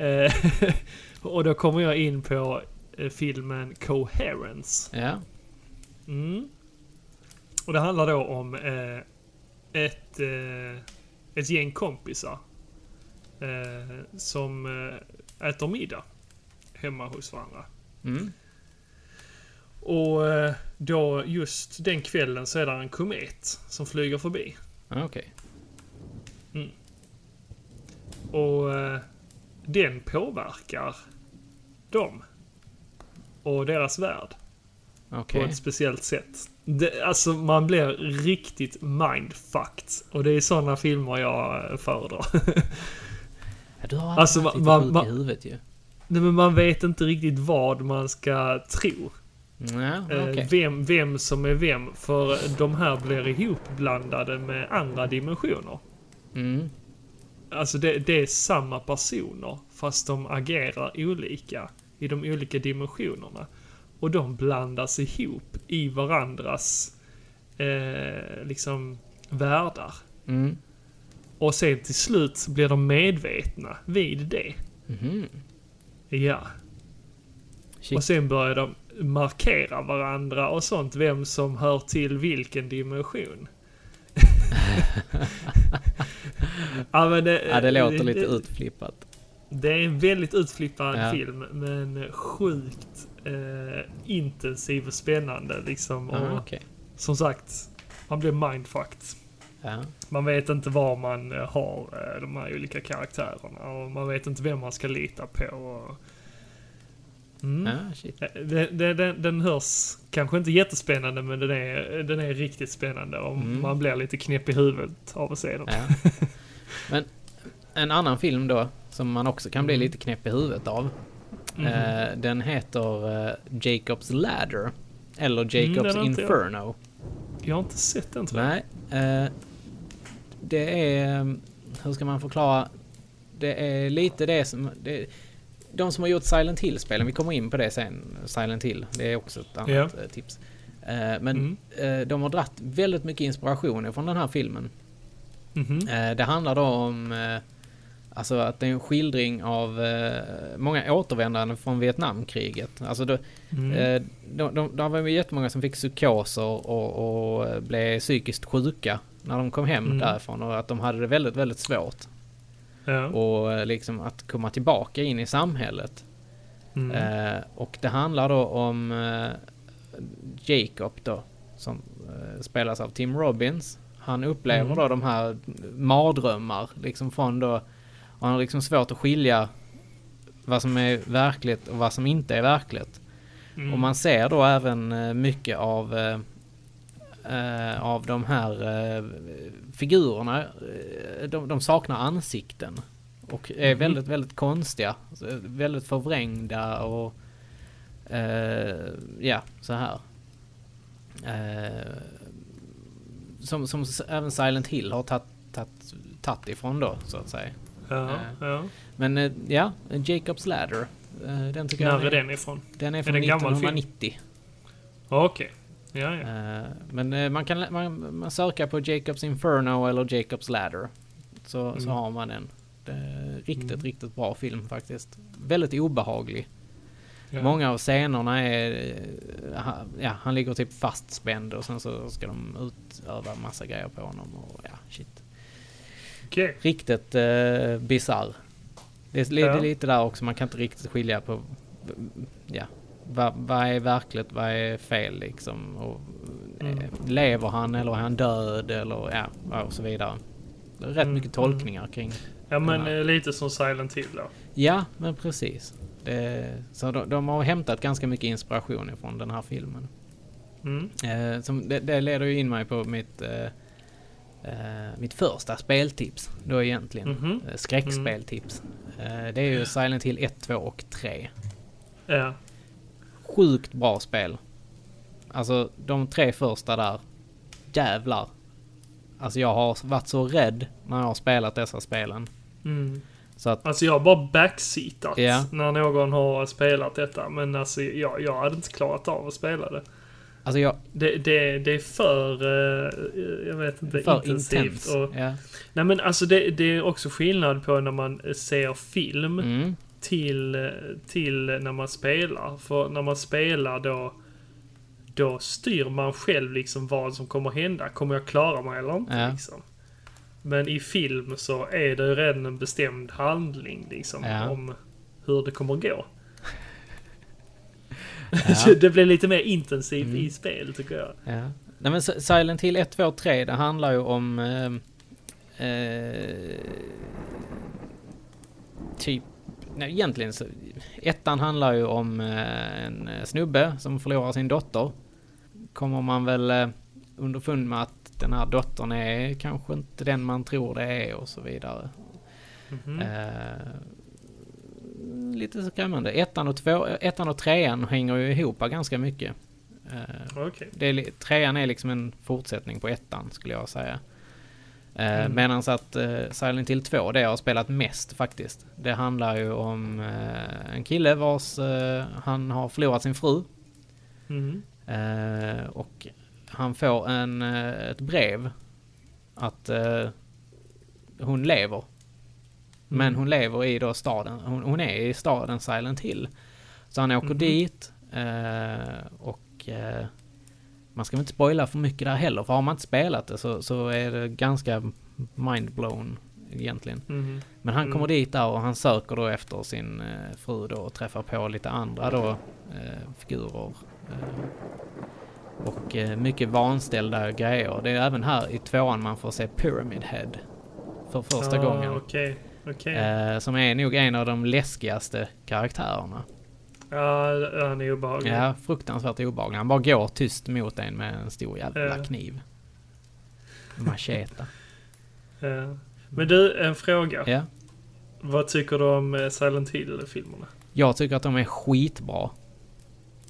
A: Eh, och då kommer jag in på eh, filmen Coherence.
B: Ja,
A: Mm. Och det handlar då om eh, ett, eh, ett gäng kompisar eh, som eh, äter middag hemma hos varandra.
B: mm,
A: Och eh, då just den kvällen så är det en komet som flyger förbi.
B: ja, ah, okej.
A: Och eh, den påverkar dem. Och deras värld på
B: Okej.
A: ett speciellt sätt. Det, alltså man blir riktigt mindfucked. Och det är sådana filmer jag eh, föredrar.
B: Ja, Du har alltid
A: Alltså,
B: varit lite
A: man-
B: sjuk
A: man-
B: i huvudet ju.
A: Nej, men man vet inte riktigt vad man ska tro.
B: Ja,
A: Eh,
B: okej.
A: Vem, vem som är vem. För de här blir ihopblandade med andra dimensioner.
B: Mm,
A: Alltså det, det är samma personer fast de agerar olika i de olika dimensionerna. Och de blandas ihop i varandras eh, liksom världar.
B: mm,
A: Och sen till slut blir de medvetna vid det.
B: mhm.
A: Ja.
B: Shit.
A: Och sen börjar de markera varandra och sånt, vem som hör till vilken dimension. ja, men det,
B: Ja, det låter lite utflippat.
A: Det är en väldigt utflippad
B: Ja.
A: film, men sjukt eh, intensiv och spännande liksom. Och
B: Ja, Ah, okej.
A: som sagt, man blir mindfucked.
B: Ja,
A: Man vet inte var man eh, har eh, de här olika karaktärerna och man vet inte vem man ska lita på. Och... Mm.
B: ja, shit.
A: Eh, det- det- Den, den hörs kanske inte jättespännande, men den är, den är riktigt spännande och
B: Mm.
A: man blir lite knäpp i huvudet av att se den.
B: Ja. Men en annan film då Som man också kan
A: Mm.
B: bli lite knäpp i huvudet av.
A: Mm-hmm.
B: Eh, den heter eh, Jacob's Ladder. Eller
A: Mm, den
B: Jacob's
A: har inte jag.
B: Inferno.
A: Jag har inte sett den tror jag.
B: Nej. Eh, det är... eh, Hur ska man förklara? Det är lite det som... Det, de som har gjort Silent Hill-spelen, vi kommer in på det sen. Silent Hill, det är också ett annat
A: Ja. Mm.
B: eh, tips. Eh, men eh, de har dratt väldigt mycket inspiration från den här filmen.
A: Mhm.
B: Eh, Det handlar då om eh, alltså att det är en skildring av eh, många återvändande från Vietnamkriget. Alltså då, eh, de, de, de var ju jättemånga som fick psykoser och, och eh, blev psykiskt sjuka när de kom hem därifrån och att de hade det väldigt, väldigt svårt.
A: Ja.
B: Och eh, liksom att komma tillbaka in i samhället. Eh, och det handlar då om eh, Jacob då, som eh, spelas av Tim Robbins. Han upplever då de här mardrömmar, liksom från då, och han har liksom svårt att skilja vad som är verkligt och vad som inte är verkligt. Och man ser då även eh, mycket av eh, eh, av de här eh, figurerna. eh, De, de saknar ansikten. Och är
A: Mm.
B: väldigt, väldigt konstiga. Så, eh, Väldigt förvrängda och eh, ja, så här. Eh, som, som s- även Silent Hill har tagit- tagit tagit ifrån då, så att säga.
A: Ja. ja.
B: Men eh, ja, Jacob's Ladder. eh, Den tycker
A: När är
B: jag
A: den ifrån?
B: den är
A: det
B: från
A: en gammal film?
B: 1990.
A: Ja, Okej. Ja, ja.
B: Eh, Men eh, man kan man, man söka på Jacobs Inferno eller Jacobs Ladder. Så,
A: Mm.
B: så har man den. Det är riktigt, riktigt bra film faktiskt. Väldigt obehaglig.
A: Ja.
B: Många av scenerna är... eh, ha- Ja, han ligger typ fastspänd och sen så ska de utöva massa grejer på honom. Och, ja, shit.
A: Okej.
B: Riktigt uh, bisarr. Det är li-
A: Ja.
B: det är lite där också, man kan inte riktigt skilja på... Ja, vad, vad är verkligt, vad är fel liksom? Och, eh,
A: Mm.
B: Lever han eller är han död eller ja, ja, och så vidare. Det är rätt
A: Mm,
B: mycket tolkningar kring...
A: Ja, men
B: här.
A: eh, lite som Silent Hill då.
B: Ja, men precis. Det, så de, de har hämtat ganska mycket inspiration ifrån den här filmen.
A: Mm.
B: Eh, som, det, det leder ju in mig på mitt, eh, eh, mitt första speltips då egentligen.
A: Mhm. Mm.
B: Eh, Skräckspeltips. Eh, det är ju Silent Hill 1, 2 och 3.
A: Ja.
B: Sjukt bra spel. Alltså de tre första där. Jävlar. Alltså jag har varit så rädd när jag har spelat dessa spelen.
A: Mm.
B: Så att,
A: Alltså jag har bara backseatat
B: Ja.
A: när någon har spelat detta. Men alltså jag, jag hade inte klarat av att spela det.
B: alltså jag,
A: Det, det, det är för, eh, jag vet inte,
B: för
A: intensivt.
B: intens.
A: Och,
B: Ja.
A: nej men alltså det, det är också skillnad på när man eh, ser film
B: Mm.
A: till, eh, till när man spelar. För när man spelar då, då styr man själv liksom vad som kommer hända. Kommer jag klara mig eller inte?
B: Ja.
A: Liksom. Men i film så är det redan en bestämd handling liksom,
B: Ja.
A: om hur det kommer gå. Så det blir lite mer intensivt
B: Mm.
A: i spel tycker jag.
B: Ja. Nej, men Si- Silent Hill 1, 2, 3, det handlar ju om... Eh, eh, typ... Nej, egentligen så... Ettan handlar ju om eh, en snubbe som förlorar sin dotter. Kommer man väl eh, underfund med att den här dottern är kanske inte den man tror det är och så vidare. Eh, lite skrämmande. Ettan och, två, eh, ettan och trean hänger ju ihop ganska mycket. Eh,
A: Okej.
B: det är, li- trean är liksom en fortsättning på ettan skulle jag säga. Eh, Medan att eh, Silent Hill 2, det jag har spelat mest faktiskt. Det handlar ju om eh, en kille vars eh, han har förlorat sin fru.
A: Mm.
B: Eh, och han får en, eh, ett brev att eh, hon lever. Men hon lever i då staden, hon, hon är i staden Silent Hill. Så han åker dit eh, och eh, man ska väl inte spoila för mycket där heller. För har man inte spelat det så, så är det ganska mindblown egentligen.
A: Mhm.
B: Men han kommer dit där och han söker då efter sin eh, fru då och träffar på lite andra då eh, figurer. Eh, och eh, mycket vanställda grejer. Det är även här i tvåan man får se Pyramid Head. För första
A: Ah,
B: gången.
A: Okej, okej.
B: Eh, som är nog en av de läskigaste karaktärerna.
A: Ja, han är obehaglig.
B: Ja, fruktansvärt obehaglig. Han bara går tyst mot en med en stor jävla
A: Ja.
B: kniv. Macheta.
A: Ja. Men Eh. du, en fråga.
B: Ja.
A: Vad tycker du om eh, Silent Hill-filmerna?
B: Jag tycker att de är skitbra.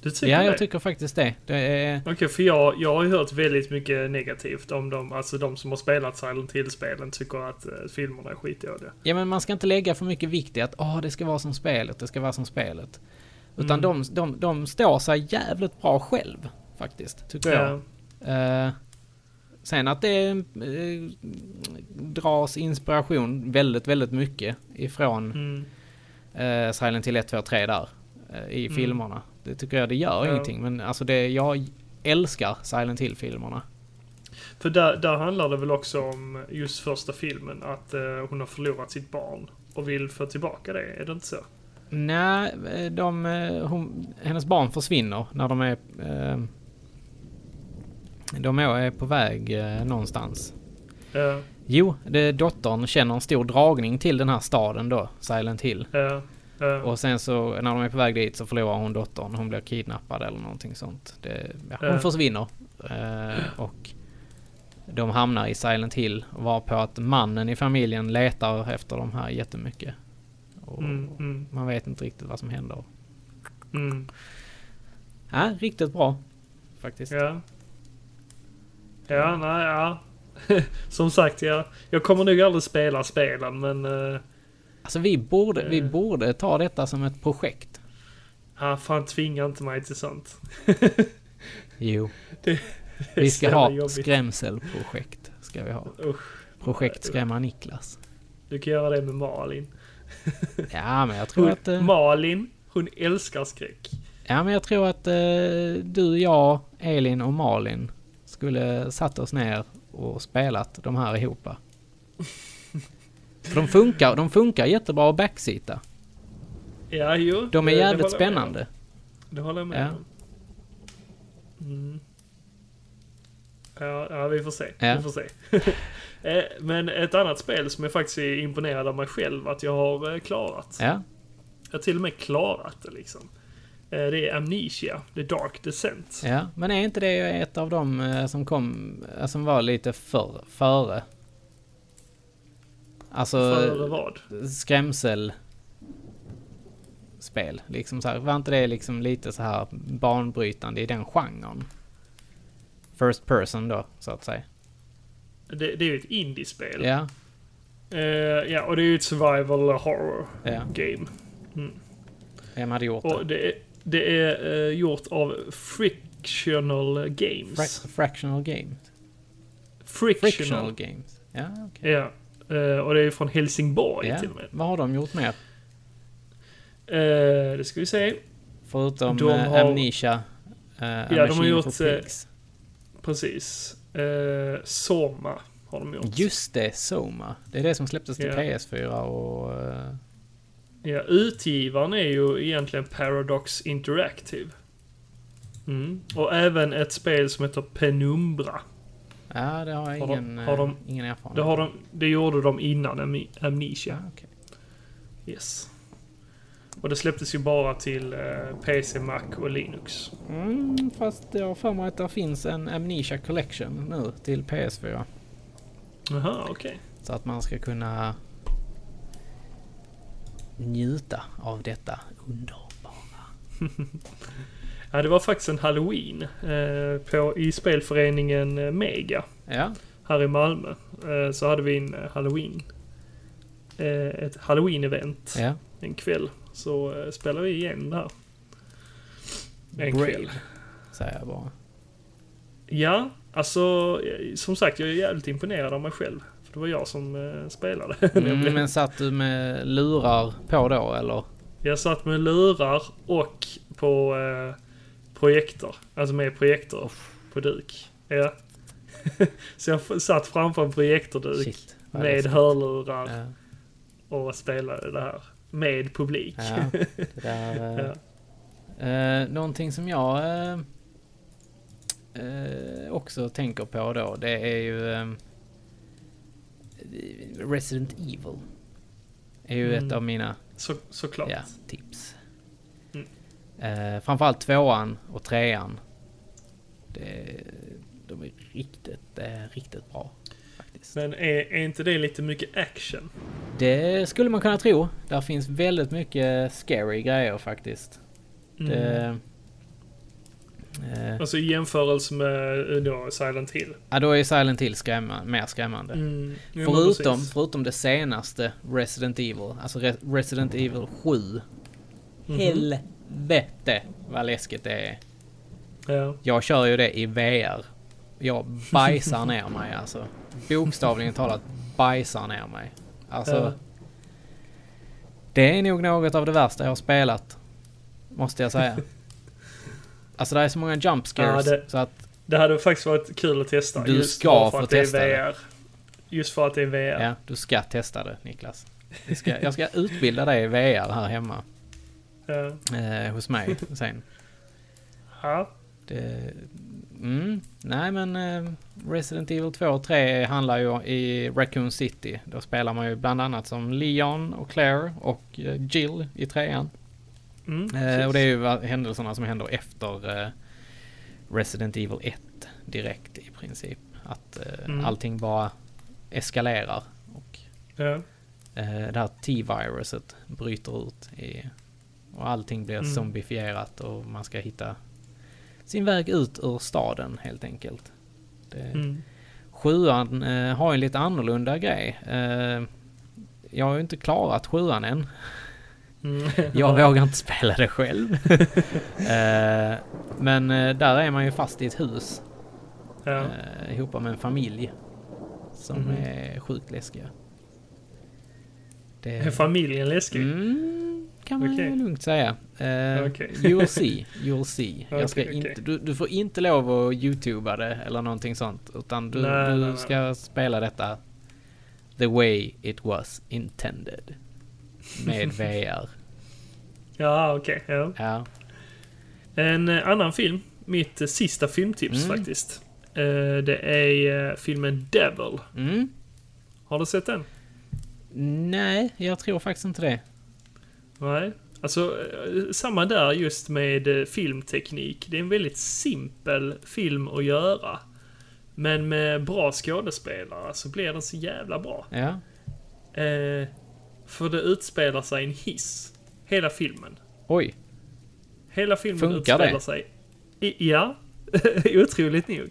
A: Du tycker
B: ja,
A: det?
B: jag tycker faktiskt det. det är,
A: Okej, för jag, jag har ju hört väldigt mycket negativt om dem. Alltså de som har spelat Silent Hill-spelen tycker att eh, filmerna är skitdåliga.
B: ja, men man ska inte lägga för mycket vikt i att åh, det ska vara som spelet, det ska vara som spelet.
A: Mm.
B: Utan de, de, de står sig jävligt bra själv, faktiskt, tycker jag.
A: Eh,
B: Eh, sen att det eh, dras inspiration väldigt, väldigt mycket ifrån
A: Mm.
B: eh, Silent Hill 1, 2, 3 där. eh, I filmerna. Det tycker jag, det gör
A: Ja.
B: ingenting. Men alltså det, jag älskar Silent Hill-filmerna.
A: För där, där handlar det väl också om just första filmen att eh, hon har förlorat sitt barn och vill få tillbaka det, är det inte så?
B: Nej, eh, de, eh, hon, hennes barn försvinner när de är... Eh, de är på väg eh, någonstans.
A: Eh,
B: Jo, det, dottern känner en stor dragning till den här staden då, Silent Hill.
A: eh, eh.
B: Och sen så när de är på väg dit så förlorar hon dottern. Hon blir kidnappad eller någonting sånt. Det, ja, hon
A: Ja.
B: försvinner. Eh, och de hamnar i Silent Hill. Varpå att mannen i familjen letar efter de här jättemycket. Och
A: Mm, mm,
B: Man vet inte riktigt vad som händer.
A: mm,
B: Ja, riktigt bra. Faktiskt.
A: ja. Ja, nej, ja. Som sagt, ja. Jag kommer nog aldrig spela spelen, men... eh,
B: Alltså vi borde, vi borde ta detta som ett projekt.
A: ah, fan, tvinga inte mig till sånt.
B: Jo.
A: Det
B: Vi ska
A: så jävla
B: ha
A: jobbigt.
B: skrämselprojekt. Ska vi ha.
A: Usch,
B: Projekt skrämma Niklas.
A: du kan göra det med Malin.
B: Ja, men jag tror
A: Hon,
B: att... eh,
A: Malin, hon älskar skräck.
B: Ja, men jag tror att eh, du, jag, Elin och Malin skulle satt oss ner och spelat de här ihop. För de funkar, de funkar jättebra att backseata.
A: Ja, jo.
B: De är
A: det- det
B: jävligt
A: håller jag med om.
B: spännande.
A: Det håller jag med
B: Ja.
A: om. Mm. Ja, ja, vi får se.
B: Ja.
A: Vi får se. Eh, Men ett annat spel som jag faktiskt är imponerad av mig själv att jag har eh, klarat.
B: Ja,
A: Jag har till och med klarat det liksom. Eh, Det är Amnesia, The Dark Descent.
B: ja. Men är inte det ett av dem eh, som kom, eh, som var lite för, före? Alltså,
A: Före vad?
B: skrämsel spel liksom så här. Var inte det liksom lite så här banbrytande i den genren? First person då, så att säga.
A: Det, det är ju ett indiespel.
B: Ja,
A: Eh, ja, och det är ju ett survival horror
B: ja.
A: game.
B: Vem hade gjort det?
A: Och det är, det är eh, gjort av Frictional Games.
B: Fra- fractional games.
A: Frictional.
B: Frictional games. Ja, okej.
A: Ja. eh, och det är från Helsingborg
B: Ja.
A: till och med.
B: Vad har de gjort mer?
A: Eh, det ska vi se.
B: Förutom
A: De
B: eh,
A: har-
B: Amnesia. eh, A
A: de har
B: Machine
A: gjort,
B: for
A: eh,
B: Pigs.
A: Precis. Eh, Soma har de gjort.
B: Just det, Soma. Det är det som släpptes till
A: Ja.
B: PS4 och... eh,
A: Ja, utgivaren är ju egentligen Paradox Interactive. Mm. Och även ett spel som heter Penumbra.
B: ja, det har jag
A: Har de-
B: ingen,
A: har de-
B: eh, ingen erfarenhet
A: Det, har
B: av.
A: de, det gjorde de innan Am- Amnesia.
B: Ja, okej.
A: Yes. Och det släpptes ju bara till eh, PC, Mac och Linux.
B: Mm, fast jag har för mig att det finns en Amnesia Collection nu till PS4.
A: Jaha, okej.
B: Så att man ska kunna njuta av detta underbara.
A: Ja, det var faktiskt en halloween eh, på, i spelföreningen eh, Mega.
B: Ja,
A: här i Malmö eh, så hade vi en eh, halloween. eh, Ett halloween-event
B: ja.
A: en kväll. Så eh, spelade vi igen där. En
B: Brave.
A: kväll.
B: Säger jag bara.
A: Ja, alltså eh, som sagt jag är jävligt imponerad av mig själv. För det var jag som eh, spelade.
B: Mm, men satt du med lurar på då eller?
A: Jag satt med lurar och på eh, projektor. Alltså med projektor på duk. Ja. så jag f- satt framför en projektorduk
B: Shit. vad är det
A: med
B: som-
A: hörlurar.
B: Ja,
A: och spelade det här med publik.
B: ja, det där, eh, eh, någonting som jag eh, eh, också tänker på då det är ju eh, Resident Evil. är ju ett av mina
A: Så, såklart.
B: Ja, tips. Eh, framförallt tvåan och trean. Det, de är riktigt, eh, riktigt bra. Faktiskt. faktiskt.
A: Men är, är inte det lite mycket action?
B: Det skulle man kunna tro. Där finns väldigt mycket scary grejer faktiskt.
A: Mm.
B: Det, eh,
A: Alltså i jämförelse med eh, då Silent Hill.
B: ja, då är Silent Hill skrämma, mer skrämmande.
A: Mm, Jo, men
B: förutom,
A: precis.
B: förutom det senaste Resident Evil, alltså Re- Resident Evil 7.
A: Mhm.
B: Helvete vad läskigt det är.
A: Ja.
B: Jag kör ju det i VR. Jag bajsar ner mig alltså. Bokstavligen talat bajsar ner mig. Alltså.
A: Ja.
B: Det är nog något av det värsta jag har spelat. Måste jag säga. alltså det är så många jump scares.
A: Ja, det-
B: Så att,
A: Det hade faktiskt varit kul att testa.
B: Du
A: just
B: ska
A: bara för
B: få
A: att det är
B: testa det.
A: VR. Just för att det är VR.
B: ja. du ska testa det Niklas. Jag ska, jag ska utbilda dig i VR här hemma.
A: Ja.
B: Eh, hos mig sen.
A: Ja.
B: Det, mm, nej men eh, Resident Evil 2 och 3 handlar ju i Raccoon City. Då spelar man ju bland annat som Leon och Claire och eh, Jill i trean.
A: Mm,
B: Eh,
A: precis.
B: och det är ju va- händelserna som händer efter eh, Resident Evil 1 direkt i princip. Att eh,
A: Mm.
B: allting bara eskalerar. Och
A: ja.
B: eh, det här T-viruset bryter ut i, och allting blir
A: Mm.
B: zombifierat och man ska hitta sin väg ut ur staden helt enkelt. Det,
A: Mm.
B: Sjuan eh, har ju en lite annorlunda grej. Eh, jag har ju inte klarat sjuan än.
A: Mm.
B: Jag vågar inte spela det själv. eh, men eh, där är man ju fast i ett hus
A: ja.
B: eh, ihop med en familj som
A: Mhm.
B: är sjukt läskiga. Det-
A: Är familjen läskig?
B: Mm, kan man
A: Okej.
B: lugnt säga. Eh,
A: Okej.
B: You'll see. You'll see.
A: Okej,
B: Jag ska
A: okej.
B: inte, du, du får inte lov att youtuba det eller någonting sånt. Utan du,
A: Nej,
B: du
A: nej, nej.
B: ska spela detta the way it was intended. Med VR.
A: Ja, okej. Ja.
B: Ja.
A: En eh, annan film, mitt eh, sista filmtips
B: Mm.
A: faktiskt. Eh, det är eh, filmen Devil.
B: Mm.
A: Har du sett den?
B: Nej, jag tror faktiskt inte det.
A: Nej. Alltså, eh, samma där just med eh, filmteknik. Det är en väldigt simpel film att göra. Men med bra skådespelare så blir den så jävla bra.
B: Ja.
A: Eh, för det utspelar sig i en hiss. Hela filmen.
B: Oj.
A: Hela filmen
B: Funkar
A: utspelar
B: det?
A: sig... I, ja, otroligt nog.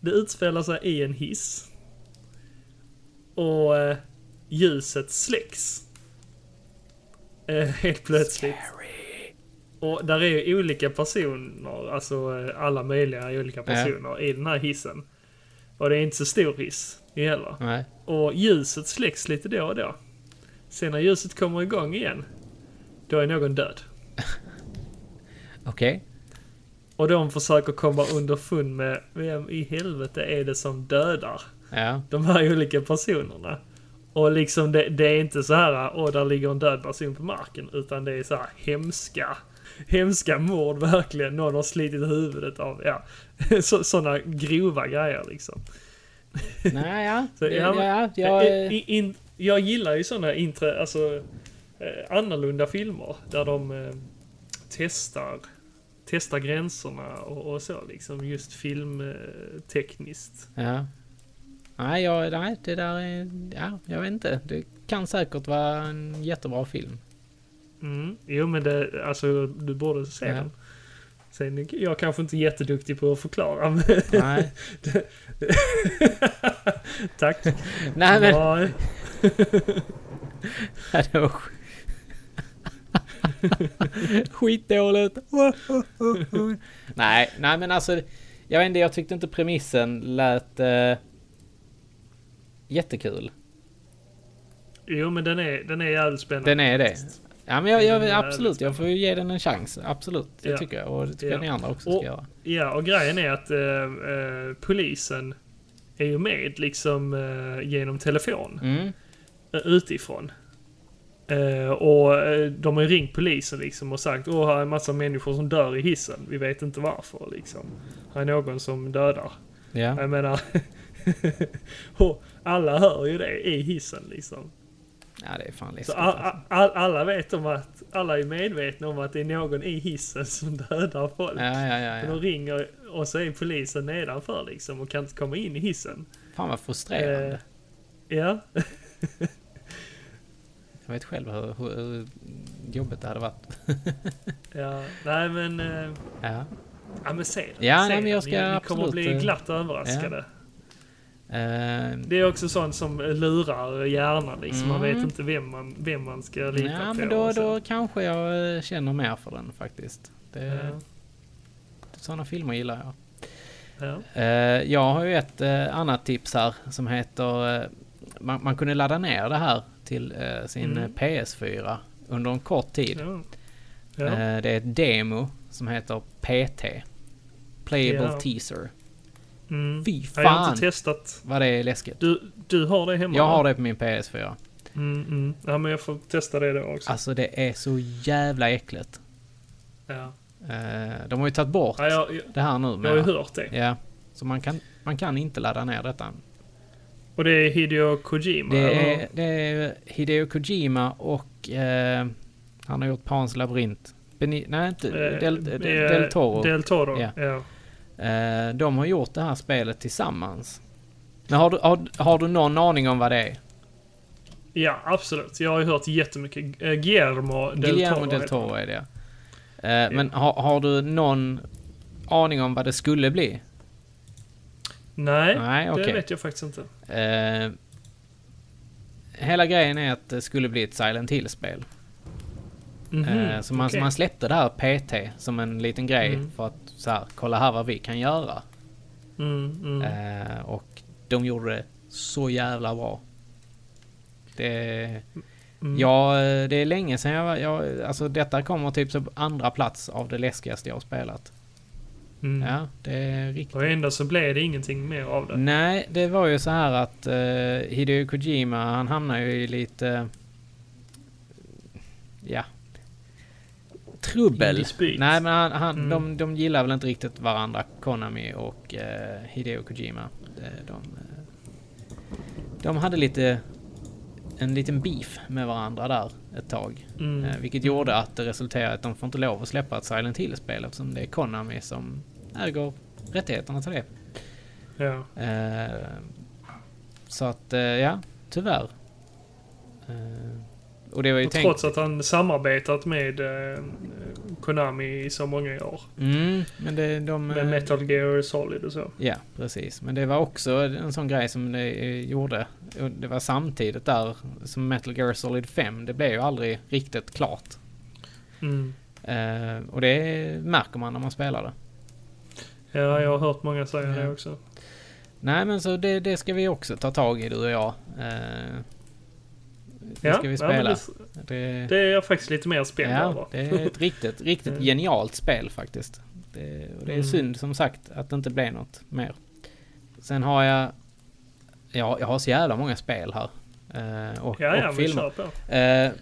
A: Det utspelar sig i en hiss. Och eh, ljuset släcks. Eh, helt plötsligt. Och där är ju olika personer, alltså eh, alla möjliga olika personer i den här hissen. Och det är inte så stor hiss heller.
B: Nej.
A: Och ljuset släcks lite då och då. Sen när ljuset kommer igång igen, då är någon död.
B: Okej.
A: Och de försöker komma underfund med vem i helvete är det som dödar
B: Ja.
A: de här olika personerna. Och liksom det, det är inte så här åh där ligger en död person på marken utan det är så här hemska hemska mord verkligen. Någon har slitit huvudet av, ja, så, sådana grova grejer liksom.
B: Nej, ja.
A: Så, ja, men-
B: ja,
A: Jag,
B: jag,
A: i, in, jag gillar ju sådana intre, alltså, eh, annorlunda filmer där de eh, testar, testar gränserna och, och så liksom just eh, filmtekniskt.
B: Ja. Nej, jag, nej, det där är... Ja, jag vet inte. Det kan säkert vara en jättebra film.
A: Mm. Jo men det, alltså du borde se
B: Ja.
A: den. Sen, jag är kanske inte är jätteduktig på att förklara men
B: Nej,
A: tack.
B: nej men...
A: Ja,
B: Ja, det var sk- Skitdåligt. nej, nej men alltså. Jag vet inte, jag tyckte inte premissen lät eh, jättekul.
A: jo men den är, den är jävligt spännande.
B: Den är det. Ja men jag, jag,
A: Den är
B: absolut, jag får ju ge den en chans. Absolut, det
A: Ja.
B: tycker jag. Och det tycker jag
A: Ja.
B: ni andra också ska
A: Och,
B: göra.
A: ja, och grejen är att eh, eh, polisen är ju med liksom eh, genom telefon
B: Mm.
A: eh, utifrån. Eh, och eh, de har ju ringt polisen liksom och sagt åh här är en massa människor som dör i hissen. Vi vet inte varför liksom. Här är någon som dödar.
B: Ja.
A: Jag menar, och alla hör ju det i hissen liksom.
B: ja, det är fan
A: Så
B: läskigt.
A: a-
B: Alltså.
A: a- all, alla vet om att, alla är medvetna om att det är någon i hissen som dödar folk.
B: Ja, ja, ja,
A: Men
B: ja.
A: de ringer och så är polisen nedanför liksom och kan inte komma in i hissen.
B: Fan vad frustrerande.
A: Eh, ja.
B: Jag vet själv hur, hur, hur jobbigt det hade varit.
A: ja. Nej, men... eh,
B: ja.
A: Ja, men se den.
B: Ja,
A: se
B: nej, men
A: den.
B: jag ska
A: ni, ni kommer
B: absolut,
A: att bli
B: eh,
A: glatt överraskade.
B: Eh,
A: Det är också sånt som lurar hjärnan liksom. Man vet inte vem man, vem man ska lita
B: Mm. ja,
A: på.
B: men då,
A: och så.
B: då kanske jag eh, känner mer för den faktiskt. Det,
A: Ja,
B: Sådana filmer gillar jag.
A: ja.
B: Eh, jag har ju ett eh, annat tips här som heter... eh, man, man kunde ladda ner det här till eh, sin eh, PS4 under en kort tid.
A: Mm. Ja. Ja.
B: Eh, det är ett demo som heter PT. Playable
A: Ja.
B: teaser.
A: Mm.
B: Fy
A: Ja, Jag har
B: fan
A: inte testat.
B: vad det är läskigt.
A: Du, du har det hemma?
B: Jag
A: va?
B: har det på min PS4.
A: Mm, mm. Ja, men jag får testa det då också.
B: Alltså det är så jävla äckligt.
A: Ja.
B: Eh, de har ju tagit bort
A: Ja, jag, jag,
B: det här nu
A: jag
B: med.
A: har ju hört det.
B: Ja. Så man kan, man kan inte ladda ner detta.
A: Och det är Hideo Kojima?
B: Det
A: eller?
B: är, det är Hideo Kojima och eh, han har gjort Pans labyrint. Beni- nej, inte
A: Eh,
B: Del, Del,
A: eh,
B: Del Toro.
A: Del Toro,
B: Ja.
A: ja.
B: Eh, de har gjort det här spelet tillsammans. Men har du, har, har du någon aning om vad det är?
A: Ja, absolut. Jag har ju hört jättemycket. Eh, Guillermo Del
B: Guillermo
A: Toro.
B: Del
A: heter han.
B: Toro är det. Eh, Men har, har du någon aning om vad det skulle bli?
A: Nej,
B: Nej,
A: det
B: okej.
A: vet jag faktiskt inte.
B: Eh, hela grejen är att det skulle bli ett Silent Hill-spel.
A: Mhm,
B: Eh, så man,
A: okej.
B: man släppte det här PT som en liten grej för att så här, kolla här vad vi kan göra.
A: Mm, mm.
B: Eh, och de gjorde det så jävla bra. Det,
A: Mm.
B: ja, eh, det är länge sedan jag, var- jag... Alltså detta kommer typ på andra plats av det läskigaste jag har spelat.
A: Mm.
B: Ja, Mm. det är riktigt...
A: Och ändå så blev det ingenting mer av det.
B: Nej, det var ju så här att eh, Hideo Kojima, han hamnar ju i lite... Ja. Trubbel.
A: dispyt.
B: Nej, men han, han, de, de gillar väl inte riktigt varandra, Konami och eh, Hideo Kojima. Eh, De, eh, de hade lite... En liten beef med varandra där ett tag.
A: Mm,
B: Eh, vilket gjorde att det resulterade i att de får inte lov att släppa ett Silent Hill-spel eftersom det är Konami som äger rättigheterna till det.
A: Ja.
B: Eh, så att, eh, ja, tyvärr. Eh, och det var ju
A: Och
B: tänkt...
A: trots att han samarbetat med eh, Konami i så många år.
B: Mm, men det, de...
A: Med
B: eh,
A: Metal Gear Solid och så.
B: Ja, precis. Men det var också en sån grej som det eh, gjorde. Och Det var samtidigt där som Metal Gear Solid 5. Det blev ju aldrig riktigt klart.
A: Mm.
B: Eh, och det märker man när man spelar det.
A: Ja, jag har hört många säga det också.
B: Nej, men så det, det ska vi också ta tag i, du och jag. Eh, det
A: Ja,
B: ska vi
A: ja, men
B: spela.
A: det,
B: det,
A: det är jag faktiskt lite mer spänd över. Mm.
B: Ja, det är ett riktigt, riktigt genialt spel faktiskt. Det, och det är synd som sagt att det inte blev något mer. Sen har jag... Ja, jag har så jävla många spel här. eh, Och,
A: ja, ja,
B: och
A: men
B: filmer.
A: kör på.
B: Eh,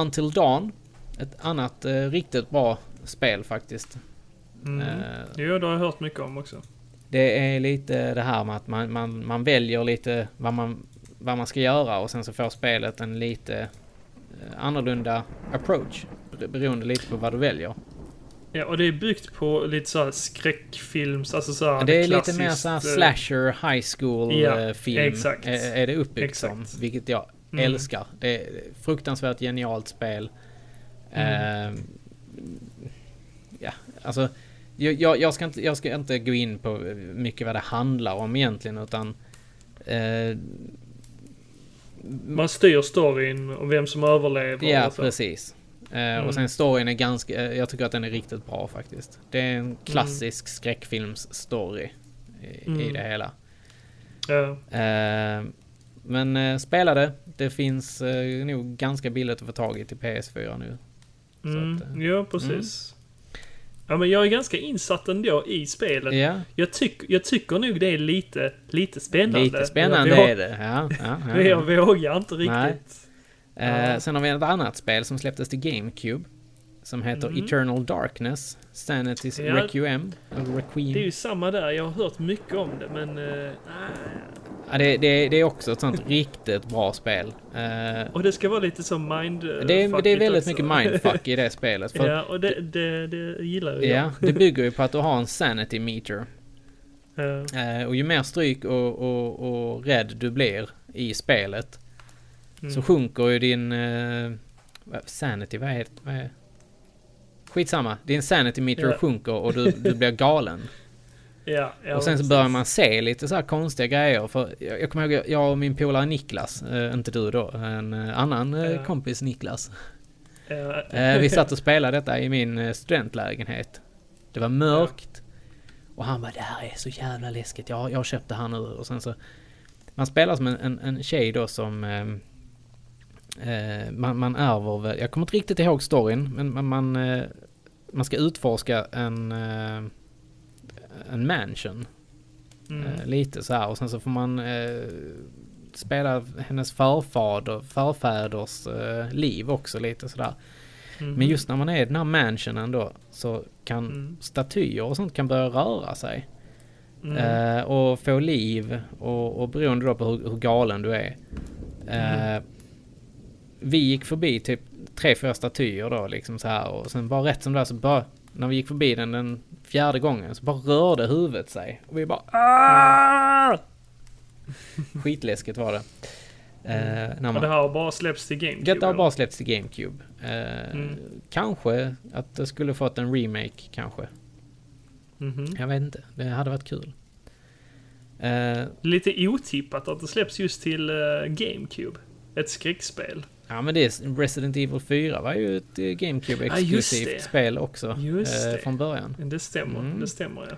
B: Until Dawn. Ett annat eh, riktigt bra spel faktiskt.
A: Mm.
B: Eh,
A: Jo, det har jag hört mycket om också.
B: det är lite det här med att man, man, man väljer lite vad man, vad man ska göra och sen så får spelet en lite eh, annorlunda approach. Beroende lite på vad du väljer.
A: Ja, och det är byggt på lite så här skräckfilms, alltså så här
B: Ja, det är lite
A: klassiskt,
B: mer såhär
A: eh,
B: slasher, high school
A: ja,
B: eh, film.
A: exakt.
B: Är, är det uppbyggt
A: Exakt. Mm.
B: som. Vilket jag älskar. Det är fruktansvärt genialt spel.
A: Mm.
B: Eh, ja, alltså. Jag, jag, jag, ska inte, jag ska inte gå in på mycket vad det handlar om egentligen utan... Eh,
A: Man styr storyn och vem som överlever.
B: ja,
A: och så.
B: precis. Eh,
A: Mm.
B: Och sen storyn är ganska... eh, Jag tycker att den är riktigt bra faktiskt. Det är
A: Mm.
B: en klassisk skräckfilmsstory i,
A: Mm.
B: i det hela.
A: Ja.
B: Eh, men eh, spela det. Det finns eh, nog ganska billigt att få tag i till PS4 nu.
A: Mm,
B: Så att, eh, Mm.
A: ja, precis. Ja, men jag är ganska insatt ändå i spelet.
B: Ja,
A: Jag, tyck, jag tycker nog det är lite, lite spännande.
B: lite spännande
A: jag,
B: är det. Ja, ja, ja.
A: Jag, jag vågar inte
B: Nej.
A: riktigt.
B: Eh, sen har vi ett annat spel som släpptes till GameCube. Som heter Eternal Darkness, Sanity's
A: Mm. Ja.
B: Requiem. eller Requiem.
A: Det är ju samma där, jag har hört mycket om det, men... eh,
B: Ja, det, det, det är också ett sånt riktigt bra spel. Eh,
A: och det ska vara lite som mind eh,
B: det, är, det är
A: fuckigt
B: väldigt
A: också.
B: mycket mindfuck i det spelet. För,
A: ja, och det, det, det gillar ju
B: ja,
A: jag.
B: det bygger ju på att du har en sanity meter.
A: Eh,
B: Eh, och ju mer stryk och, och, och rädd du blir i spelet
A: Mm.
B: så sjunker ju din... Eh, vad- sanity, vad är, vad är Skitsamma, din sanity meter
A: Ja.
B: sjunker och du, du blir galen.
A: ja, ja,
B: och sen så
A: precis.
B: börjar man se lite så här konstiga grejer. För jag, jag kommer ihåg, jag och min polare Niklas, eh, inte du då, en eh, annan eh,
A: Ja.
B: kompis Niklas.
A: Eh,
B: Eh, vi satt och spelade detta i min eh, studentlägenhet. Det var mörkt. Och han bara, det här är så jävla läskigt. Jag, jag köpte här nu. Och sen så... Man spelar som en, en, en tjej då som... ehm, Eh, man, man ärver... väl- Jag kommer inte riktigt ihåg storyn, men man... Man, eh, man ska utforska en... Eh, en mansion. Eh, lite så här. Och sen så får man... Eh, spela hennes förfader, förfäders eh, liv också lite sådär. Men just när man är i den här mansionen då så kan statyer och sånt kan börja röra sig. Eh, och få liv och, och beroende då på hur, hur galen du är. Eh, Vi gick förbi typ tre, fyra statyer då liksom så här och sen bara rätt som det är så bara när vi gick förbi den den fjärde gången så bara rörde huvudet sig. Och vi bara "Ah!" Skitläskigt var det. Eh, när
A: och
B: man,
A: det här har bara släppts till GameCube?
B: detta har
A: eller?
B: bara släppts till GameCube. Eh,
A: Mm.
B: Kanske att det skulle fått en remake, kanske.
A: Mhm.
B: Jag vet inte. Det hade varit kul. Eh,
A: Lite otippat att det släpps just till eh, GameCube. Ett skräckspel.
B: ja, men det är Resident Evil 4 var ju ett eh, GameCube-exklusivt
A: Ja, just det.
B: spel också.
A: Just
B: eh,
A: det.
B: Från början.
A: Det stämmer,
B: Mm.
A: det stämmer ja.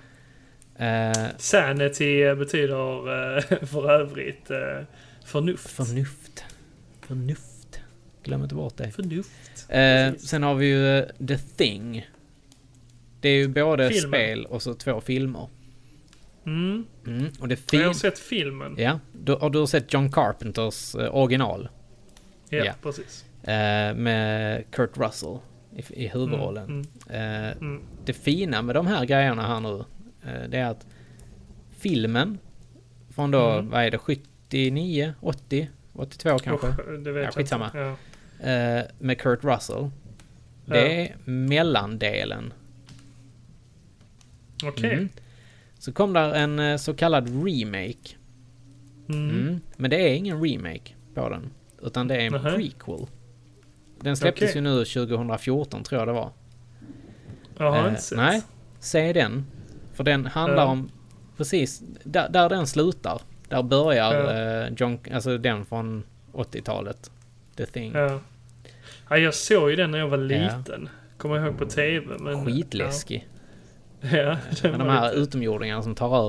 B: Eh,
A: Sanity eh, betyder eh, för övrigt eh, förnuft.
B: förnuft. Förnuft. Glöm inte bort det.
A: Förnuft.
B: Eh,
A: Precis.
B: sen har vi ju eh, The Thing. Det är ju både
A: Filmen.
B: spel och så två filmer.
A: Mm.
B: Mm, och det
A: Och Jag har
B: fin-
A: sett filmen.
B: Ja, du, och du har sett John Carpenters eh, original.
A: Ja,
B: Ja.
A: precis. Mm.
B: eh, med Kurt Russell i, i huvudrollen.
A: Mm.
B: Eh, Det fina med de här grejerna här nu, eh, det är att filmen från då, vad är det, 79, 80, 82 kanske,
A: Usch, det vet
B: Ja,
A: jag
B: skitsamma.
A: inte. Ja.
B: eh, med Kurt Russell.
A: Ja.
B: Det är mellandelen.
A: Okej.
B: Mm. Så kom där en eh, så kallad remake. Mm. Men det är ingen remake på den, utan det är en
A: Nähä.
B: prequel. Den släpptes
A: Okej.
B: ju nu 2014 tror jag det var.
A: Jag har
B: Eh,
A: inte sett.
B: Nej, se den. För den handlar
A: Ja.
B: om precis där, där den slutar. Där börjar
A: Ja.
B: eh, John, alltså den från 80-talet. The Thing.
A: Ja. ja, jag såg ju den när jag var
B: Ja. Mm.
A: liten. Kommer jag ihåg på TV. Men,
B: Skitläskig.
A: Ja, ja den
B: Med
A: var
B: de här
A: lite-
B: utomjordingarna som tar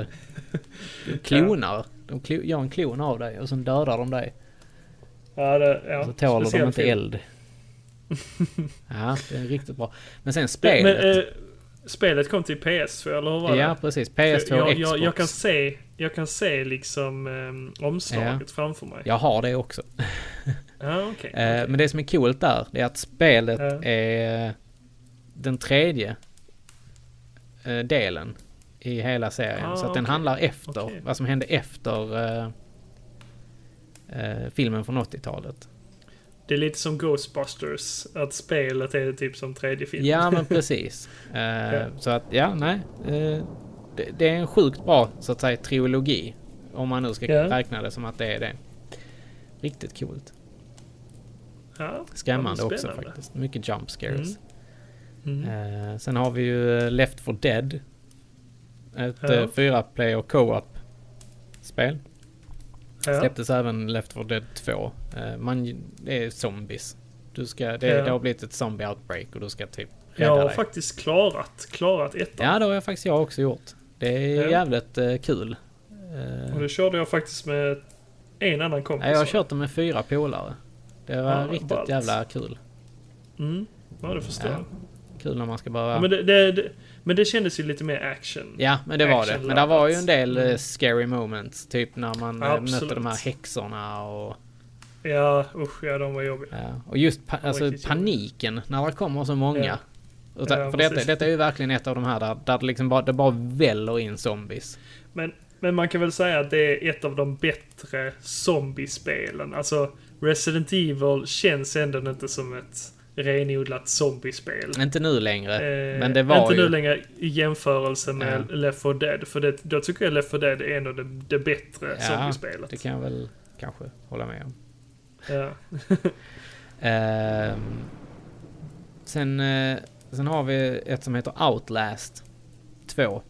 B: eh, klonar. De klo, gör en klon av dig och sen dödar de dig.
A: Ja, det, ja.
B: Så tål de
A: speciell
B: inte
A: film.
B: eld. ja, det är riktigt bra. Men sen
A: Men,
B: spelet.
A: eh, spelet kom till PS4, eller hur var
B: ja,
A: det?
B: precis. PS2 och
A: jag,
B: Xbox.
A: jag, jag, kan se, jag kan se liksom ehm, omslaget framför mig.
B: jag har det också.
A: Ja, okej.
B: Eh, Men det som är coolt där, det är att spelet
A: Ja.
B: är den tredje eh, delen i hela serien.
A: Ah,
B: så att den
A: okej.
B: handlar efter
A: Okej.
B: vad som hände efter eh, eh, filmen från 80-talet.
A: Det är lite som Ghostbusters, att spelet är typ som tredje film.
B: Ja, men precis. Eh, Så att, ja, nej. Eh, det, det är en sjukt bra, så att säga, trilogi. Om man nu ska
A: Ja.
B: räkna det som att det är det. Riktigt coolt.
A: Ja,
B: Skrämmande
A: ja, men
B: också
A: spännande. Mm.
B: faktiskt. Mycket jump scares. Eh, sen har vi ju eh, Left for Dead. Ett
A: Ja.
B: ja. fyra player co-op spel.
A: Ja.
B: Släpptes även Left for Dead 2. Eh, man, det är zombies. Du ska, det,
A: Ja.
B: det har blivit ett zombie outbreak och du ska typ rädda
A: Jag har
B: dig.
A: faktiskt klarat, klarat ettan.
B: Ja, det har jag faktiskt jag också gjort. Det är
A: Ja.
B: jävligt eh, kul.
A: Och det körde jag faktiskt med en annan kompis.
B: Ja, jag har kört det med fyra polare. Det var
A: Ja,
B: riktigt
A: ballt.
B: jävla kul.
A: Ja, det förstår
B: Ja.
A: jag.
B: Kul när man ska behöva...
A: Men det, det, det, men det kändes ju lite mer action.
B: Ja, men det var det. Men det var ju en del eh,
A: Mm.
B: scary moments. Typ när man eh,
A: Absolut.
B: mötte de här häxorna och...
A: Ja, usch ja, de var jobbiga.
B: Ja. Och just pa- alltså,
A: riktigt
B: paniken när det kommer så många. Utan,
A: Ja,
B: för detta,
A: precis.
B: detta är ju verkligen ett av de här där, där det, liksom bara, det bara väller in zombies.
A: Men, men man kan väl säga att det är ett av de bättre zombiespelen. Alltså, Resident Evil känns ändå inte som ett renodlat zombiespel.
B: Inte nu längre.
A: Eh,
B: men det var
A: inte
B: ju...
A: nu längre i jämförelse med Left 4 Dead. För det, då tycker jag Left 4 Dead är ändå det, det bättre
B: ja,
A: zombiespelet.
B: det kan jag väl kanske hålla med om.
A: Ja.
B: Ehm, sen, eh, sen har vi ett som heter Outlast 2.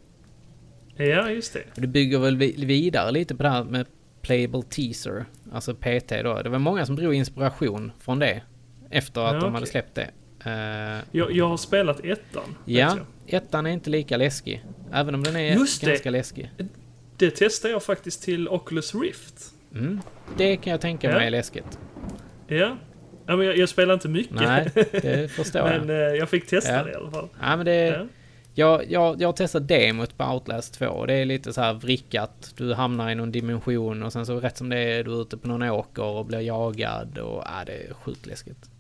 A: ja, just det.
B: Och Det bygger väl vi- vidare lite på det här med Playable Teaser, alltså PT då. Det var många som drog inspiration från det efter att
A: Ja,
B: de hade
A: okej.
B: släppt det. Eh,
A: Jag, jag har spelat ettan. vet
B: ja,
A: jag.
B: ettan är inte lika läskig. Även om den är
A: Just det.
B: ganska läskig.
A: Det testade jag faktiskt till Oculus Rift.
B: Mm. Det kan jag tänka
A: Ja.
B: mig är läskigt.
A: Ja. ja men jag, jag spelar inte mycket.
B: Nej, det förstår jag.
A: men eh, jag fick testa
B: Ja. Eh,
A: det i alla fall.
B: Nej, men det,
A: Ja.
B: Jag, jag, jag har testat demot på Outlast 2 och det är lite så här vrickat. Du hamnar i någon dimension och sen så rätt som det är du ute på någon åker och blir jagad och äh, det är sjukt läskigt.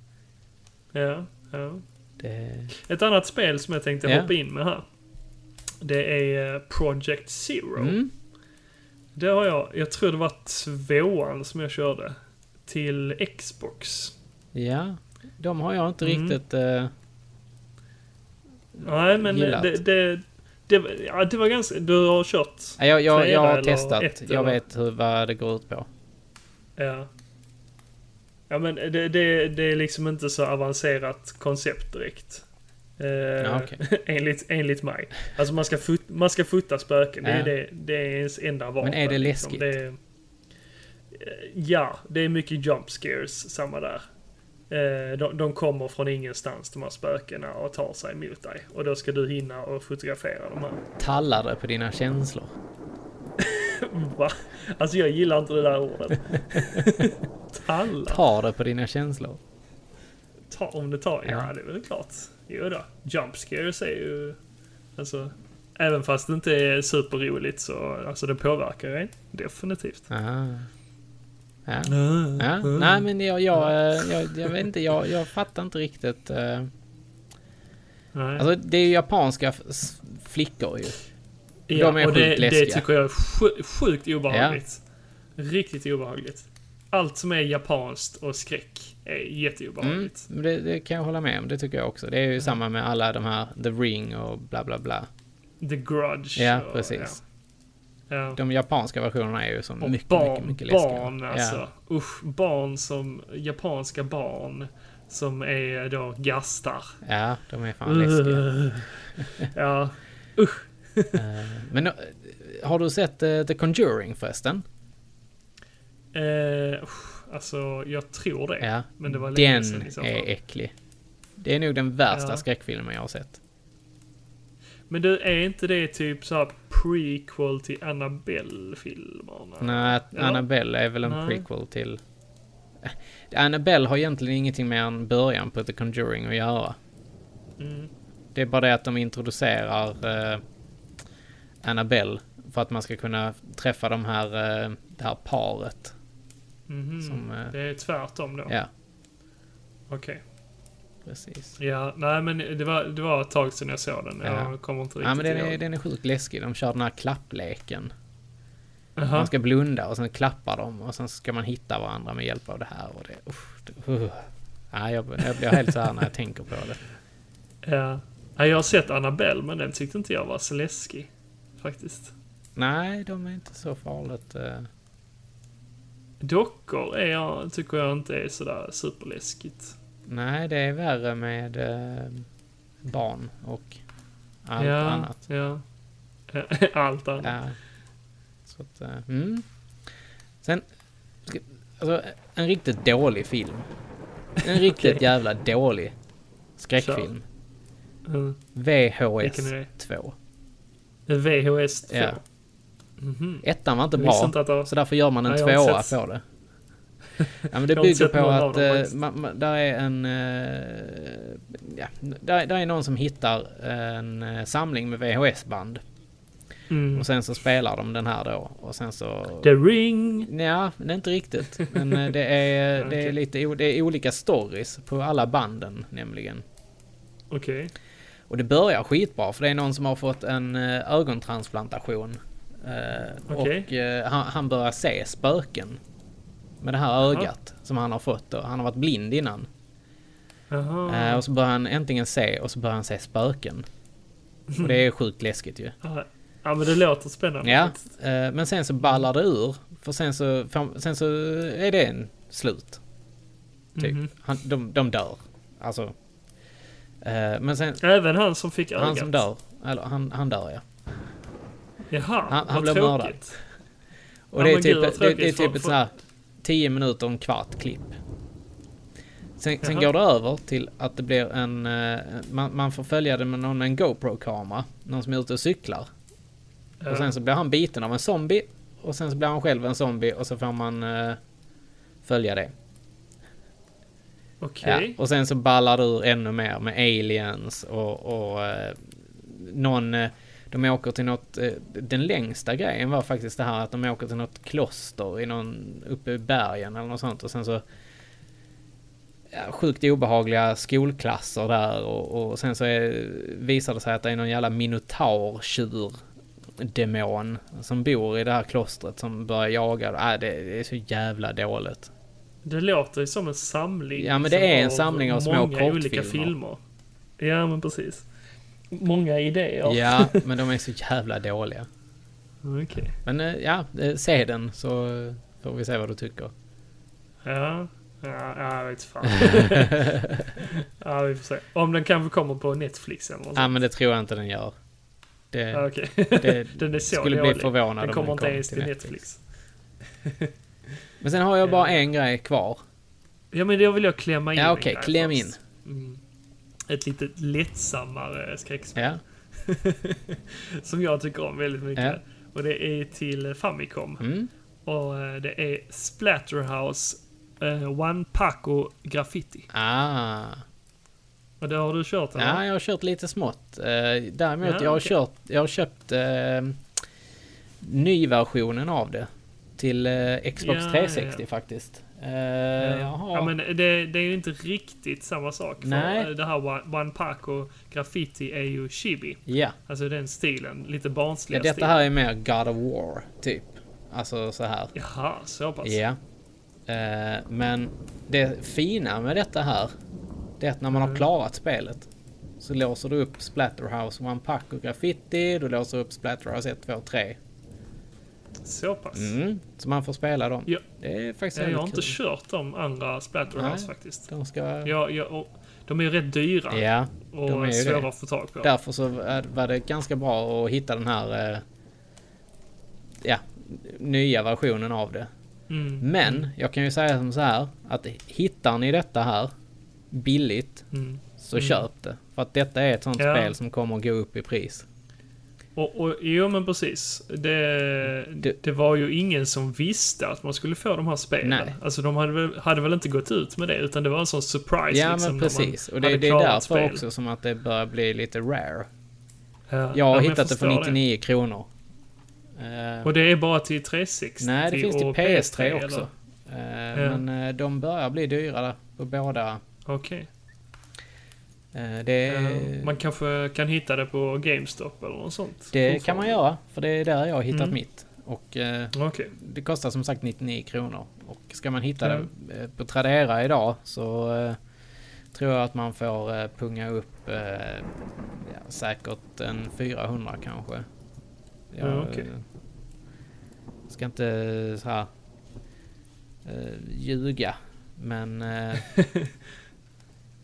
A: Ja, ja.
B: Det,
A: Ett annat spel som jag tänkte
B: Ja.
A: hoppa in med här. Det är eh, Project Zero.
B: Mm.
A: Det har jag. Jag tror det var tvåan som jag körde. Till Xbox.
B: ja, de har jag inte
A: Mm.
B: riktigt... eh,
A: Nej, men
B: Gillat.
A: det, det, det, ja, det var ganska... Du har kört?
B: nej, jag, jag,
A: Flera
B: jag har
A: eller
B: testat.
A: ett
B: jag
A: eller-
B: vet hur, vad det går ut på.
A: Ja. Ja, men det, det, det är liksom inte så avancerat koncept direkt. Eh,
B: Ja, okej.
A: enligt, enligt mig. Alltså man ska, fut, man ska fota spöken. Det,
B: Ja.
A: är det, det är ens enda vapen.
B: är det
A: liksom.
B: läskigt?
A: Det är- eh, ja, det är mycket jump scares, samma där. Eh, de, de kommer från ingenstans, de här spökena, och tar sig mot dig. Och då ska du hinna och fotografera de här.
B: Tallar det på dina känslor?
A: Va? Alltså jag gillar inte det där ordet. Talla.
B: Tar det på dina känslor?
A: ta, om det tar... Ja,
B: Ja.
A: det är väl klart. Jo då. Jump scares är ju... Alltså, även fast det inte är superroligt så alltså, det påverkar en definitivt.
B: Ah. Ja. Ja. Nej, men jag, jag, eh, jag, jag vet inte. Jag, jag fattar inte riktigt. eh,
A: Nej.
B: Alltså det är ju japanska f- s- flickor ju.
A: ja,
B: de är
A: och det,
B: sjukt läskiga.
A: det tycker jag är sju- sjukt obehagligt. Riktigt obehagligt. Allt som är japanskt och skräck är
B: Mm,
A: jätteobehagligt.
B: men det, det kan jag hålla med om. Det tycker jag också. Det är ju
A: Mm.
B: samma med alla de här The Ring och bla bla bla.
A: The Grudge.
B: Mm. Ja,
A: och,
B: precis.
A: Ja. Ja.
B: De japanska versionerna är ju som
A: Och
B: mycket,
A: barn,
B: mycket, mycket läskigare.
A: barn alltså. Usch, barn som japanska barn som är då gastar.
B: Ja, ja, de är fan läskiga.
A: Ugh. ja,
B: Men eh, har du sett eh, The Conjuring förresten?
A: eh, usch, alltså jag tror det.
B: Ja.
A: Men det var länge sedan
B: den
A: i så fall.
B: är äcklig. Det är nog den värsta
A: Ja.
B: skräckfilmen jag har sett.
A: Men du, är inte det typ så här prequel till Annabelle-filmerna?
B: Nej,
A: Ja.
B: Annabelle är väl en
A: Nej.
B: prequel till... Eh, Annabelle har egentligen ingenting med än början på The Conjuring att göra.
A: Mm.
B: Det är bara det att de introducerar eh, Annabelle för att man ska kunna träffa de här, eh, det här paret.
A: Mhm.
B: Som, eh,
A: Det är tvärtom då?
B: Ja,
A: Okej.
B: precis.
A: Ja, nej men det var, det var ett tag sedan jag såg den.
B: Ja.
A: Jag kommer inte riktigt
B: Ja, men den är,
A: ihåg.
B: den är sjukt läskig. De kör den här klappleken.
A: Aha.
B: Man ska blunda och sen klappar de och sen ska man hitta varandra med hjälp av det här. Och det, usch, det, uh. Nej, jag, jag blir helt så här när jag tänker på det.
A: Ja. Ja, jag har sett Annabelle, men den tyckte inte jag var så läskig. Faktiskt.
B: Nej, de är inte så farligt. eh.
A: Dockor är jag, tycker jag inte är sådär superläskigt.
B: Nej, det är värre med eh, barn och allt
A: ja,
B: annat.
A: Ja. Allt annat.
B: Ja. Så att, eh, mm. Sen, ska- alltså, en riktigt dålig film. En riktigt jävla dålig skräckfilm.
A: Mm. Vilken är
B: VHS 2.
A: VHS 2.
B: Ja. Ettan var inte
A: Mhm. Jag visste
B: bra,
A: inte att det var-
B: så därför gör man en
A: Nej, jag har
B: tvåa
A: inte sett-
B: på det. Ja, men det
A: Jag har inte
B: bygger
A: sett
B: på
A: någon av
B: att
A: dem
B: eh,
A: faktiskt.
B: man, man, där är en... eh, ja, där, där är någon som hittar en eh, samling med VHS-band.
A: Mm.
B: Och sen så spelar de den här då. Och sen så...
A: The Ring.
B: Nja, det är inte riktigt. Men eh, det är, det är
A: Okej.
B: lite o- det är olika stories på alla banden nämligen.
A: Okej.
B: Och det börjar skitbra för det är någon som har fått en eh, ögontransplantation. Eh,
A: Okej.
B: Och eh, han, han börjar se spöken. Med det här ögat som han har fått då. Han har varit blind innan.
A: Jaha.
B: Eh, och så börjar han äntligen se och så börjar han se spöken. Och det är sjukt läskigt ju.
A: Ja, Ja, men det låter spännande.
B: Ja, eh, men sen så ballar det ur. För sen så, fram- sen så är det en slut. Typ.
A: Mhm.
B: Han, de, de dör. Alltså. Eh, men sen,
A: Även han som fick ögat.
B: han som dör. Eller han, han dör ja.
A: Jaha,
B: han
A: vad
B: blev mördad.
A: tråkigt.
B: Och
A: Ja,
B: det, är
A: men
B: typ,
A: gud, vad
B: ett- det, det är
A: tråkigt,
B: typ
A: för-
B: ett
A: för-
B: sånt här 10 minuter och en kvart klipp. Sen, sen
A: Jaha.
B: går det över till att det blir en... eh, Man, man får följa det med någon med en GoPro-kamera. Någon som är ute och cyklar.
A: Ja.
B: Och sen så blir han biten av en zombie. Och sen så blir han själv en zombie och så får man eh, följa det.
A: Okej.
B: Ja. Och sen så ballar det ur ännu mer med aliens och, och eh, någon... Eh, de åker till något... Eh, den längsta grejen var faktiskt det här att de åker till något kloster i någon, uppe i bergen eller något sånt och sen så... Ja, sjukt obehagliga skolklasser där och, och sen så är, visar det sig att det är någon jävla minotaur demon som bor i det här klostret som börjar jaga. Ah, det, det är så jävla dåligt.
A: Det låter ju som en samling.
B: Ja, men det
A: liksom,
B: är en samling av små
A: Många olika
B: kortfilmer.
A: filmer. Ja, men precis. Många idéer.
B: Ja, men de är så jävla dåliga.
A: Okej.
B: Men eh, ja, eh, se den så eh, får vi se vad du tycker.
A: Ja. Ja, ja, jag vet fan. ja, vi får se. Om den kanske kommer på Netflix eller något
B: Ja,
A: sånt.
B: men det tror jag inte den gör. Det,
A: Ja, Okej.
B: det,
A: Den är så
B: skulle
A: dålig.
B: bli förvånad
A: Den
B: om
A: kommer
B: den
A: inte
B: kom
A: ens
B: till
A: till
B: Netflix.
A: Netflix.
B: Men sen har jag
A: Eh,
B: bara en grej kvar.
A: Ja, men då vill jag klämma in
B: Ja,
A: en
B: okej,
A: grej
B: kläm
A: först.
B: in.
A: Ett lite lättsammare skräckspel.
B: Ja,
A: Som jag tycker om väldigt mycket.
B: Ja.
A: Och det är till Famicom.
B: Mm.
A: Och eh, det är Splatterhouse eh, One Paco Graffiti.
B: ah.
A: Och det har du kört eller?
B: ja jag har kört lite smått. Eh, Däremot,
A: Ja,
B: jag, har
A: okej.
B: kört, jag har köpt eh, nyversionen av det. Till eh, Xbox
A: Ja, ja,
B: 360
A: ja.
B: faktiskt. Eh, Jag har...
A: Ja, men det, det är ju inte riktigt samma sak.
B: Nej.
A: För eh, det här One- One Paco Graffiti är ju chibi.
B: ja.
A: Alltså den stilen. Lite
B: Ja,
A: barnsliga
B: detta
A: stilen.
B: här är mer God of War, typ. Alltså så här.
A: Jaha, så pass.
B: Ja. Eh, men det fina med detta här, det är att när man
A: Mm.
B: har klarat spelet så låser du upp Splatterhouse One Pack och Graffiti, du låser upp Splatterhouse 1, 2, 3.
A: Så pass.
B: Mm. Så man får spela dem.
A: Ja.
B: Det är faktiskt
A: Ja, jag har
B: jävligt
A: inte
B: kul.
A: kört de andra Splatterhouse
B: Nej.
A: faktiskt.
B: De ska... Ja,
A: Jag, jag, och, de är ju rätt dyra. och
B: de är ju
A: svåra
B: det.
A: att få tag på.
B: Därför så är- var det ganska bra att hitta den här eh, ja, nya versionen av det.
A: Mm.
B: Men jag kan ju säga som så här att hittar ni detta här billigt
A: Mm.
B: så köp det. För att detta är ett sånt
A: Ja.
B: spel som kommer att gå upp i pris.
A: Och, och, jo men precis. Det,
B: Det-
A: det, var ju ingen som visste att man skulle få de här spelen.
B: Nej.
A: Alltså de hade väl, hade väl inte gått ut med det utan det var en sån surprise. liksom,
B: ja men
A: när man
B: precis. Och det,
A: hade
B: det är
A: klarat
B: därför
A: spel.
B: också som att det börjar bli lite rare.
A: Ja.
B: Jag har
A: Ja, men
B: hittat det för
A: förstår
B: 99 kronor. Eh,
A: Och det är bara till 360
B: nej det finns typ till
A: och
B: PS3
A: eller?
B: också. Eh,
A: Ja.
B: Men eh, de börjar bli dyrare på båda.
A: Okej.
B: Eh, det
A: Eh, Man kanske kan hitta det på GameStop eller något sånt?
B: det
A: fortfarande.
B: kan man göra. För det är där jag har hittat
A: Mm.
B: mitt. Och eh,
A: Okej.
B: Det kostar som sagt 99 kronor. Och ska man hitta det eh, på Tradera idag så eh, tror jag att man får eh, punga upp eh, ja, säkert en 400 kanske. Jag
A: Ja, okej.
B: eh, ska inte eh, så här eh, ljuga. Men eh,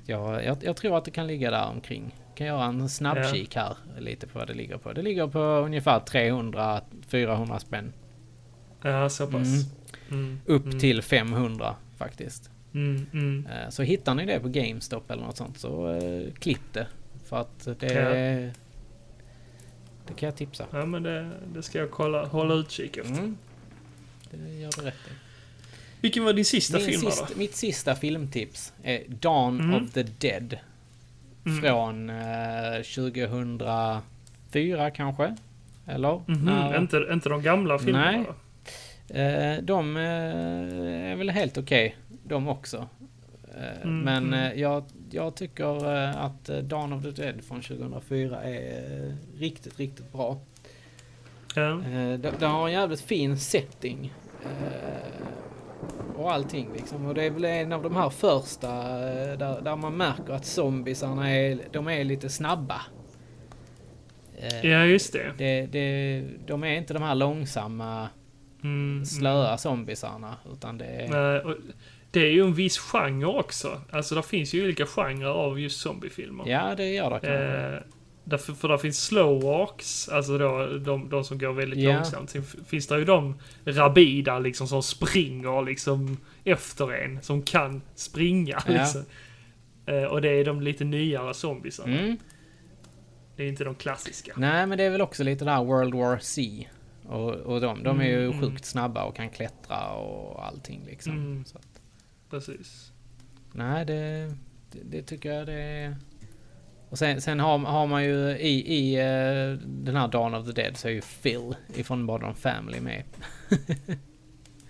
B: jag, jag, jag tror att det kan ligga där omkring. Kan göra en snabbkik här lite på vad det ligger på. Det ligger på ungefär 300-400 spänn.
A: Ja, så pass. Mm.
B: Upp till 500 faktiskt.
A: Mm, mm.
B: Eh, Så hittar ni det på GameStop eller något sånt så eh, klipp det. För att det... Det kan jag tipsa.
A: Ja, men det, det ska jag kolla, hålla utkik efter.
B: Mm. Det gör du rätt i.
A: Vilken var din sista
B: Min
A: film
B: sist- Mitt sista filmtips är Dawn of the Dead. Från eh, 2004 kanske? Eller?
A: då? Mhm,
B: När-
A: Inte, inte de gamla filmerna
B: Nej.
A: då?
B: Eh, de eh, är väl helt okej, de också. Eh,
A: Mm,
B: men eh, jag, jag tycker eh, att eh, Dawn of the Dead från 2004 är eh, riktigt, riktigt bra.
A: Ja. Mm.
B: Eh, den, den har en jävligt fin setting. Eh, och och allting liksom. Och det är väl en av de här första eh, där, där man märker att zombisarna är, de är lite snabba. Eh,
A: Ja, just det.
B: Det, det, de är inte de här långsamma,
A: Mm.
B: slöa zombisarna. Utan det är...
A: Nej, och Det är ju en viss genre också. Alltså, det finns ju olika genrer av just zombiefilmer.
B: Ja, det gör det kanske.
A: Eh, därför, för där finns slow walks, alltså då, de, de som går väldigt
B: Ja.
A: långsamt. Sen f- finns det ju de rabida liksom som springer liksom efter en, som kan springa.
B: Ja.
A: Liksom. Eh, och det är de lite nyare zombisarna.
B: Mm.
A: Det är inte de klassiska.
B: Nej, men det är väl också lite där World War C. Och, och de, de är ju sjukt snabba och kan klättra och allting liksom.
A: Mm.
B: Så att,
A: Precis.
B: nej, det, det, det tycker jag det är... Och sen, sen har, har man ju i, i eh, den här Dawn of the Dead så är ju Phil ifrån Modern Family med.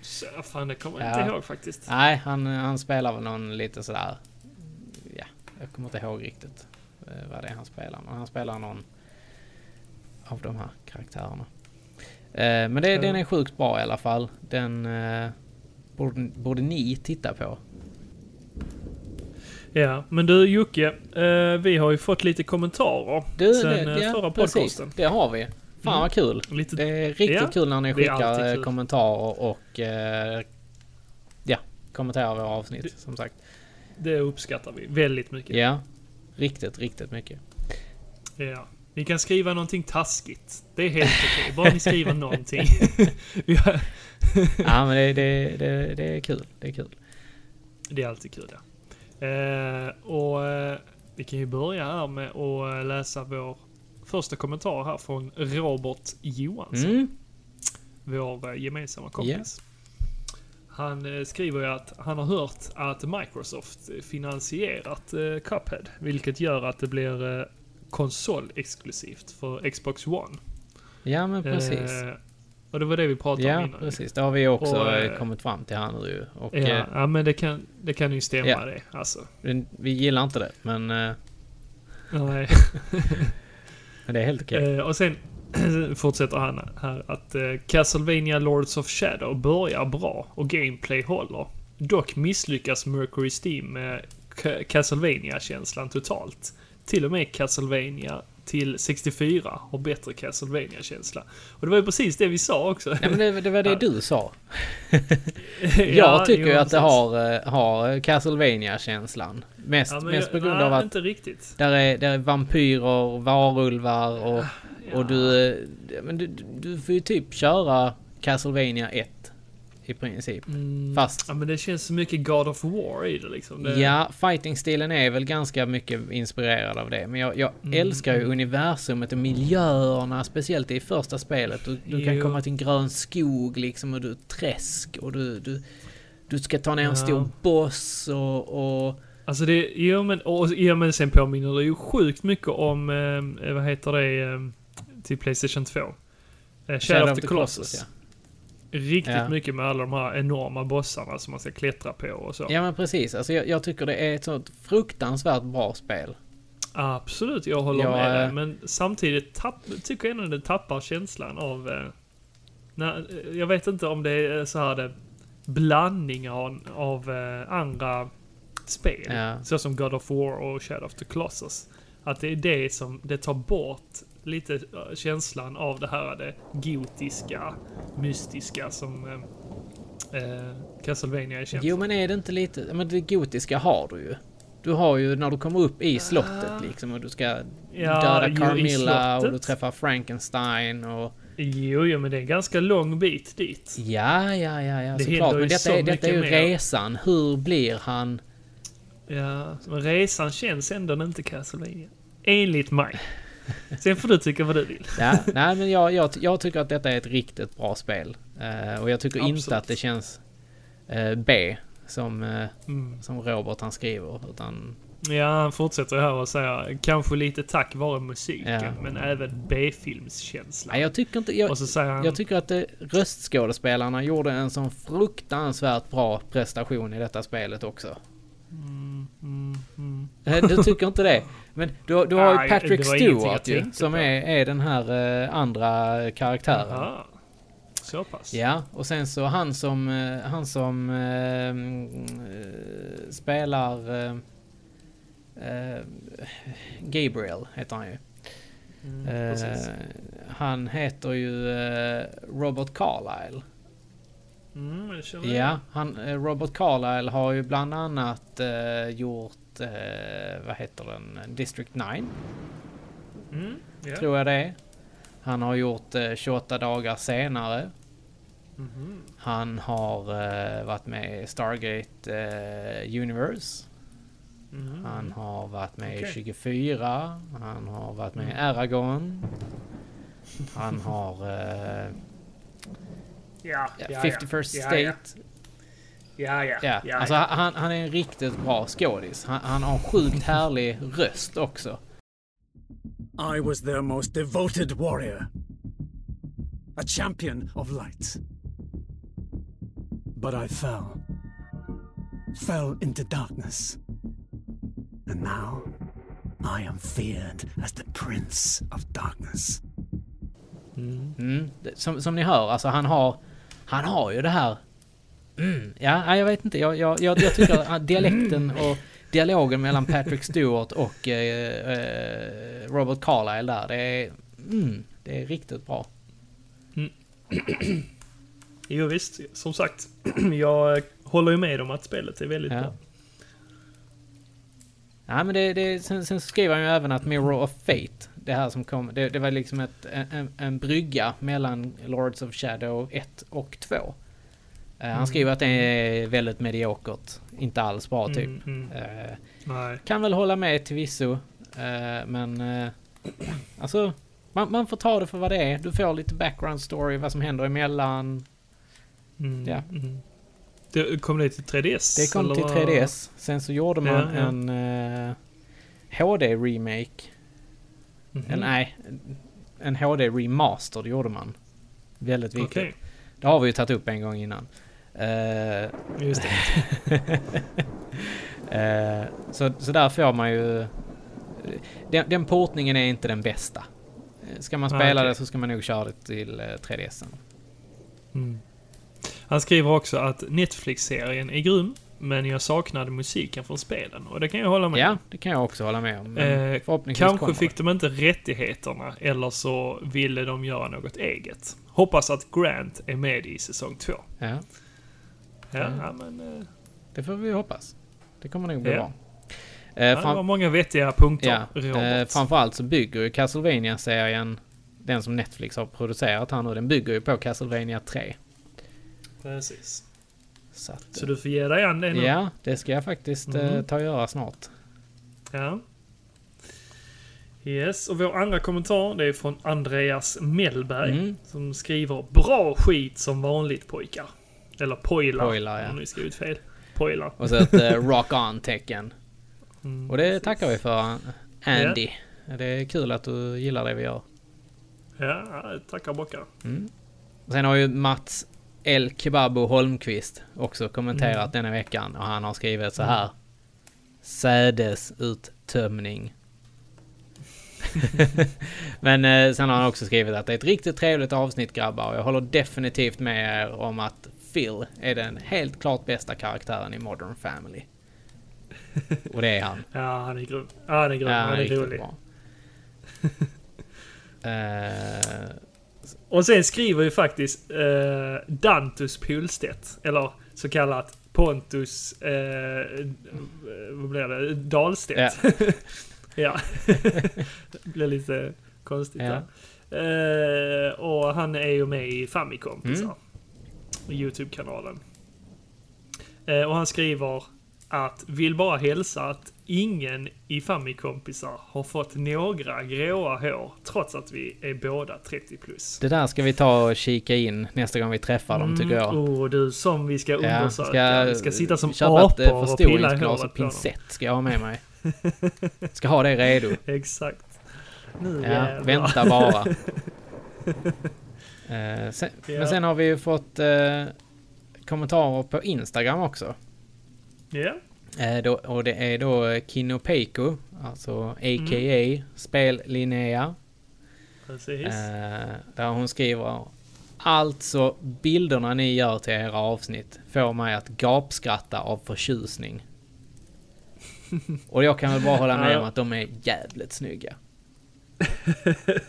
A: Så, fan, det kommer jag
B: Ja.
A: inte ihåg faktiskt.
B: Nej, han, han spelar väl någon lite sådär... Ja, jag kommer inte ihåg riktigt eh, vad det är han spelar. Men han spelar någon av de här karaktärerna. Eh, Men det,
A: Ja.
B: den är sjukt bra i alla fall. Den eh, borde, borde ni titta på.
A: Ja, men du Jocke, eh, vi har ju fått lite kommentarer
B: Du,
A: sen
B: det,
A: eh,
B: ja,
A: förra
B: precis.
A: podcasten. Mm.
B: Det har vi. Fan vad kul.
A: Lite-
B: det är riktigt
A: Ja,
B: kul när ni
A: det är alltid
B: skickar eh,
A: kul.
B: kommentarer och eh, ja, kommenterar våra avsnitt som sagt.
A: Det uppskattar vi väldigt mycket.
B: Ja, riktigt, riktigt mycket.
A: Ja. Ni kan skriva någonting taskigt. Det är helt okej. Bara ni skriver någonting. Vi har-
B: Ja, men det, det, det, det är kul. Det är kul.
A: det är alltid kul. Ja. Eh, och eh, vi kan ju börja här med att eh, läsa vår första kommentar här från Robert Johansson.
B: Mm.
A: vår eh, gemensamma kompis. Han eh, skriver ju att han har hört att Microsoft finansierat eh, Cuphead, vilket gör att det blir eh, konsolexklusivt för Xbox One.
B: Ja, men precis.
A: Eh, och det var det vi pratade om
B: ja,
A: innan.
B: precis. Det har vi också
A: Och,
B: eh,
A: eh,
B: kommit fram till här nu ju. Och
A: Ja,
B: eh,
A: ja, men det kan, det kan ju stämma
B: Ja.
A: det. Alltså.
B: vi- vi gillar inte det, men, eh,
A: Nej.
B: men det är helt okej.
A: Eh, och sen fortsätter han här att eh, Castlevania Lords of Shadow börjar bra och gameplay håller. Dock misslyckas Mercury Steam med Ca- Castlevania-känslan totalt. Till och med Castlevania till 64 har bättre Castlevania-känsla. Och det var ju precis det vi sa också.
B: Nej, men det, det var det
A: Ja.
B: du sa.
A: Ja,
B: Jag tycker
A: jo,
B: ju att
A: precis.
B: det har, eh, har Castlevania-känslan. Mest,
A: Ja, men
B: mest
A: jag-
B: på grund
A: nej,
B: av att
A: inte riktigt.
B: där är, där är vampyrer, varulvar och,
A: Ja.
B: och du, eh, men du... Du får ju typ köra Castlevania 1 i princip.
A: Mm.
B: Fast
A: Ja, men det känns så mycket God of War i det liksom. Det,
B: Ja, fighting-stilen är väl ganska mycket inspirerad av det. Men jag, jag
A: Mm,
B: älskar ju universumet och miljöerna, speciellt i första spelet. Du, du kan
A: Jo.
B: komma till en grön skog liksom och du träsk och du, du, du ska ta ner en stor boss och... och
A: Alltså det, jo men, och, jo men sen påminner det ju sjukt mycket om, eh, vad heter det, eh, till Playstation 2. Eh, Shadow, of the Colossus. Riktigt
B: Ja.
A: mycket med alla de här enorma bossarna som man ska klättra på och så.
B: ja. ja, men precis. Alltså, jag, jag tycker det är ett sånt fruktansvärt bra spel.
A: Absolut, jag håller
B: Ja,
A: med dig.
B: eh.
A: Men samtidigt tapp, tycker jag ändå det tappar känslan av... Eh, när, eh, jag vet inte om det är så här det, blandning av, av eh, andra spel.
B: Ja.
A: Så som God of War och Shadow of the Colossus. Att det är det som det tar bort lite eh, känslan av det här det gotiska, mystiska som eh, eh, Castlevania är känt
B: Jo,
A: för.
B: men är det inte lite... Men det gotiska har du ju. Du har ju när du kommer upp i
A: Ah.
B: slottet liksom och du ska
A: Ja,
B: döda
A: jo, i
B: Carmilla och du
A: slottet.
B: träffar Frankenstein och...
A: Jo, jo, men det är en ganska lång bit dit.
B: Ja, ja, ja, ja
A: Det
B: såklart.
A: händer ju
B: Men
A: så
B: detta är, detta är ju
A: mycket mer.
B: resan. Hur blir han?
A: Ja, men resan känns ändå inte Castlevania. Enligt mig. Sen får du tycka vad du vill.
B: Ja, nej, men jag, jag, jag tycker att detta är ett riktigt bra spel. Eh, och jag tycker
A: Absolut.
B: inte att det känns eh, B som, eh,
A: Mm.
B: som Robert han skriver. Utan,
A: Ja, han fortsätter här och säger kanske lite tack vare musiken,
B: Ja.
A: men även B-filmskänslan.
B: nej, jag tycker inte... Jag,
A: och så säger han...
B: jag tycker att eh, röstskådespelarna gjorde en sån fruktansvärt bra prestation i detta spelet också.
A: Mm,
B: Eh, Du tycker inte det? Men du, du
A: Nej,
B: har ju
A: det
B: Patrick
A: var ingenting jag
B: Stewart ju,
A: tänkte
B: som
A: på.
B: är, är den här eh, andra karaktären.
A: ah, Så pass?
B: Ja, och sen så han som, eh, han som eh, mm, eh, spelar eh, eh, Gabriel heter han ju. Eh,
A: Mm, precis.
B: han heter ju eh, Robert Carlyle.
A: Mm, det känner jag.
B: Ja, han, eh, Robert Carlyle har ju bland annat eh, gjort, eh, vad heter den, District 9
A: Mm, ja.
B: tror jag det är. Han har gjort eh, 28 dagar senare.
A: Mhm.
B: Han har eh, varit med i Stargate eh, Universe.
A: Mhm.
B: Han har varit med i
A: Okej. Mm.
B: 24. Han har varit med i Aragon. Han har eh,
A: Ja, ja, ja.
B: 51st
A: ja,
B: State.
A: Ja, ja.
B: Ja,
A: ja,
B: alltså
A: ja.
B: han, han är en riktigt bra skådis. Han, han har en sjukt härlig röst också.
H: I was their most devoted warrior, a champion of light. But I fell, fell into darkness. And now I am feared as the Prince of Darkness.
B: Mm. det- Som, som ni hör, alltså han har, han har ju det här... Mm. Ja, nej, jag vet inte. Jag, jag, jag, jag tycker att dialekten
A: Mm.
B: och dialogen mellan Patrick Stewart och eh, eh, Robert Carlyle där, det är, mm, det är riktigt bra.
A: Jo, visst, som sagt. jag eh, håller ju med om att spelet är väldigt
B: Ja.
A: bra.
B: Nej, men det, det, sen, sen så skriver han ju även att Mirror of Fate, det här som kom, det, det var liksom ett, en- en, en brygga mellan Lords of Shadow 1 och 2. Eh,
A: Mm.
B: han skriver att det är väldigt mediokert, inte alls bra typ.
A: Mm, mm.
B: Eh,
A: Nej.
B: kan väl hålla med till visso, eh, men eh, alltså man, man får ta det för vad det är. Du får lite background story, vad som händer emellan.
A: Mm,
B: Ja.
A: mm. Det, kom det till 3DS?
B: Det kom
A: eller
B: till
A: vad?
B: 3DS. Sen så gjorde man
A: Ja, ja.
B: en eh, HD-remake.
A: Mhm.
B: En, nej, en HD remaster det gjorde man. Väldigt viktigt.
A: Okej,
B: Det har vi ju tagit upp en gång innan. Eh,
A: just det.
B: eh, så, så där får man ju... Den, den portningen är inte den bästa. Eh, Ska man
A: Ah,
B: spela
A: okej.
B: det så ska man nog köra det till eh, 3DSen.
A: Han skriver också att Netflix-serien är grym, men jag saknade musiken från spelen. Och det kan jag hålla med
B: Ja,
A: om.
B: det kan jag också hålla med om. men
A: Eh,
B: förhoppningsvis
A: kanske
B: kommer det.
A: fick de inte rättigheterna, eller så ville de göra något eget. Hoppas att Grant är med i säsong två.
B: Ja,
A: Ja,
B: Mm.
A: ja, men, eh,
B: det får vi hoppas. Det kommer nog bli
A: Ja.
B: bra. Eh,
A: det
B: fram-
A: var många vettiga punkter,
B: Ja, eh,
A: Robert.
B: framförallt så bygger ju Castlevania-serien, den som Netflix har producerat här nu, den bygger ju på Castlevania 3.
A: Precis.
B: Så att, eh,
A: Så du får ge dig an det Mm. nu.
B: ja, det ska jag faktiskt eh, ta och göra snart.
A: Ja. Yes, och vår andra kommentar det är från Andreas Mellberg
B: Mm.
A: som skriver “Bra skit som vanligt pojkar”. Eller pojlar,
B: Pojlar, ja.
A: om ni skrivit fel. Pojlar.
B: Och så ett eh, rock on-tecken.
A: Mm,
B: Och det tackar vi för, Andy. Det är kul att du gillar det vi gör.
A: Ja, tackar bockar.
B: Sen har ju Mats El Kebabo Holmqvist också
A: Mm.
B: kommenterat denna veckan och han har skrivit så här. Sädesuttömning. Men eh, sen har han också skrivit att det är ett riktigt trevligt avsnitt grabbar och jag håller definitivt med er om att Phil är den helt klart bästa karaktären i Modern Family. Och det är han.
A: Ja, han är grym. Ja, han är grym.
B: Ja,
A: han är
B: riktigt
A: rolig.
B: bra. Eh,
A: Och sen skriver ju faktiskt eh, Dantus Pulstedt, eller så kallat Pontus... Eh, eh, vad blir det? Dahlstedt. Ja. det blir lite konstigt
B: Ja.
A: där. Eh, och han är ju med i Famicompisar. I Youtube-kanalen. Eh, och han skriver att vill bara hälsa att ingen i Famicompisar har fått några gråa hår trots att vi är båda 30 plus.
B: Det där ska vi ta och kika in nästa gång vi träffar dem tycker jag.
A: Oh, du som vi ska undersöka. vi ska sitta som
B: köpa ett, eh,
A: apor och pilla i
B: förstoringsglas
A: håret
B: och
A: på dem.
B: pincett ska jag ha med mig. Ska ha det redo.
A: Exakt. Nu
B: Ja,
A: jävlar.
B: vänta bara. Eh, sen,
A: Ja.
B: Men sen har vi ju fått eh, kommentarer på Instagram också.
A: Ja,
B: Eh, då, och det är då eh, Kino Peiko, alltså a.k.a.
A: Mm.
B: Spel Linnea.
A: precis.
B: Eh, där hon Eh, skriver Alltså, bilderna ni gör till era avsnitt får mig att gapskratta av förtjusning. Och jag kan väl bara hålla med om att de är jävligt snygga.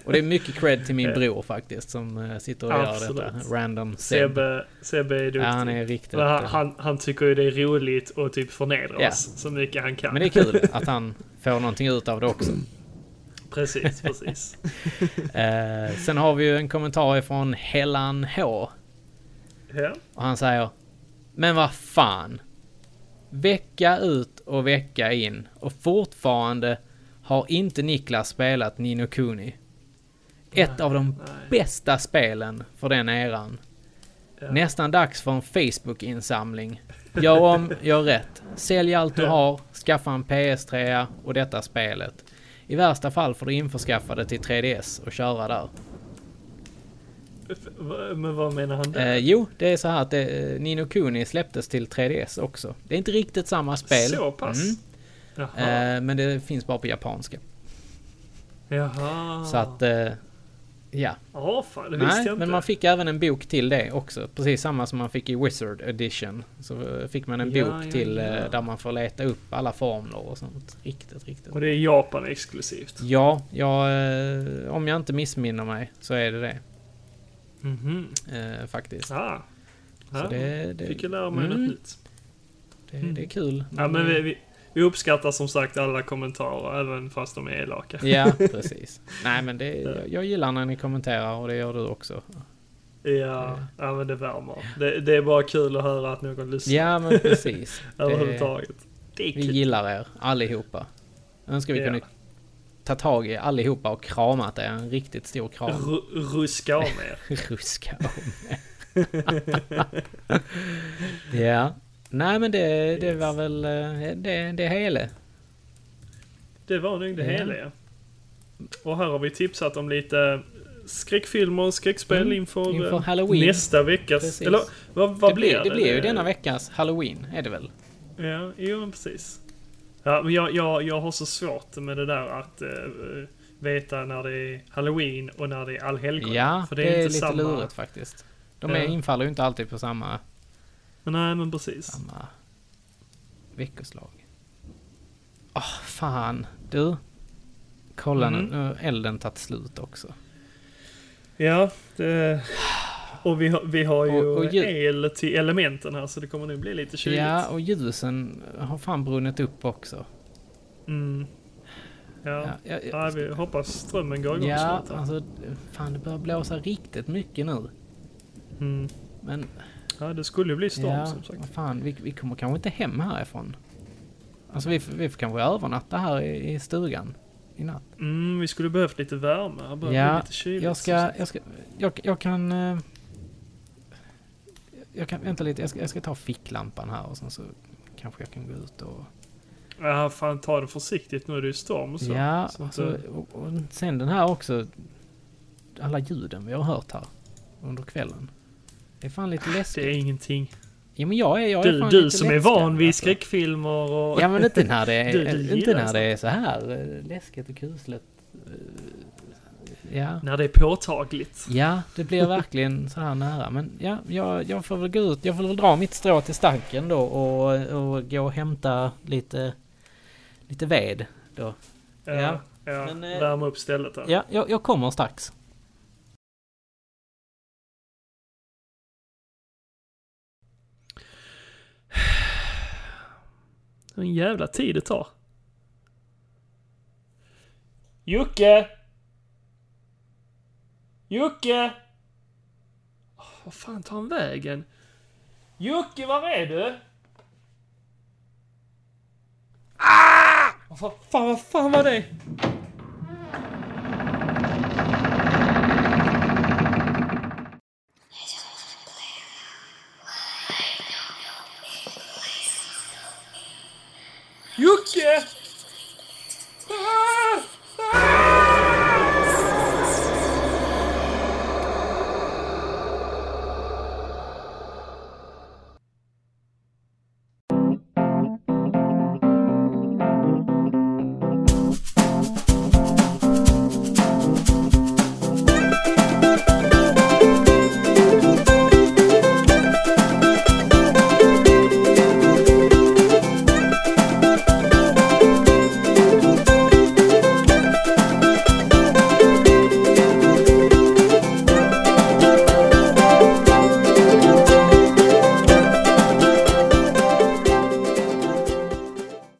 B: Och det är mycket cred till min bror faktiskt som eh, sitter och
A: Absolut.
B: gör detta. Random Seb.
A: Sebbe, Sebbe är duktig.
B: Ja, han är riktigt
A: Men han,
B: duktig.
A: han, han tycker ju det är roligt och typ förnedrar
B: Ja.
A: oss så mycket han kan.
B: Men det är kul att han får någonting ut av det också.
A: Precis, precis.
B: Eh, sen har vi ju en kommentar ifrån Hellan H.
A: ja.
B: Och han säger Men vad fan. Vecka ut och vecka in och fortfarande har inte Niklas spelat Nino Kuni. Ett av de bästa spelen för den eran. Nästan dags för en Facebook-insamling. Gör om, gör rätt. Sälj allt du har, skaffa en PS3 och detta spelet. I värsta fall får du införskaffa det till 3DS och köra där.
A: F- va- Men vad menar han där?
B: Eh, jo, det är så här att det, eh, Nino Kuni släpptes till 3DS också. Det är inte riktigt samma spel.
A: Så pass?
B: Mm.
A: Jaha.
B: Eh, men det finns bara på japanska.
A: Jaha.
B: Så att... Eh, ja.
A: Ja, fan, det visste
B: Nej,
A: jag inte.
B: men man fick även en bok till det också. Precis samma som man fick i Wizard Edition. Så eh, fick man en
A: Ja,
B: bok
A: ja,
B: till eh,
A: ja.
B: där man får leta upp alla formler och sånt. Riktigt, riktigt.
A: Och det är Japan exklusivt.
B: Ja, jag, eh, om jag inte missminner mig så är det det.
A: Mhm.
B: Eh, faktiskt.
A: Ah.
B: Så
A: Ah.
B: det, det,
A: Fick jag lära mig
B: Mm.
A: något nytt.
B: det, det är kul.
A: Ja, men vi, vi, vi uppskattar som sagt alla kommentarer, även fast de är elaka.
B: Ja, precis. Nej, men det, jag, jag gillar när ni kommenterar och det gör du också.
A: Ja, ja men det värmer. Det, det är bara kul att höra att någon lyssnar
B: Ja, men precis. Det,
A: överhuvudtaget. Det är
B: vi
A: kul.
B: gillar er allihopa. Önskar vi
A: Ja.
B: kunde ta tag i allihopa och kramat er en riktigt stor kram.
A: Ru- Ruska om er.
B: Ruska om er. Ja. Nej, men det, det var väl eh, det, det hela.
A: Det var nog det
B: Ja.
A: hela. ja. Och här har vi tipsat om lite skräckfilmer och skräckspel
B: Mm,
A: inför,
B: inför
A: eh,
B: Halloween.
A: nästa veckas...
B: Precis.
A: Eller vad, vad
B: det
A: blir det?
B: det blir ju denna veckas halloween, är det väl?
A: Ja, jo men precis. Ja, men jag, jag, jag har så svårt med det där att eh, veta när det är halloween och när det är allhelgona.
B: Ja,
A: För
B: det, är lite lurigt faktiskt. De är,
A: Ja.
B: infaller ju inte alltid på samma,
A: Nej, men precis.
B: samma veckoslag. Åh, fan. Du. Kolla
A: Mm.
B: nu, nu har elden tagit slut också.
A: Ja, det... Och vi, har- vi har ju
B: Och- och ju-
A: el till elementen här så det kommer nog bli lite kyligt.
B: Ja, och ljusen har fan brunnit upp också.
A: Mm. Ja.
B: Ja, jag, jag,
A: Ja, vi hoppas strömmen går igång
B: ja
A: snart. här.
B: alltså fan det börjar blåsa riktigt mycket nu.
A: Mm.
B: Men
A: Ja, det skulle ju bli storm
B: ja,
A: som sagt.
B: vad fan vi, vi kommer kanske inte hem härifrån. Alltså vi, får- vi får kanske övernatta här i, i stugan i natt.
A: Mm, vi skulle behövt lite värme. Här börjar bli
B: Ja,
A: lite kyligt.
B: jag
A: som
B: ska,
A: sagt.
B: jag ska, jag, jag kan... eh, Jag kan, vänta lite, jag ska, jag ska ta ficklampan här och sen så kanske jag kan gå ut och...
A: Ja, fan ta det försiktigt nu. Det är ju storm och så.
B: ja,
A: Så att,
B: alltså,
A: eh,
B: och, och sen den här också. Alla ljuden vi har hört här under kvällen. Det är fan lite läskigt.
A: Ah, det är ingenting.
B: Ja men jag är, jag är
A: Du,
B: fan
A: du
B: lite
A: som är
B: lättskrämd,
A: van vid
B: alltså.
A: skräckfilmer och...
B: Ja men inte när det är,
A: Du- du
B: inte
A: gillar
B: när
A: sånt.
B: det är så här eh, läskigt och kusligt. Eh, Ja.
A: När det är påtagligt.
B: Ja, det blir verkligen så här nära. Men ja, jag, jag får väl gå ut. Jag får väl dra mitt strå till stanken då och, och gå och hämta lite, lite ved då.
A: Ja.
B: Ja.
A: ja.
B: Men, eh,
A: Värma upp stället här.
B: Ja, jag, jag kommer strax.
A: Vilken jävla tid det tar. Jocke! Jocke! Åh, Vad fan tar han vägen? Jocke, var är du? Ah! Vad fan, fan, vad fan var det?